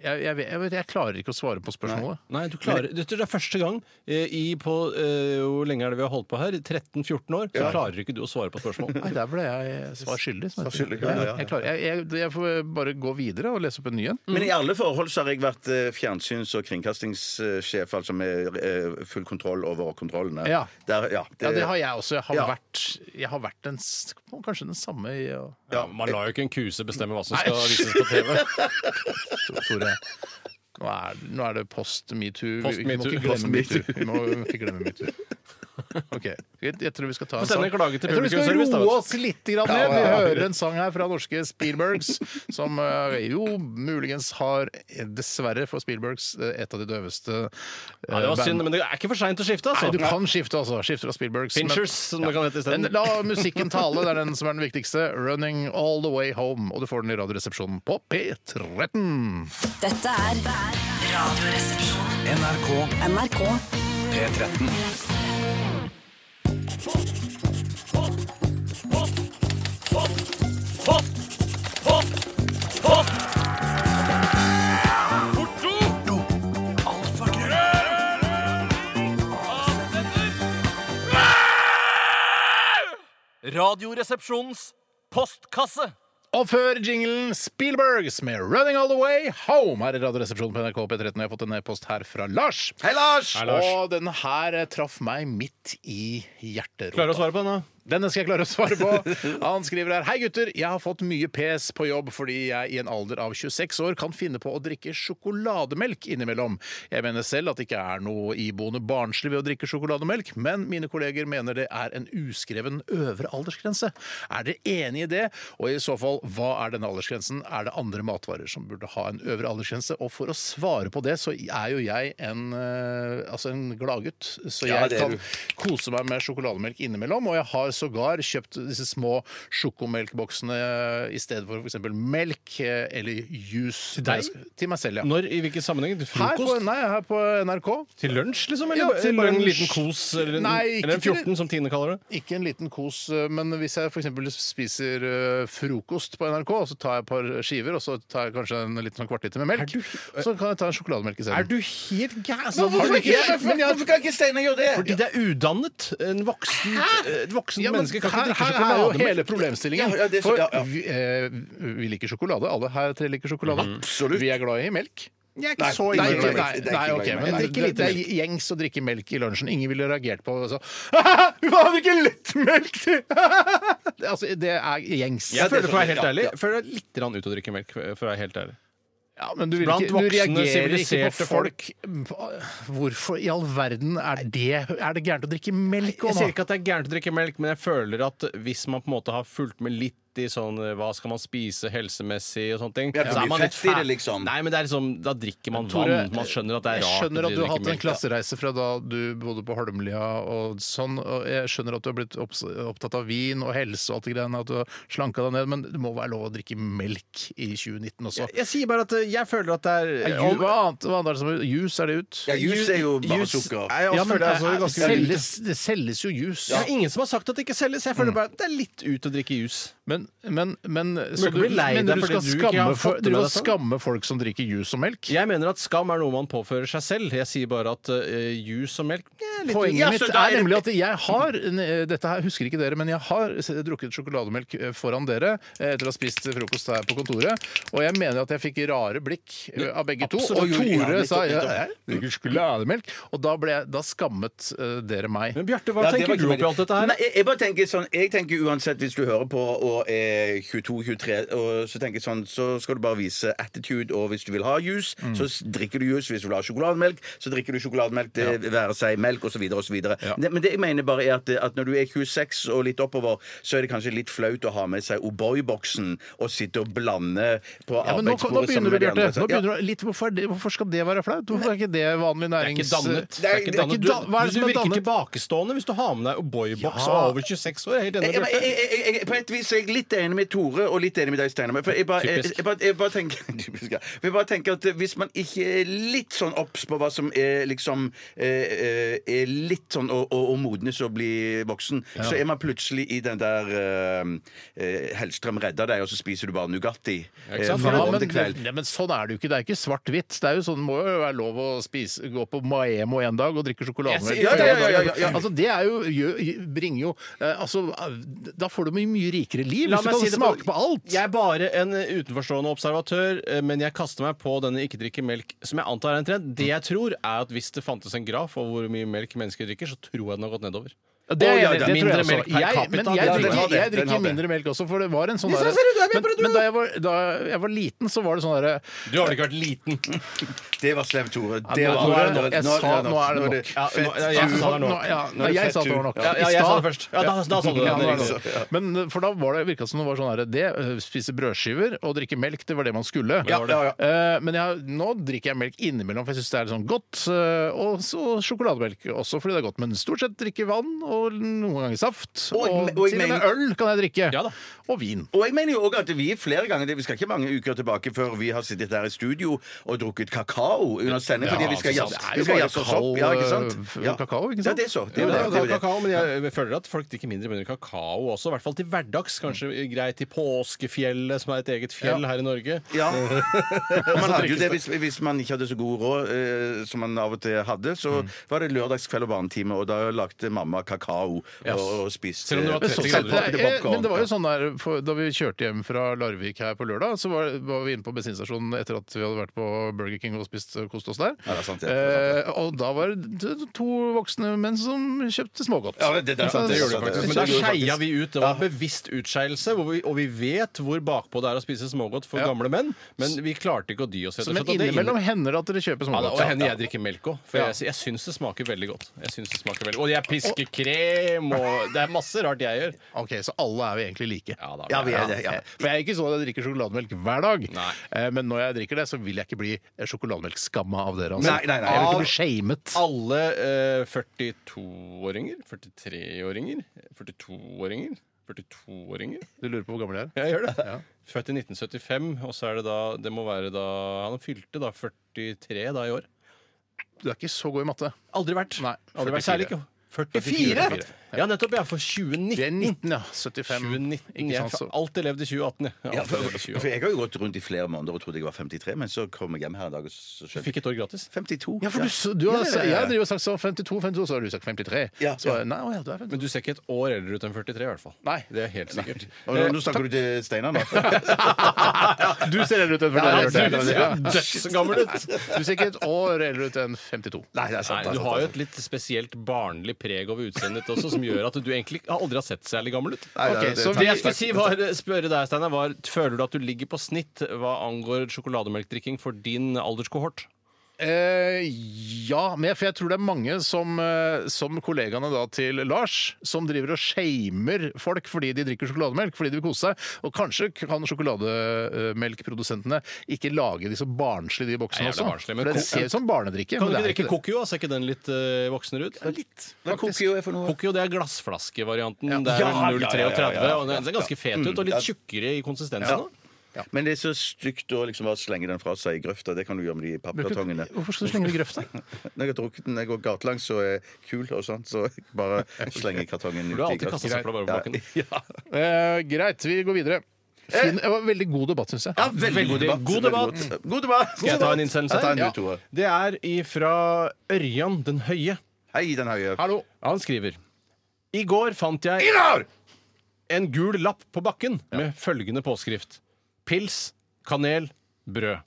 Jeg, jeg, vet- jeg, vet, jeg klarer ikke å svare på spørsmålet.
Nei, du klarer du, Det er første gang eh, i på eh, Hvor lenge er det vi har holdt på her? 13-14 år? Så klarer ikke du å svare på spørsmål.
Nei, Der ble jeg svar skyldig. Som heter.
skyldig, ja, ja, ja.
Jeg, klarer, jeg, jeg, jeg får bare gå videre og lese opp en ny en.
Men i alle forhold så har jeg vært eh, fjernsyns- og kringkastingssjef, altså med eh, full kontroll over kontrollene.
Ja.
Der, ja, det,
Ja, det har jeg også. Jeg har
Ja.
vært, jeg har vært den, s- kanskje den samme i og,
Ja, man lar jo ikke en kuse bestemme hva som skal vises på TV.
Tore. Nå er, nå er det post metoo.
Post
Vi må
metoo.
ikke
Post
glemme metoo. Vi må ikke glemme metoo. Ok, jeg, jeg tror vi skal ta en
Få sende
sang.
en klage til
jeg tror vi skal
publikumsservice, da, vet du.
roe oss litt grann ned. Vi hører en sang her fra norske Spielbergs, som eh, jo muligens har, eh, dessverre for Spielbergs, eh, et av de døveste eh,
Ja, det var synd,
band-
men det er ikke for seint å skifte,
Nei,
altså.
du kan skifte, altså. Skifte fra Spielbergs. men-
Pinchers, som det kan hete
Men
isteden.
la musikken tale, det er den som er den viktigste. 'Running All The Way Home'. Og du får den i Radioresepsjonen på P13.
Dette er Radioresepsjonen.
NRK
NRK.
P13.
Radioresepsjonens postkasse.
Og før jinglen Spielbergs med 'Running All The Way Home' her i Radioresepsjonen på NRK P13. Og jeg har fått en e-post her fra Lars.
Hei, Lars!
Og den her eh, traff meg midt i hjerterota.
Klarer du å svare på den, da?
Denne skal jeg klare å svare på. Han skriver her Hei gutter, jeg har fått mye pes på jobb fordi jeg i en alder av 26 år kan finne på å drikke sjokolademelk innimellom. Jeg mener selv at det ikke er noe iboende barnslig ved å drikke sjokolademelk, men mine kolleger mener det er en uskreven øvre aldersgrense. Er dere enig i det? Og i så fall, hva er denne aldersgrensen? Er det andre matvarer som burde ha en øvre aldersgrense? Og for å svare på det, så er jo jeg en, eh, altså en gladgutt. Så
Ja,
jeg
det er
kan
du.
kose meg med sjokolademelk innimellom. Og jeg har sågar kjøpt disse små sjokomelkboksene eh, i stedet for f.eks. melk eh, eller juice. Til
deg?
Til meg selv, ja.
Når, I hvilken sammenheng? Til
Her på,
Frokost?
nei, her på NRK.
Til lunsj, liksom?
Ja,
Eller
til
bare en
lunsj.
liten kos? Eller en,
Nei, ikke
eller en
til-
14, som Tine kaller det?
Ikke en liten kos, eh, men hvis jeg f.eks. spiser eh, frokost på NRK, så tar jeg et par skiver og så tar jeg kanskje en liten sånn kvartliter med melk, så kan jeg ta en sjokolademelk isteden.
du helt gæren?
Altså,
Hvorfor,
ikke-
ikke, hvorfor kan ikke Steinar gjøre det?
Fordi det er udannet. En voksen, et voksen
Ja, men
menneske kan ikke
her,
drikke
her er jo hele
sjokolademelk.
problemstillingen.
Ja, ja, det er så-
for
ja, ja.
Vi, eh, vi liker sjokolade. Alle her tre liker sjokolade.
Mm, Absolutt.
Vi er glad i melk.
Jeg er
Nei,
ikke så
det
Nei,
er
ille.
ikke-
nei,
det er ikke
nei, ok,
lenge.
men
Nei,
det,
drikke
det,
litt
det er gjengs å drikke melk i lunsjen. Ingen ville reagert på det. Hun hadde ikke litt melk til! Det- altså, det er gjengs.
Jeg føler, for å være helt
Ja,
ærlig,
ja.
jeg føler det er litt grann ut å drikke melk. For å være helt ærlig
Ja, men du, vil
Blant
ikke, du
voksne,
reagerer ikke på
siviliserte
folk. Hvorfor i all verden er det, er det gærent å drikke melk
Jeg
òg,
sier
da?
ikke at det er gærent å drikke melk, men jeg føler at hvis man på en måte har fulgt med litt i sånn eh, hva skal man spise helsemessig og sånne ting.
Ja, det
Så
blir
er man litt
fett i det,
fæ-
liksom.
Nei, men det er liksom, da drikker man
Tore,
vann. Man skjønner at det er rart.
jeg skjønner at du har hatt en
klasse
klassereise fra da du bodde på Holmlia og sånn, og jeg skjønner at du har blitt opps- opptatt av vin og helse og alt det greiene, at du har slanka deg ned, men det må være lov å drikke melk i 2019 også.
Jeg sier bare at eh, jeg føler at det er
Er ju- Eh, Hva annet hva annet er det som er Juice, er det ut?
Ja, juice er jo bare
Juice-
sukker.
Nei, jeg også
Ja, men
føler det er så
eh,
ganske
det
mye ut.
selges, det selges jo juice.
Det er ingen som har sagt at det ikke selges. Jeg
Mm.
føler bare at det er litt ut å drikke juice.
Men, men, men,
Du må
så
ikke
du,
bli lei
men
deg
du
fordi
skal
du ikke
skamme,
har
for,
fått
du
med
skal
deg sånn?
skamme folk som drikker juice og melk?
Jeg mener at skam er noe man påfører seg selv. Jeg sier bare at eh, juice og melk eh, litt
Poenget
Ja, så
mitt
da
er
er det-
nemlig at jeg har eh, Dette her husker ikke dere, men jeg har s- drukket sjokolademelk eh, foran dere eh, etter å ha spist frokost her på kontoret, og jeg mener at jeg fikk rare blikk eh, av begge to.
Absolutt.
Og
Ja,
Tore
nettopp,
sa ja,
nettopp.
jeg drikker sjokolademelk, og da, ble jeg, da skammet eh, dere meg.
Men Bjarte, hva
Ja,
tenker
det var ikke
du oppi
meningen.
alt dette her?
Nei, jeg, jeg bare tenker sånn Jeg tenker uansett hvis du hører på og er 22-23, og så tenker jeg sånn Så skal du bare vise attitude, og hvis du vil ha juice,
Mm.
så s- drikker du juice. Hvis du vil ha sjokolademelk, så drikker du sjokolademelk, det være seg melk osv. osv. Ja. Men det jeg mener bare er at, at når du er 26 og litt oppover, så er det kanskje litt flaut å ha med seg O'boy-boksen og sitte og blande på
Ja, men nå, nå
arbeidsbordet
begynner du,
sammen med de
Bjarte.
andre.
Nå
Ja.
begynner du, litt, hvorfor, er det, hvorfor skal det være flaut? Hvorfor er ikke det vanlig
Det er ikke
nærings...
dannet.
Det er- det er
dannet.
ikke
Du,
dan- hva er det
du,
som er
virker
dannet?
tilbakestående hvis du har med deg O'boy-boks
Ja.
og er over 26 år. Jeg er helt enig
Jeg,
med
jeg,
Bjarte.
jeg, jeg, jeg, på et vis er jeg litt enig med Tore og litt enig med deg, Steinar. men For jeg bare, jeg,
Typisk.
jeg, bare, jeg, bare tenker, typisk, ja. jeg bare tenker at hvis man ikke er litt sånn obs på hva som er liksom eh, eh, Er litt sånn å, å, å modnes og bli voksen, så er man plutselig i den der eh, eh, Hellstrøm redder deg, og så spiser du bare Nugatti eh,
sant?
fra
Ja,
morgen
men,
til kveld.
ja, men sånn er det jo ikke. Det er jo ikke svart-hvitt. Det er jo sånn, det må jo være lov å spise, gå på Maemo en dag og drikke sjokolademelk.
Jeg sier- ja, ja, ja, ja, ja, ja.
Altså, det er jo, gjør- bringer jo eh, altså, eh, Da får du mye, mye rikere liv
La
hvis du
meg
kan
si det på-
smake på alt.
Jeg er bare en eh, utenforstående observatør, eh, men jeg kaster meg på denne ikke drikke melk, som jeg antar er en trend. Det jeg tror, er at hvis det fantes en graf over hvor mye melk mennesker drikker, så tror jeg den har gått nedover.
Det,
Å,
er jeg
ja,
enig i.
det er
mindre melk
det tror jeg også.
per
Altså, Jeg,
capita.
men
Ja,
jeg
den
har
drikker, jeg
det, den
drikker
har det.
mindre melk også, for det var en sånn
Det
derre-
ser ut som jeg
men,
prøvde
men da jeg var, da jeg var liten, så var det sånn derre
Du har vel ikke vært liten?
Det var slemt, Tore. Det
Ja,
var,
Tore,
nå er det
jeg
nok.
sa- nå er det nok.
Ja,
fett
nå- ja, jeg
tur.
sa det nå.
Nå- ja,
Nå er det
jeg
fett
sa det
tur.
var nok.
Ja, ja,
I
jeg sa
stad-
det først. Ja, da, da sa du det.
Ja, det
Erik.
var det. Men uh, for da var det, virket det som det var sånn her Det uh, spise brødskiver og drikke melk, det var det man skulle.
Ja, ja, ja.
Uh, Men jeg, nå drikker jeg melk innimellom, for jeg syns det er litt sånn godt. uh, Og så sjokolademelk også, fordi det er godt. Men stort sett drikke vann, og noen ganger saft.
Og
Og,
jeg me- og
til
jeg
og med
mener-
øl kan jeg drikke.
Ja da.
Og vin.
Og jeg mener jo også at vi flere ganger det- Vi skal ikke mange uker tilbake før vi har sittet her i studio og drukket kakao under sending.
Ja,
fordi vi skal
altså, det
jazz-
er jo
vi skal
bare
jazze oss
kald,
opp. Ja, ikke sant?
øh,
Ja.
kakao, ikke
Ja,
sant?
det er så. Det er
Jo, det
jo
er
det. det, er jo det.
kakao, men jeg føler at folk drikker mindre med kakao også. I hvert fall til hverdags. Kanskje greit i påskefjellet, som er et eget fjell her i Norge.
Ja. Og man hadde jo det hvis, hvis man ikke hadde så god råd eh, som man av og til hadde, så
Mm.
var det lørdagskveld og barnetime, og da lagde mamma kakao og, og spiste
Selv om det var
eh,
30
selv
grader.
pakket
Det er-
popcorn.
Men det var jo sånn der, for, Da vi kjørte hjem fra Larvik her på lørdag, så var, var vi inne på bensinstasjonen etter at vi hadde vært på Burger King og spist og kost oss der.
Ja, det er sant, det er
Eh, og da var det t- to voksne menn som kjøpte smågodt.
Ja, det- det- det er sant, det er
Så-
sant, det er
Men
sant.
da
det gjorde
skeia
faktisk-
vi ut. Det var en bevisst utskeielse. hvor vi- Og vi vet hvor bakpå det er å spise smågodt for gamle menn, men vi klarte ikke å dy oss. rett og
Så- Men
slett, og det
innimellom hender det at dere kjøper
ja, da,
smågodt.
og hender jeg drikker melk òg, for
Ja.
jeg, jeg syns det smaker veldig godt. Jeg synes det smaker veldig. Og jeg pisker krem, og det er masse rart jeg gjør.
Ok, Så alle er vi egentlig like.
Ja, da,
Ja, vi er det. Ja.
For jeg er ikke sånn at jeg drikker sjokolademelk hver dag.
Nei.
Eh, Men når jeg drikker det, så vil jeg ikke bli sjokolademelkskamma av dere. Altså.
Nei, nei, nei.
Jeg vil ikke bli shamet.
Alle eh, 42-åringer, 43-åringer, 42-åringer 42-åringer?
Du lurer på hvor gammel jeg er?
Jeg gjør det. Født i 1975, og så er det da Det må være da Han fylte da 43 da i år.
Du er ikke så god i matte.
Aldri vært.
Nei,
Aldri vært
44.
særlig ikke. 44! Ja, nettopp. Ja, for 2019.
Vi er 19, ja. 75.
2019.
Ikke
Jeg
sant,
har
så-
alltid levd i 2018, jeg.
Ja,
jeg. har
for,
alltid levd i
for
2018.
jeg har jo gått rundt i flere måneder og trodde jeg var 53, men så kom jeg hjem her en dag og så skjønte jeg
Fikk et år gratis.
52.
Ja, for du, du har,
Ja, ja, ja, ja.
Jeg driver og sagt så 52, 52, så har du sagt 53.
Ja,
så,
ja.
Nei, å ja, du er 52.
Men du ser ikke et år eldre ut enn 43, i hvert fall.
Nei.
Det er helt sikkert. Eh,
Og nå-
Eh,
Nå snakker du til Steinar nå.
Du ser eldre ut enn
Nei,
43.
du ser jo dødsgammel ut!
Du ser ikke et år eldre ut enn 52.
Nei, det
Nei, du
er sant. det er sant,
har
det
jo
er sant.
et litt spesielt barnlig preg over utseendet ditt også, som gjør at du egentlig har aldri har sett særlig gammel ut.
Nei,
Ok,
det- det-
så
Det jeg skulle si var, spørre deg, Steinar, var føler du at du ligger på snitt hva angår sjokolademelkdrikking for din alderskohort?
Eh, ja, men jeg, for jeg tror det er mange som, eh, som kollegaene da til Lars, som driver og shamer folk fordi de drikker sjokolademelk, fordi de vil kose seg. Og kanskje kan sjokolademelkprodusentene ikke lage de så barnslige de boksene
Nei, jævla
også.
barnslig, men
for det
ko-
ser ut som barnedrikke.
Kan du
men
ikke
det er
drikke Kokio? da? Ser ikke den litt eh, voksnere ut?
Litt.
Hva Kokio er for noe?
Kokio det er glassflaskevarianten. Det er
Ja, ja,
vel
ja,
0,33,
ja, ja, ja.
og den ser ganske fet ut, og litt tjukkere i konsistensen.
Ja.
også.
Men det er så stygt å liksom bare slenge den fra seg i grøfta. Det kan du gjøre med de pappkartongene.
Hvorfor skal du slenge det i grøfta?
Når jeg har drukket den, jeg går gatelangs og er kul og sånt, så jeg bare slenger kartongen
Du har alltid
grøfta.
kastet søpla bare på bakken.
Ja.
Eh, greit, vi går videre. Fin, det var en veldig god debatt, syns jeg.
ja, veldig god debatt.
god debatt.
Veldig god. God debatt.
Skal jeg ta en innsendelse
Jeg tar en
her?
du, Tore.
Det er ifra Ørjan den Høye.
Hei, den høye.
Hallo.
Han skriver I går fant jeg en gul lapp på bakken med følgende påskrift. Pils, kanel, brød.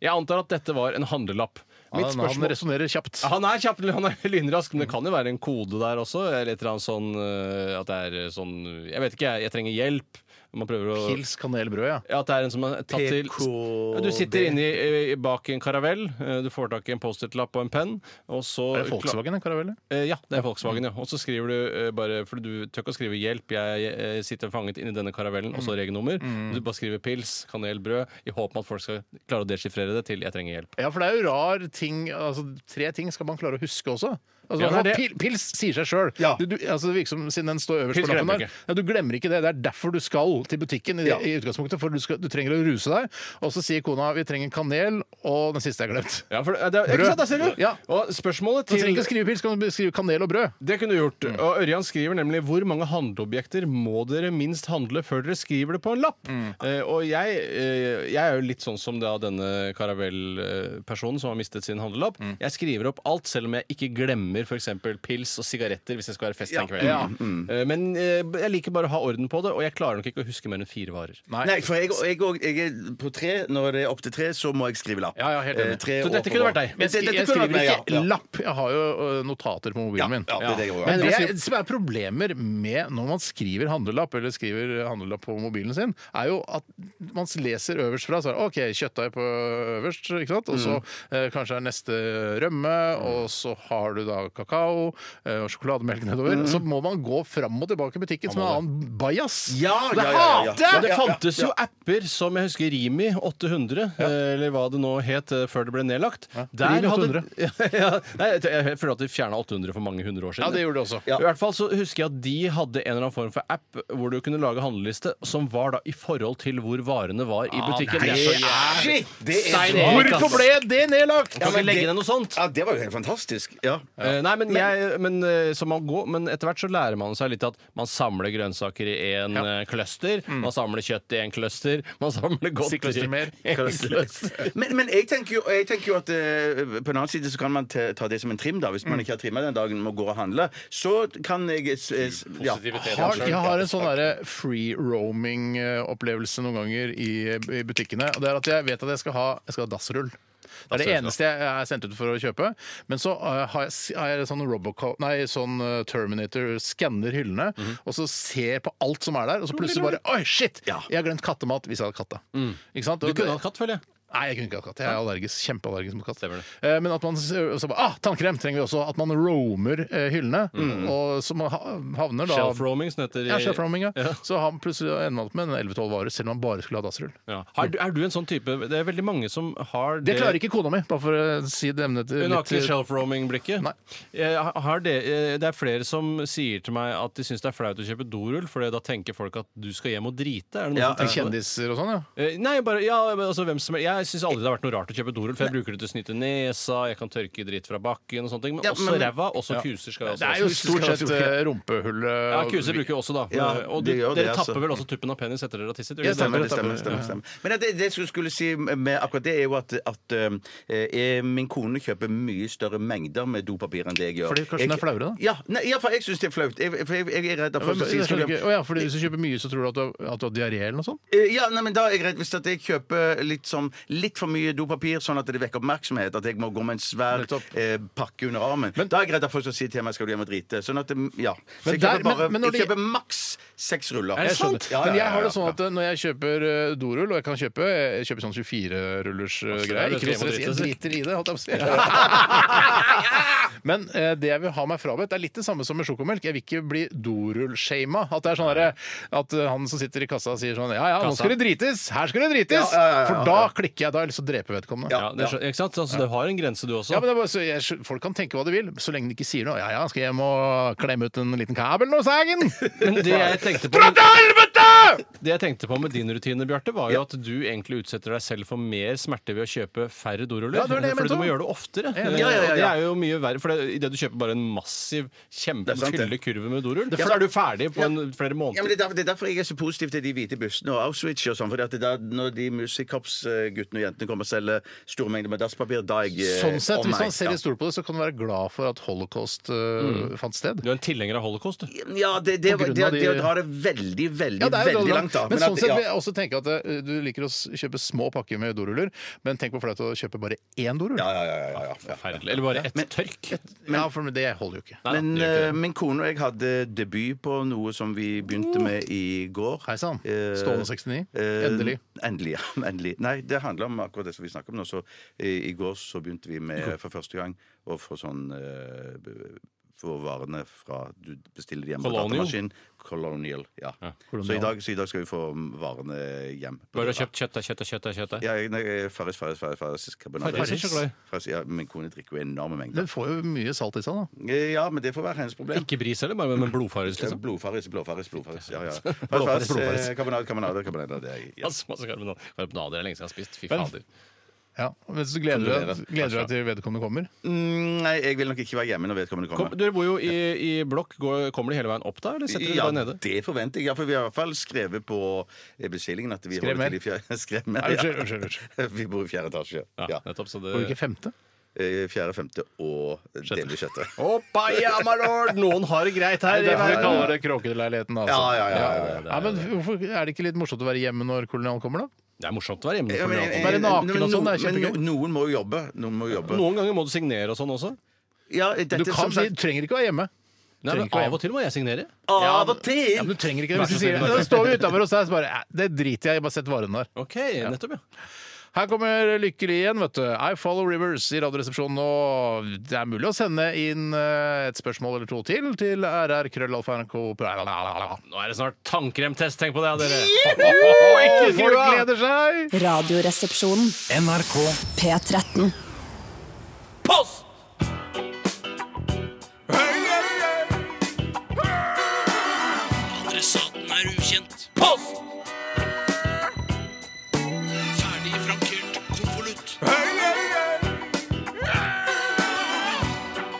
Jeg antar at dette var en handlelapp. Mitt
Han, han
spørsmål Ah,
resonnerer kjapt.
han er kjapp, han er lynrask, men det kan jo være en kode der også. Eller et eller annet sånn eh, at det er sånn Jeg vet ikke, jeg, jeg trenger hjelp. Man prøver å
Pils, kanel, brød, ja.
ja, at det er en som er tatt til
PKD.
Du sitter inni eh, bak en karavell, eh, du får tak i en Post-It-lapp og en penn, og så
Er det Volkswagen, en karavell?
Eh, Ja, det er Volkswagen, ja. Og så skriver du eh, bare For du tør ikke å skrive 'hjelp, jeg eh, sitter fanget inni denne karavellen',
Mm.
og så regnummer. Du bare skriver 'pils, kanel, brød', i håp om at folk skal klare å dechiffrere det til 'jeg trenger hjelp'.
Ja, for det er jo rar ting altså, Tre ting skal man klare å huske også. Altså,
Ja,
man-
det er
pil, pils sier seg sjøl.
Ja.
Du, du, altså, det virker som siden den står øverst
Pils
på lappen
glemmer
der.
ikke.
Ja, du glemmer ikke det. Det er derfor du skal til butikken i,
Ja.
i utgangspunktet. For du, skal, du trenger å ruse deg. Og så sier kona vi trenger kanel, og den siste er glemt.
Ja, for det, det, er- ikke sant, der ser du!
Ja.
Og spørsmålet
Du trenger
til
ikke å skrive pils, kan du skrive kanel og brød.
det kunne du gjort. Og Ørjan skriver nemlig 'Hvor mange handleobjekter må dere minst handle før dere skriver det på en lapp?' Eh, og jeg, eh, jeg er jo litt sånn som da denne karavellpersonen som har mistet sin handlelapp. Jeg skriver opp alt, selv om jeg ikke glemmer f.eks. pils og sigaretter hvis jeg skal være fest den kvelden. Eh, men eh, jeg liker bare å ha orden på det, og jeg klarer nok ikke å huske mer enn fire varer.
Nei, for jeg, jeg, og- jeg er på tre. Når det er opptil tre, så må jeg skrive lapp.
Ja, ja, helt enig.
Eh, tre
Så
og
dette kunne
oppover.
vært deg.
Men
Jeg,
dette
skri- jeg
kunne vært
skriver
meg, ja.
ikke lapp. Jeg har jo ø, notater på mobilen min.
Ja, ja, det er det jeg gjør.
Men
Men
det
jeg-
som er problemer med når man skriver handlelapp eller skriver handlelapp på mobilen sin, er jo at man leser øverst fra. Så er det OK, kjøttdeig på øverst, ikke sant? og så eh, kanskje er neste rømme, og så har du da kakao eh, og sjokolademelk nedover. Så må man gå fram og tilbake i butikken som en annen bajas.
Ja,
det
ja, ja, ja, ja.
hater jeg!
Men det fantes jo apper som jeg husker Rimi 800, eller hva det nå het eh, før det ble nedlagt.
Rimi
hadde- ja, nei, jeg- jeg føler at de fjerna 800 for mange hundre år siden.
Ja, det gjorde det også.
I hvert fall så husker jeg at De hadde en eller annen form for app hvor du kunne lage handleliste som var da i forhold til hvor varene var i butikken. Det er så jævlig
Shit! Det er
Stein
så-
Erik,
Hvorfor ble det nedlagt?
Kan
men
ikke legge
det-
ned noe sånt.
Ja, det var jo helt fantastisk. Ja.
Eh, Nei, men, jeg, men, eh, så man går, men etter hvert så lærer man seg litt at man samler grønnsaker i én cluster, man samler kjøtt i én cluster, man samler godteri
cluster mer.
i en cluster.
Men, men jeg, tenker jo, jeg tenker jo at eh, på den annen side så kan man te- ta det som en trim, da. Hvis
Mm.
man ikke har trimma den dagen man går og handler, så kan jeg s- s- ja.
har, jeg har en sånn derre free roaming-opplevelse noen ganger i, i butikkene. Og det er at jeg vet at jeg skal ha, jeg skal ha dassrull. Det er det eneste jeg er sendt ut for å kjøpe. Men så eh, har jeg, s- har jeg sånn Robocop Nei, sånn eh, Terminator skanner hyllene,
Mhm.
og så ser jeg på alt som er der, og så plutselig bare Oi, shit!
Ja.
Jeg har glemt kattemat hvis jeg hadde katta. Ikke sant?
Mm. Du
Og
kunne
det-
hatt katt, føler jeg.
Nei, jeg kunne ikke hatt katt. Jeg er allergisk, kjempeallergisk mot katt.
Stemmer det.
Eh, Men at man s- så bare, ah, tannkrem trenger vi også. At man roamer eh, hyllene, og så man ha- havner da
Mm. Shelf roaming, som heter i-
ja, shelf-roaming, ja.
Ja.
Så han plutselig ender man opp med en 11-12 varer, selv om han bare skulle ha dassrull.
Ja. Er, du, er du en sånn type Det er veldig mange som har
Det klarer ikke kona mi, bare for å si det emnet
Hun har ikke
litt
shelf-roaming-blikket?
Nei.
Jeg har det, eh, det er flere som sier til meg at de syns det er flaut å kjøpe dorull, for da tenker folk at du skal hjem og drite. Er det noen
Ja,
som tenker på det?
kjendiser og sånn, ja.
Eh, Nei, bare, ja, men altså, hvem som, jeg syns aldri det har vært noe rart å kjøpe dorull, for jeg bruker det til å snyte nesa, jeg kan tørke dritt fra bakken og sånne ting. Men
Ja,
også
men-
ræva, også kuser skal jeg også.
Det er jo
også-
stort sett eh, rumpehullet.
ja,
og-
kuser bruker jeg også, da.
Ja,
Eh, og du,
det gjør det,
dere tapper
altså.
vel også tuppen av penis etter dere har tisset? gjør
Ja,
dere
stemmer,
ikke
det
det?
stemmer, stemmer, stemmer. Men det, det jeg skulle- skulle si med akkurat det, er jo at, at eh, eh, min kone kjøper mye større mengder med dopapir enn det jeg gjør.
Fordi kanskje den er flauere, da?
Ja, nei, ja for jeg syns det er flaut. Jeg, for jeg, jeg er redd
Ja,
at
men-
folk
men
sier
jeg skjønner
skal
ikke- Å ja, fordi Hvis du kjøper mye, så tror du at du har, at du har diaré eller noe sånt?
Eh, Ja, nei, men da er jeg redd hvis at jeg kjøper litt sånn litt for mye dopapir, sånn at det vekker oppmerksomhet. At jeg må gå med en svær eh, pakke under armen. da er jeg redd for å si til meg skal du hjem og drite. Sånn at, det- ja. Så jeg
der-
kjøper, bare,
men- men når de-
jeg kjøper maks seks ruller.
Jeg skjønner.
Ja, ja,
Men jeg har det
ja,
sånn
ja.
at eh, når jeg kjøper eh, dorull, og jeg kan kjøpe jeg kjøper sånn 24-rullers eh,
det er det
greier Ikke noe
tre mot
stress, jeg
dritt,
driter i det, holdt jeg på å si. Men eh, det jeg vil ha meg frabedt, er litt det samme som med sjokomelk. Jeg vil ikke bli dorullshama. At det er sånn derre- at eh, han som sitter i kassa sier sånn Ja ja, nå skal det drites! Her skal det drites!
Ja, ja, ja, ja,
For da klikker jeg. Da har jeg lyst til å drepe vedkommende.
Ja, det er, så- ikke sant? Altså, Du har en grense, du også.
Ja, men det er bare, så jeg, Folk kan tenke hva de vil, så lenge de ikke sier noe. Ja ja, skal jeg hjem og klemme ut en liten kabel nå, Sagen?
Men det jeg tenkte på
Dra til helvete!
Det jeg tenkte på med din rutine, Bjarte, var jo at du egentlig utsetter deg selv for mer smerte ved å kjøpe færre doruller.
Ja, det var det jeg
fordi
mente
du må
også.
gjøre det oftere.
Ja,
Og
ja, ja, ja.
Det er jo mye verre, for det- i det du kjøper bare en massiv kjempe
er sant, det.
fylle kurve med dorull,
er
så er du ferdig på
Ja.
en, flere
Ja,
måneder.
men det, er derfor, det er derfor jeg er så positiv til de hvite bussene og Auschwitz. og sånn, fordi at det er da Når de musikkorpsguttene og -jentene kommer og selger store mengder med dasspapir, da er jeg eh,
Sånn sett,
om
Hvis man
meg.
ser litt stort på det, så kan man være glad for at holocaust
Mm.
øh, fant sted.
Du er en tilhenger av holocaust, du.
Ja, det, det,
På grunn
det,
av
det,
de-
å dra det veldig, veldig
Ja, det er jo
veldig
bra.
langt, da.
Men,
at-
sånn sett
ja.
vil jeg også tenke at øh, Du liker å s- kjøpe små pakker med doruller, men tenk hvor flaut å kjøpe bare én dorull.
ja, ja, ja, ja, ja, ja.
Forferdelig. Eller bare ett tørk.
Ja, for men det holder jo ikke.
Nei, da,
Men
det gjør ikke
eh,
det.
min kone og jeg hadde debut på noe som vi begynte med i går.
Hei sann.
Eh,
Stående 69.
eh,
Endelig.
Endelig, ja. Endelig. Nei, det handler om akkurat det som vi snakker om nå. Så eh, i, I går så begynte vi med for første gang å få sånn eh, b- få varene fra Du bestiller de hjemme på
Colonial?
datamaskinen. Colonial. Ja. Så, i
Colonial.
dag, så i dag skal vi få varene hjem. på
Bare du har
døra.
kjøpt kjøtt, da, kjøtt, da, kjøtt, da, kjøtt. da.
Ja, jeg, nei, eh, Farris, Farris, Farris, Farris carbonara.
Farris er så glad i.
Farris, ja, Min kone drikker jo enorme mengder.
Den får jo mye salt i seg, da.
Eh, Ja, men det får være hennes problem.
Ikke bris heller, bare med blodfarelse, liksom.
Altså, Blodfarris, blodfarris, blodfarris. Ja, ja. Farris,
blodfarris. Altså-
Farris, eh, Karbonade, karbonade, karbonade. Det er, ja.
Masse, masse karbonad- karbonader jeg lenge siden har spist. Fy
Men-
fader.
Ja. Men så gleder du deg, gleder du deg til vedkommende kommer?
Mm, Nei, jeg vil nok ikke være hjemme når vedkommende
Kom,
kommer.
dere bor jo i, i blokk. Går, kommer de hele veien opp da, eller setter de
Ja,
bare nede?
det forventer jeg. Ja, for vi har i hvert fall skrevet på eh, bestillingen at vi
Skrev
holder
mer.
til i fjerde Skrev mer,
Nei,
ja.
unnskyld, unnskyld, unnskyld.
Vi bor i fjerde etasje. Ja.
Ja, nettopp. Så
Får du
det...
ikke femte?
Eh, Fjerde, femte og delvis sjette.
Oppa, ja, my lord! Noen har det greit her.
Det er derfor vi kaller det Kråkeleiligheten, altså.
Ja, ja, ja, ja, ja.
Nei, men hvorfor, er det ikke litt morsomt å være hjemme når kolonial kommer, da?
Det er morsomt å være hjemme.
Ja,
på
men- eh,
Kolonial.
Bare naken
men
og sånn, det er
noen- men
kjempegøy.
no- Noen må jo jobbe. Noen må jo jobbe.
Noen ganger må du signere og sånn også.
Ja, dette,
Du, kan,
som sagt,
du trenger ikke å være hjemme.
Nei, men
Trenger ikke å være
Av og til må jeg signere.
av og til!
Ja, men du trenger ikke det. Hvis
Vær
du
så
sier
snill,
det,
vær så
da står vi utenfor hos deg, så bare "Eh, Det driter jeg i, bare sett varene der.
Ok, nettopp, ja.
Her kommer Lykkelig igjen, vet du. I follow Rivers i Radioresepsjonen. Og det er mulig å sende inn eh, et spørsmål eller to til til rrkrøllalfa.nrk.
Nå er det snart tannkremtest, tenk på det, ja, dere.
Folk gleder seg!
Radioresepsjonen.
NRK
P13.
Post!
Adressaten er ukjent.
Post!
Ferdig frankert konvolutt.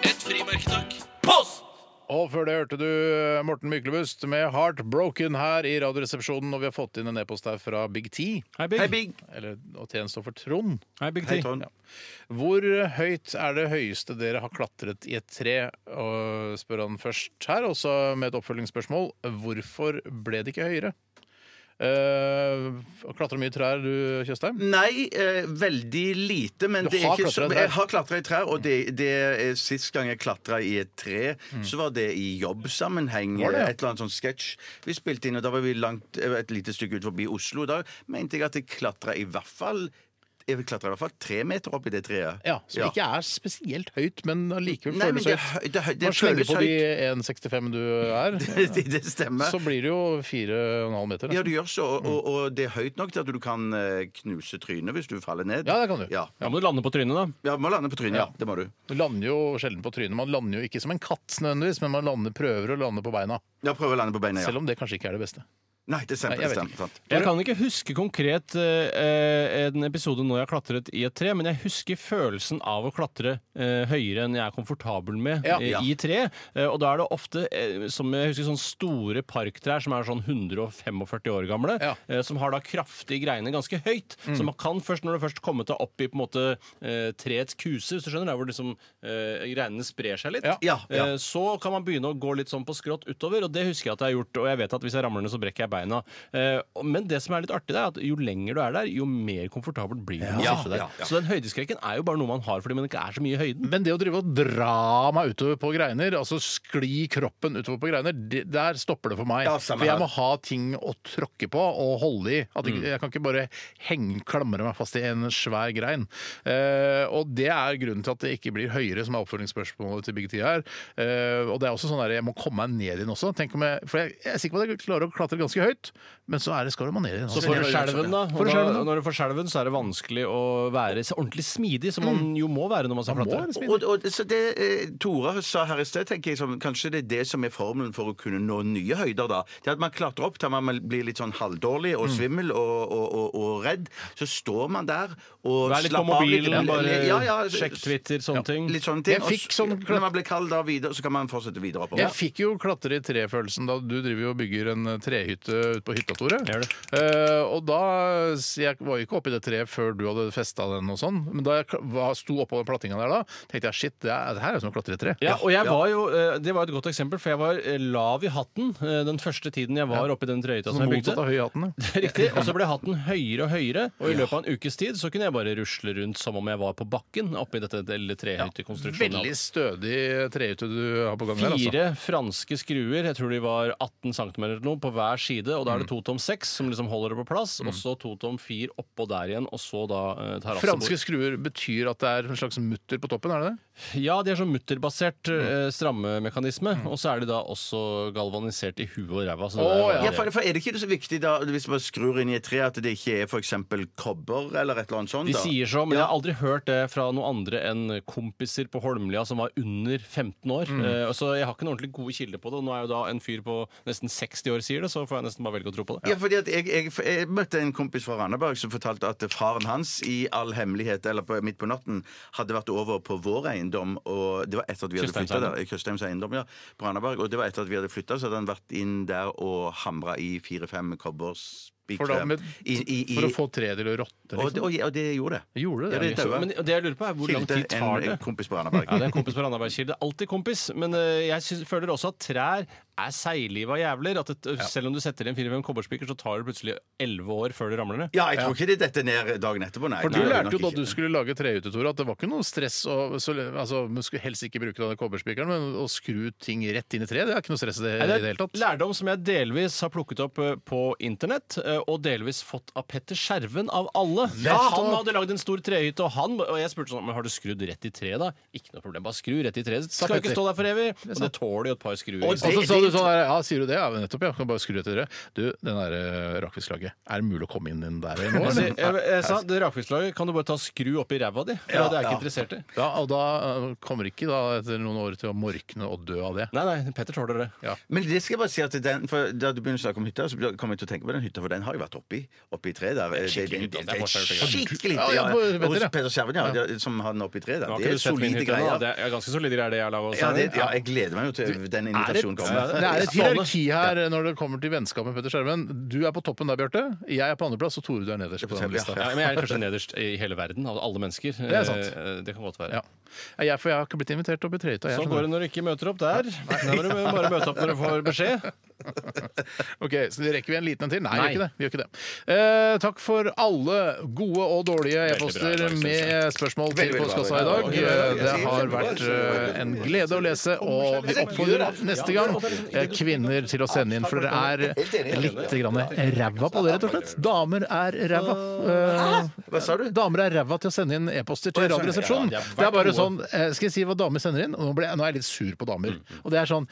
Et frimerke, takk.
Post!
Og før det hørte du Morten Myklebust med 'Heartbroken' her i Radioresepsjonen. Og vi har fått inn en e-post her fra Big T.
Hei,
Hei,
Big.
Big.
Eller, og T-en står for Trond.
Hei, Big
Hei,
T.
Trond.
Hvor høyt er det høyeste dere har klatret i et tre? Og spør han først her, også med et oppfølgingsspørsmål. Hvorfor ble det ikke høyere? Uh, klatra mye i trær, du, Tjøstheim?
Nei, eh, veldig lite. Men
Du
det er
har
ikke så,
klatret i trær. Mm.
jeg har klatra i trær. Og det, det er sist gang jeg klatra i et tre, så var det i jobbsammenheng.
Var det, Mm. ja?
Et eller annet sånn sketsj vi spilte inn, og da var vi langt, eh, et lite stykke ut forbi Oslo. Da mente jeg at jeg klatra i hvert fall jeg klatra i hvert fall tre meter opp i det treet.
Ja, Som ikke er spesielt høyt, men allikevel
Nei, men
føles
det,
høyt.
hø- det, hø- det
Man slenger
føles
på de
høyt.
1,65 du er,
Det, det stemmer.
så blir det jo 4,5 meter.
Ja, du
nesten.
gjør så, og,
Mm.
og, og det er høyt nok til at du kan eh, knuse trynet hvis du faller ned.
Ja, det kan du.
Ja,
Da må du lande på trynet, da.
ja må lande på trynet. Ja, det må du.
Du lander jo sjelden på trynet. Man lander jo ikke som en katt, nødvendigvis, men man lander, prøver å lande på beina.
Ja, prøv å lande på beina. Ja.
Selv om det kanskje ikke er det beste.
Nei, det stemmer.
Nei, jeg
det
vet
stemmer sant.
Jeg kan ikke huske konkret eh, en episode når jeg har klatret i et tre, men jeg husker følelsen av å klatre eh, høyere enn jeg er komfortabel med
Ja.
eh, i tre. Eh, og da er det ofte eh, som jeg husker sånne store parktrær som er sånn 145 år gamle,
Ja. Mm.
eh, som har da kraftige greiner ganske høyt. Så man kan først, når du først kommet deg opp i på en måte eh, treets kuse, hvis du skjønner, der hvor liksom eh, greinene sprer seg litt,
Ja.
Ja, ja.
Eh, så kan man begynne å gå litt sånn på skrått utover, og det husker jeg at jeg har gjort. Og jeg vet at hvis jeg ramler ned, så brekker jeg beina. Eh, og- Men det som er litt artig, det er at jo lenger du er der, jo mer komfortabelt blir du med å
Ja,
sitte der.
ja, ja.
Så den høydeskrekken er jo bare noe man har fordi man ikke er så mye i høyden.
Men det å drive og dra meg utover på greiner, altså skli kroppen utover på greiner, det, der stopper det for meg.
Ja, samme
for jeg
her.
må ha ting å tråkke på og holde i. At
Mm.
ikke- Jeg kan ikke bare henge, klamre meg fast i en svær grein. Eh, og det er grunnen til at det ikke blir høyere, som er oppfølgingsspørsmålet til Big T her. Eh, og det er også sånn der, jeg må komme meg ned igjen også. Tenk om jeg, for jeg, jeg er sikker på at jeg klarer å klatre ganske høyt, men så er det, skal man ned igjen.
Så
også.
får du skjelven, da.
Får
Og
du
da
skjelven, da.
når du får skjelven, så er det vanskelig å være så ordentlig smidig, som man jo må være når man skal
Man må være
flatre.
smidig.
Og, og, så det eh, Tora sa her i sted, tenker jeg som kanskje det er det som er formelen for å kunne nå nye høyder. da Det er At man klatrer opp til man blir litt sånn halvdårlig
Mm.
og svimmel og, og, og, og redd. Så står man der og
Vær litt på
slapper av litt.
mobilen, bare
Ja, ja,
sjekk Twitter, sånne ting.
Litt sånne ting.
Jeg fikk
Og så-
sånn klat-
når man blir kald da videre, så kan man fortsette videre oppover.
Jeg fikk jo klatre i tre-følelsen da du driver jo og bygger en eh, trehytte ute på hytta, Tore.
Gjør det.
Eh, og da s- Jeg var jo ikke oppi det treet før du hadde festa den og sånn, men da jeg kla- var, sto oppå plattinga der da, tenkte jeg shit, det, er, det her er jo som å klatre i et tre.
Ja, og jeg var jo, eh, Det var et godt eksempel, for jeg var eh, lav i hatten eh, den første tiden jeg var oppi den trøyehytta som
Sånn
jeg
motsatt
bygde.
av høyhatten.
Det er Riktig, Og så ble hatten høyere og høyere, og i løpet av en ukes tid så kunne jeg bare rusle rundt som om jeg var på bakken oppi dette lille trehyttekonstruksjonen.
Veldig stødig trehytte du har på gang der, altså.
Fire franske skruer, jeg tror de var 18 cm eller noe, på hver side. Og da
Mm.
er det to tom seks som liksom holder det på plass, og så to tom fire oppå der igjen, og så da eh,
Franske
terrassebord.
skruer betyr at det er en slags mutter på toppen, er det det?
Ja, de er sånn mutterbasert
Mm.
eh, strammemekanisme, og så er de da også galvanisert i huet og ræva. Så det
Å,
der var
Ja,
det-
for, for Er det ikke så viktig da hvis man skrur inn i et tre, at det ikke er f.eks. kobber eller et eller annet sånt?
De
da?
sier så, men jeg
Ja.
har aldri hørt det fra noen andre enn kompiser på Holmlia som var under 15 år.
Mm.
Eh, så jeg har ikke noen ordentlig gode kilder på det. Og nå er jo da en fyr på nesten 60 år sier det, så får jeg nesten bare velge å tro på det.
Ja, fordi at jeg, jeg, jeg møtte en kompis fra Randaberg som fortalte at faren hans i all hemmelighet eller på, midt på natten hadde vært over på vår eiendom. Og det var etter at vi hadde
Kjøstheims
flytta der. Kjøstheims eiendom, ja, på Randaberg. Og det var etter at vi hadde flytta, så hadde han vært inn der og hamra i fire-fem
For, da,
kobberspikere.
med,
I- i- i-
for å få treet til å råtne,
og, det-
liksom.
og, og det gjorde det.
Gjorde det?
Ja, det
det
daua.
Men det jeg lurer på er hvor lang tid
Skilte
tar
en
det?
kompis på Randaberg.
Ja, det er kompis på Randabergkilde. Alltid kompis. Men eh, jeg syns- føler også at trær er seigliva jævler. At det, Selv om du setter inn fire-fem kobberspiker, så tar det plutselig elleve år før det ramler ned.
Ja, jeg tror ikke det detter ned dagen etterpå, nei.
For du
Nei,
lærte
nok
jo da
ikke.
du skulle lage trehytte, Tore, at det var ikke noe stress å så, altså, Man skulle helst ikke bruke denne kobberspikeren, men å skru ting rett inn i treet, det er ikke noe stress i det,
Nei,
i det hele tatt.
Lærdom som jeg delvis har plukket opp eh, på internett, eh, og delvis fått av Petter Skjerven av alle. Ja, han hadde lagd en stor trehytte, og, han, og jeg spurte sånn Men har du skrudd rett i treet, da? Ikke noe problem, bare skru rett i treet. Det skal jo ikke
Petter.
stå der for evig. Og det tåler jo et par skruer.
Og
ikke sant?
Og så
det-
sa du
det-
sånn her, ja, sier du det? Ja, men nettopp, ja. Kan bare skru etter det. Du, den der eh, rakfisklaget, er det mulig å komme inn den der nå?
Jeg,
eller?
sier- jeg, jeg sa det rakfisklaget kan du bare ta skru oppi ræva di, for det er jeg ikke interessert i.
Ja, og da eh, kommer ikke da etter noen år til å morkne og dø av det.
Nei, nei, Petter tåler det.
Men det skal jeg bare si at den, for da du begynner å snakke om hytta, så kom jeg til å tenke på den hytta, for den har jeg vært oppi. Oppi tre der. Det er
skikkelig hytte, det er forskjell på hytta.
Skikkelig
Ja,
hytte,
ja,
ja.
på Petter,
Hos
ja.
Peder Skjerven, ja. de- Som har den oppi tre
Nå
der.
har
Det
ikke
er
du sett min
solide
hytte ennå.
greier.
Det er ganske solide greier, det jeg har laga.
Ja, det, ja, jeg gleder meg jo til den invitasjonen kommer.
Det er sånn, et hierarki
Ja.
her når det kommer til vennskap med Petter Skjerven. Du er på toppen der, Bjarte. Jeg er på andreplass, og Tore du er nederst. på den lista.
Ja, men jeg er kanskje nederst i hele verden av alle mennesker. Det
er sant.
Det kan godt være.
Ja. Jeg, for jeg har ikke blitt invitert opp i trehytta. jeg,
Sånn
skjønner
går
du.
det når du ikke møter opp der. Da må du bare møte opp når du får beskjed.
Ok, så Rekker vi en liten en til? Nei,
Nei.
Vi, gjør ikke det. vi gjør ikke det. Eh, takk for alle gode og dårlige
Veldig bra
e-poster
dag, synes
med spørsmål til
Veldig, veldig bra
postkassa i
dag.
dag.
Ja, ja, ja, ja.
Det har vært eh, en glede å lese, og vi oppfordrer neste gang eh, kvinner til å sende inn, for dere er litt grann ræva på det, rett og slett. Damer er ræva. Eh,
Hva sa du?
Damer er ræva til å sende inn e-poster til Radioresepsjonen.
Ja, de har vært
Det er bare
gode.
sånn eh, Skal jeg si hva damer sender inn? Nå, ble, jeg- nå er jeg litt sur på damer.
Mm.
Og det er sånn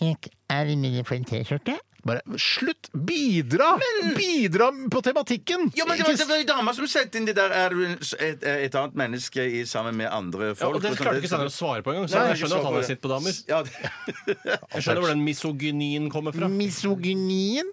Jeg er imidlertid for en T-skjorte. Bare slutt! Bidra! Bidra på tematikken!
Ja, men det var,
Ikke
det var jo dama som sendte inn det der. Er du en, et, et annet menneske i, sammen med andre
Ja,
folk?
og det klarte ikke Steinar å svare på engang. Så jeg skjønner at han er sint på damer.
Ja, det-
Jeg skjønner hvor den misogynien kommer fra.
Misogynien?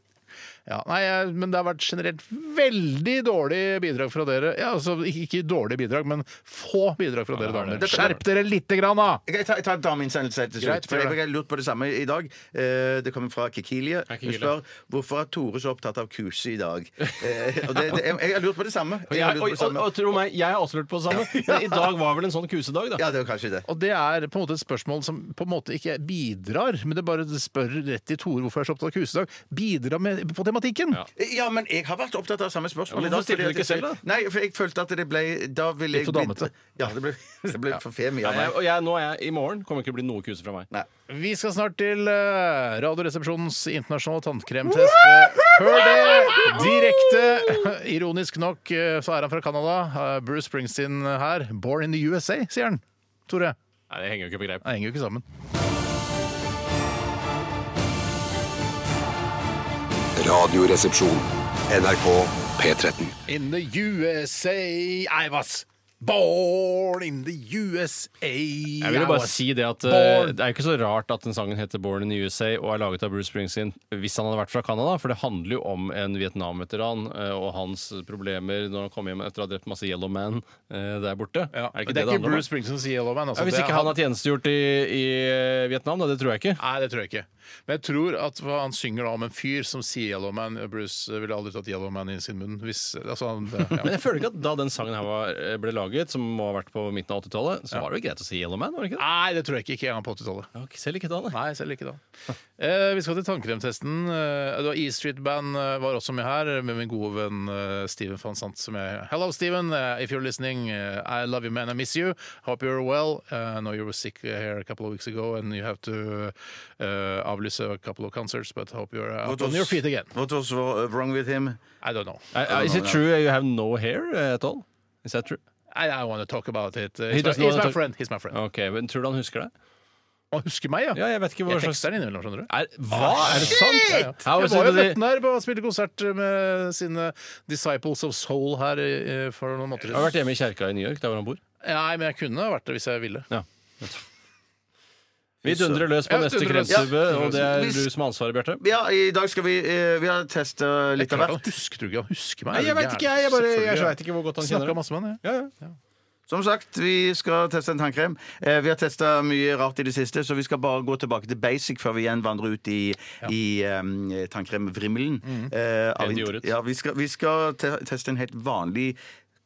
Ja, nei, jeg- men det har vært generelt veldig dårlig bidrag fra dere. Ja, altså, ikke ikke dårlig bidrag, men få bidrag fra dere
det har
damer.
det.
Skjerp dere lite grann, da!
Jeg tar, jeg tar dameinnsendelse til
Greit,
slutt. For
gjør
jeg
det.
har lurt på det samme i dag. Eh, Det kommer fra Kikilie.
Hei,
Hun
Kikilie.
spør hvorfor er Tore så opptatt av kurset i dag. Eh, Og det, det, jeg, jeg har lurt på det samme.
Og,
Jeg har
jeg, og,
lurt på det
og,
samme.
og tro meg, jeg har også lurt på det samme. Men i dag var vel en sånn kusedag, da.
Ja, det var kanskje det.
Og det er på en måte et spørsmål som på en måte ikke bidrar, men det bare spør rett i Tore hvorfor jeg er så opptatt av kusedag. Bidra med, på tematikken.
Eh, Ja, men jeg har vært opptatt av samme spørsmål.
Ja,
i dag,
hvorfor stilte
fordi
du ikke
at jeg-
selv, da?
Nei, for jeg følte at det ble Da ville
Litt
jeg
for
blitt-
damete.
Ja, det ble, det ble for femi av
Nei, jeg,
meg.
og jeg, nå er jeg, I morgen kommer det ikke til å bli noe kuse fra meg.
Nei.
Vi skal snart til eh, Radioresepsjonens internasjonale tannkremtest. Hør det direkte! Ironisk nok eh, så er han fra Canada. Eh, Bruce Springsteen her. Born in the USA, sier han. Tore.
Nei, Det henger jo ikke på greip.
Det henger jo ikke sammen.
Radioresepsjon. NRK P13.
In the USA I was born in the USA
Jeg vil jo
I
bare
was
si Det at eh,
born.
det er jo ikke så rart at den sangen heter 'Born in the USA' og er laget av Bruce Springsteen hvis han hadde vært fra Canada, for det handler jo om en Vietnam-veteran eh, og hans problemer når han kom hjem etter å ha drept masse Yellow Man eh, der borte.
Ja,
Er det ikke
men
det det, handler om?
Bruce Springsteen som sier Yellow Man.
Ja,
Altså.
hvis
Det
ikke
er
han har tjenestegjort i, i eh, Vietnam, da. Det tror jeg ikke.
Nei, det tror jeg ikke. Men jeg tror at hva han synger da om en fyr som sier Yellow Man Bruce ville aldri tatt Yellow Man i sin munn hvis altså, han,
Men
ja.
jeg føler ikke at da den sangen her var, eh, ble laget, som må ha vært på midten av 80-tallet, så var det jo greit å si Yellow Man, var det ikke det?
Nei, det tror jeg ikke. Ikke engang på 80-tallet.
Ja, ikke- Selv ikke da, nei.
Nei, selv ikke da. Eh, vi skal til tannkremtesten. Eh, det var E Street Band eh, var også med her, med min gode venn eh, Steven van Sant. Som er Hello, Steven. eh, if you're listening, eh, I love you, man. I miss you. Hope you're well. Eh, I know you were sick here a couple of weeks ago, and you have to eh, avlyse a couple of concerts, but hope you're out
What
on
was-
your feet again.
What was wrong with him?
I don't know.
I- I- Is it true you have no hair eh, at all? Is that true?
I don't want to talk about it. Uh,
He
he's, my,
doesn't wanna
he's my
talk-
friend. He's my friend.
Ok, men Tror du han husker det?
Han husker meg, ja.
Ja, Jeg vet ikke hva
Jeg
slags
tekster den innimellom, skjønner du.
er, Hva? Ah, Er det sant?
Ja, ja.
How
Jeg
is
var jo
it that-
Vetten her på og spilte konsert med sine Disciples of Soul her eh, for noen
Jeg
måneder
har
siden.
vært hjemme i kjerka i New York, der hvor han bor.
Nei, men jeg kunne ha vært det hvis jeg ville.
Vi dundrer løs på
Ja,
neste
dundrer løs.
kremsubbe,
Ja.
og det er
Hvis-
du som har ansvaret, Bjarte.
Ja, i dag skal vi eh, Vi har testa
Det
litt
er
av
klart
hvert.
han husker, tror du ikke han husker meg?
Nei, jeg vet ikke, jeg. Jeg bare- jeg vet ikke hvor godt han kjenner det.
Snakka masse med han, jeg.
Ja, ja.
Som sagt, vi skal teste en tannkrem. Eh, Vi har testa mye rart i det siste, så vi skal bare gå tilbake til basic før vi igjen vandrer ut i, i um, tannkremvrimmelen. Eh, av-
Mm. Helt i ordet.
ja, vi skal, vi skal te teste en helt vanlig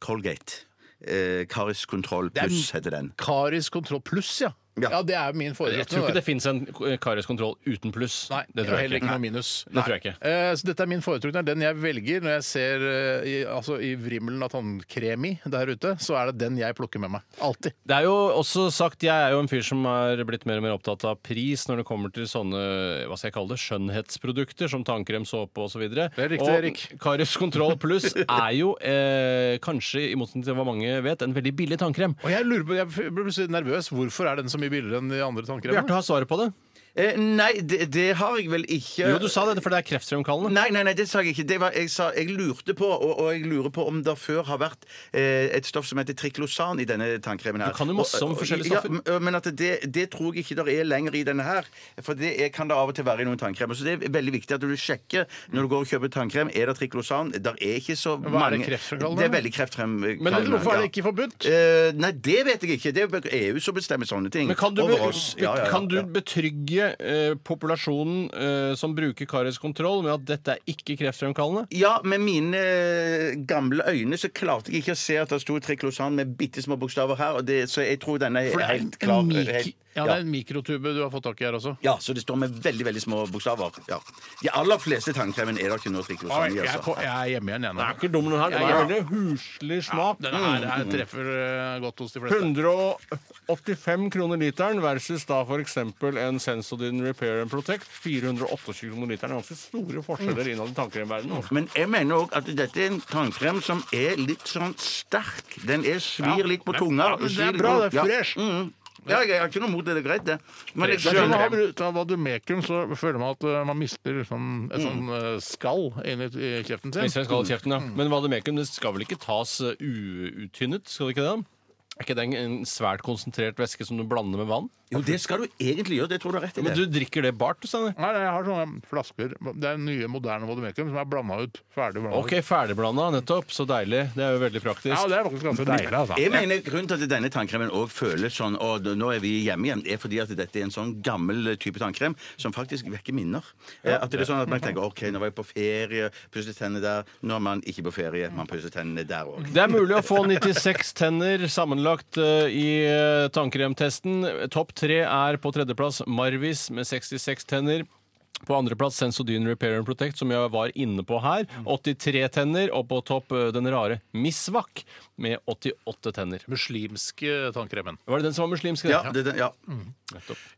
Colgate. Eh, Karis Kontroll
er
Pluss heter den.
Karis Kontroll Pluss, ja.
Ja.
Ja, det er min
Jeg
foretrukne.
tror ikke
det.
det fins en kariskontroll uten pluss.
Nei,
det tror
heller
jeg
ikke
ikke.
noe minus.
Det tror jeg ikke.
Eh, så dette er min foretrukne. Den jeg velger når jeg ser eh, i, altså, i vrimmelen av tannkrem i der ute, så er det den jeg plukker med meg. Alltid.
Det er jo også sagt, Jeg er jo en fyr som er blitt mer og mer opptatt av pris når det kommer til sånne hva skal jeg kalle det, skjønnhetsprodukter som tannkrem, såpe osv. Det
er riktig, Erik.
Karis Kontroll Pluss er jo eh, kanskje, i motsetning til hva mange vet, en veldig billig tannkrem.
Og jeg lurer på, jeg blir plutselig nervøs. Hvorfor er den så mye billigere enn de andre
Bjarte
tannkremene?
har svaret på det.
Eh, nei, det, det har jeg vel ikke
Jo, du sa det, for det er kreftfremkallende.
Nei, nei, nei, det sa jeg ikke. Det var, jeg, sa, jeg lurte på, og, og jeg lurer på om det før har vært eh, et stoff som heter triklosan i denne tannkremen
Du
her.
kan jo masse om
Og- og-
forskjellige
ja,
stoffer.
m- men at det, det tror jeg ikke det er lenger i denne her. For det er, kan det av og til være i noen tannkremer. Så det er veldig viktig at du sjekker når du går og kjøper tannkrem, er det triklosan? Der er ikke så mange
Hva er det kreftfremkallende?
Det er veldig kreftfremkallende.
Men hvorfor er det
ja.
ikke forbudt?
Eh, nei, det vet jeg ikke. Det er jo EU som bestemmer sånne ting.
Men kan du,
Over
be-
oss. Ja, ja, ja,
kan du
ja.
betrygge eh, populasjonen eh, som bruker Karis Kontroll, med at dette er ikke kreftfremkallende?
Ja, med mine eh, gamle øyne så klarte jeg ikke å se at det sto triklosan med bitte små bokstaver her, og det, så jeg tror den er
For det er en,
helt klar. eh,
en mik-
helt,
ja, det
ja.
er en mikrotube du har fått tak i her også.
ja, så det står med veldig veldig små bokstaver. Ja. De aller fleste tannkremen er det ikke noe triklosan i.
jeg, er på,
Altså.
jeg er hjemme igjen, jeg nå.
ikke dum, den her. Den er veldig huslig smak. Mm.
Den her, her treffer eh, godt hos de fleste.
185 kroner literen versus da f.eks. en Sensodyne Repair and Protect. 428 kroner literen. Ganske store forskjeller innad i altså. tannkremverdenen.
Men jeg mener òg at dette er en tannkrem som er litt sånn sterk. Den er svir litt på tunga.
men det
svir
er
litt
bra,
på-
det er fresh.
Ja, mm. ja jeg har ikke noe mot det. Det er greit, det. Men jeg
Når man har
skjønner
brukt av vadumekum, så føler man at eh, man mister liksom,
Mm.
et sånn eh, skall inni eh, kjeften sin.
Skal holde kjeften, ja. Men vademekum det skal vel ikke tas uh, uuttynnet? Skal det ikke det? Er ikke det en- en svært konsentrert væske som du blander med vann?
Jo, det skal du egentlig gjøre. Det tror du har rett i.
Men
det.
du drikker det bart, du, Steinar.
Nei, nei, jeg har sånne flasker. Det er nye, moderne vadumekum som er blanda ut. Ferdig blanda
OK, ferdigblanda, nettopp. Så deilig. Det er jo veldig praktisk.
ut. Ja, det er faktisk ganske deilig, altså.
Jeg mener Grunnen til at denne tannkremen også føles sånn Og nå er vi hjemme igjen, er fordi at dette er en sånn gammel type tannkrem som faktisk vekker minner. Eh, At det er sånn at man tenker OK, nå var jeg på ferie, pusset tennene der. Nå er man ikke på ferie, man pusser tennene der òg.
Det er mulig å få 96 tenner sammenlagt eh, i eh, tannkremtesten. Topp tre er på tredjeplass Marvis med 66 tenner. På andreplass Sensodyne Repair and Protect, som jeg var inne på her. 83 tenner. Og på topp eh, den rare Misvak med 88 tenner.
Muslimske tannkremen.
Var det den som var muslimsk?
Ja, det, det, ja.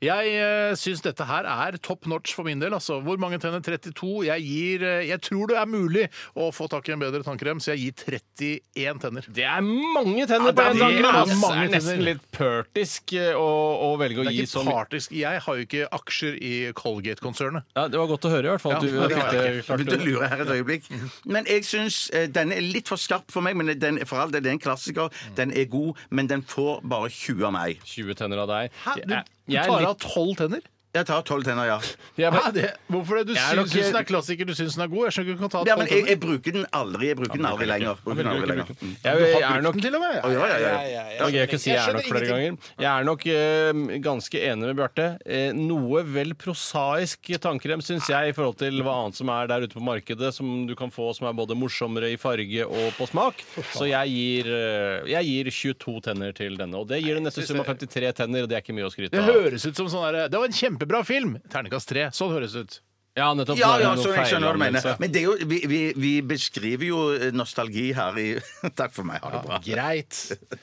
Jeg uh, syns dette her er top notch for min del. Altså. Hvor mange tenner? 32. Jeg gir eh, Jeg tror det er mulig å få tak i en bedre tannkrem, så jeg gir 31 tenner.
Det er mange tenner
Ja,
på
det
én
er
tanke! men Det
mange
er nesten
tenner.
litt pørtisk eh, å, å velge å
Det er
gi sånn-
ikke
så mye.
partisk. Jeg har jo ikke aksjer i Colgate-konsernet.
Ja, det var godt å høre, i hvert fall.
Ja,
at du eh,
det
fikk
har
det
jeg
Jeg
klart.
begynte å lure her et øyeblikk. Men jeg syns den er litt for skarp for meg. Men den, for all del, det er en klassiker.
Mm.
Den er god, men den får bare 20 av meg.
20 tenner av deg.
Hæ? Du,
Jeg,
du
jeg, er
tar av
litt,
tolv tenner?
Jeg tar 12 tenner, ja.
jeg,
Hæ,
bare,
det, hvorfor det? Du
Jeg er nok-
syns den er klassiker, du syns den er god. Jeg skjønner ikke du kan ta
ja
tolv
men jeg,
tenner.
jeg bruker den aldri. Jeg bruker den aldri lenger. Bruker den aldri lenger. Mm.
jeg,
Du
jeg, er
har brukt
nok
den til og med.
Å, ja, ja, ja.
Det var gøy å kunne si jeg er nok flere ganger. Jeg er nok eh, ganske enig med Bjarte. Eh, noe vel prosaisk tannkrem, syns jeg, i forhold til hva annet som er der ute på markedet som du kan få som er både morsommere i farge og på smak. Så jeg gir, eh, jeg gir 22 tenner til denne. Og det gir en nette sum av 53 tenner, og det er ikke mye å skryte
Det
av.
høres ut som sånn der, Det var en kjempebra film! Terningkast tre. Sånn høres det ut.
Ja, nettopp.
Ja,
så er det
ja,
noe
sånn jeg skjønner hva du mener.
feilanmeldelse.
Men det er jo, vi, vi, vi beskriver jo eh, nostalgi her i Takk for meg, ha det bra.
Greit.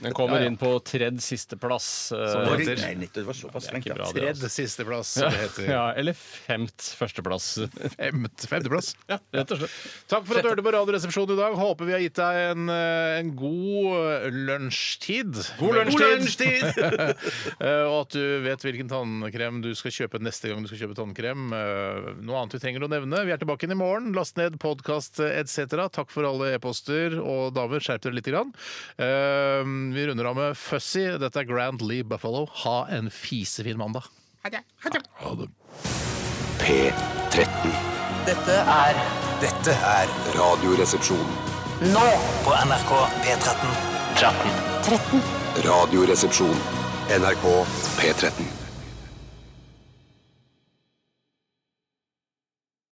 Den kommer inn på tredje sisteplass. eh,
Og
det
det-
heter.
Nei, nettopp, det var såpass
Det er
strengt.
ikke
ja.
bra, det.
Redd sisteplass, som det heter.
Ja, eller femt førsteplass.
Femt- Femteplass.
Ja, rett og slett.
Takk for at du hørte på Radioresepsjonen i dag. Håper vi har gitt deg en, eh, en god eh, lunsjtid. God Eh, og at du vet hvilken tannkrem du skal kjøpe neste gang du skal kjøpe tannkrem. Eh, Noe annet vi trenger å nevne. Vi er tilbake igjen i morgen. Last ned podkast etc. Takk for alle e-poster. Og damer, skjerp dere lite grann. Eh, Vi runder av med Fussy. Dette er Grand Lee Buffalo. Ha en fisefin mandag.
P13.
Dette er
Dette er Radioresepsjon.
nå på NRK P13. 13.
13.
Radioresepsjon. NRK P13.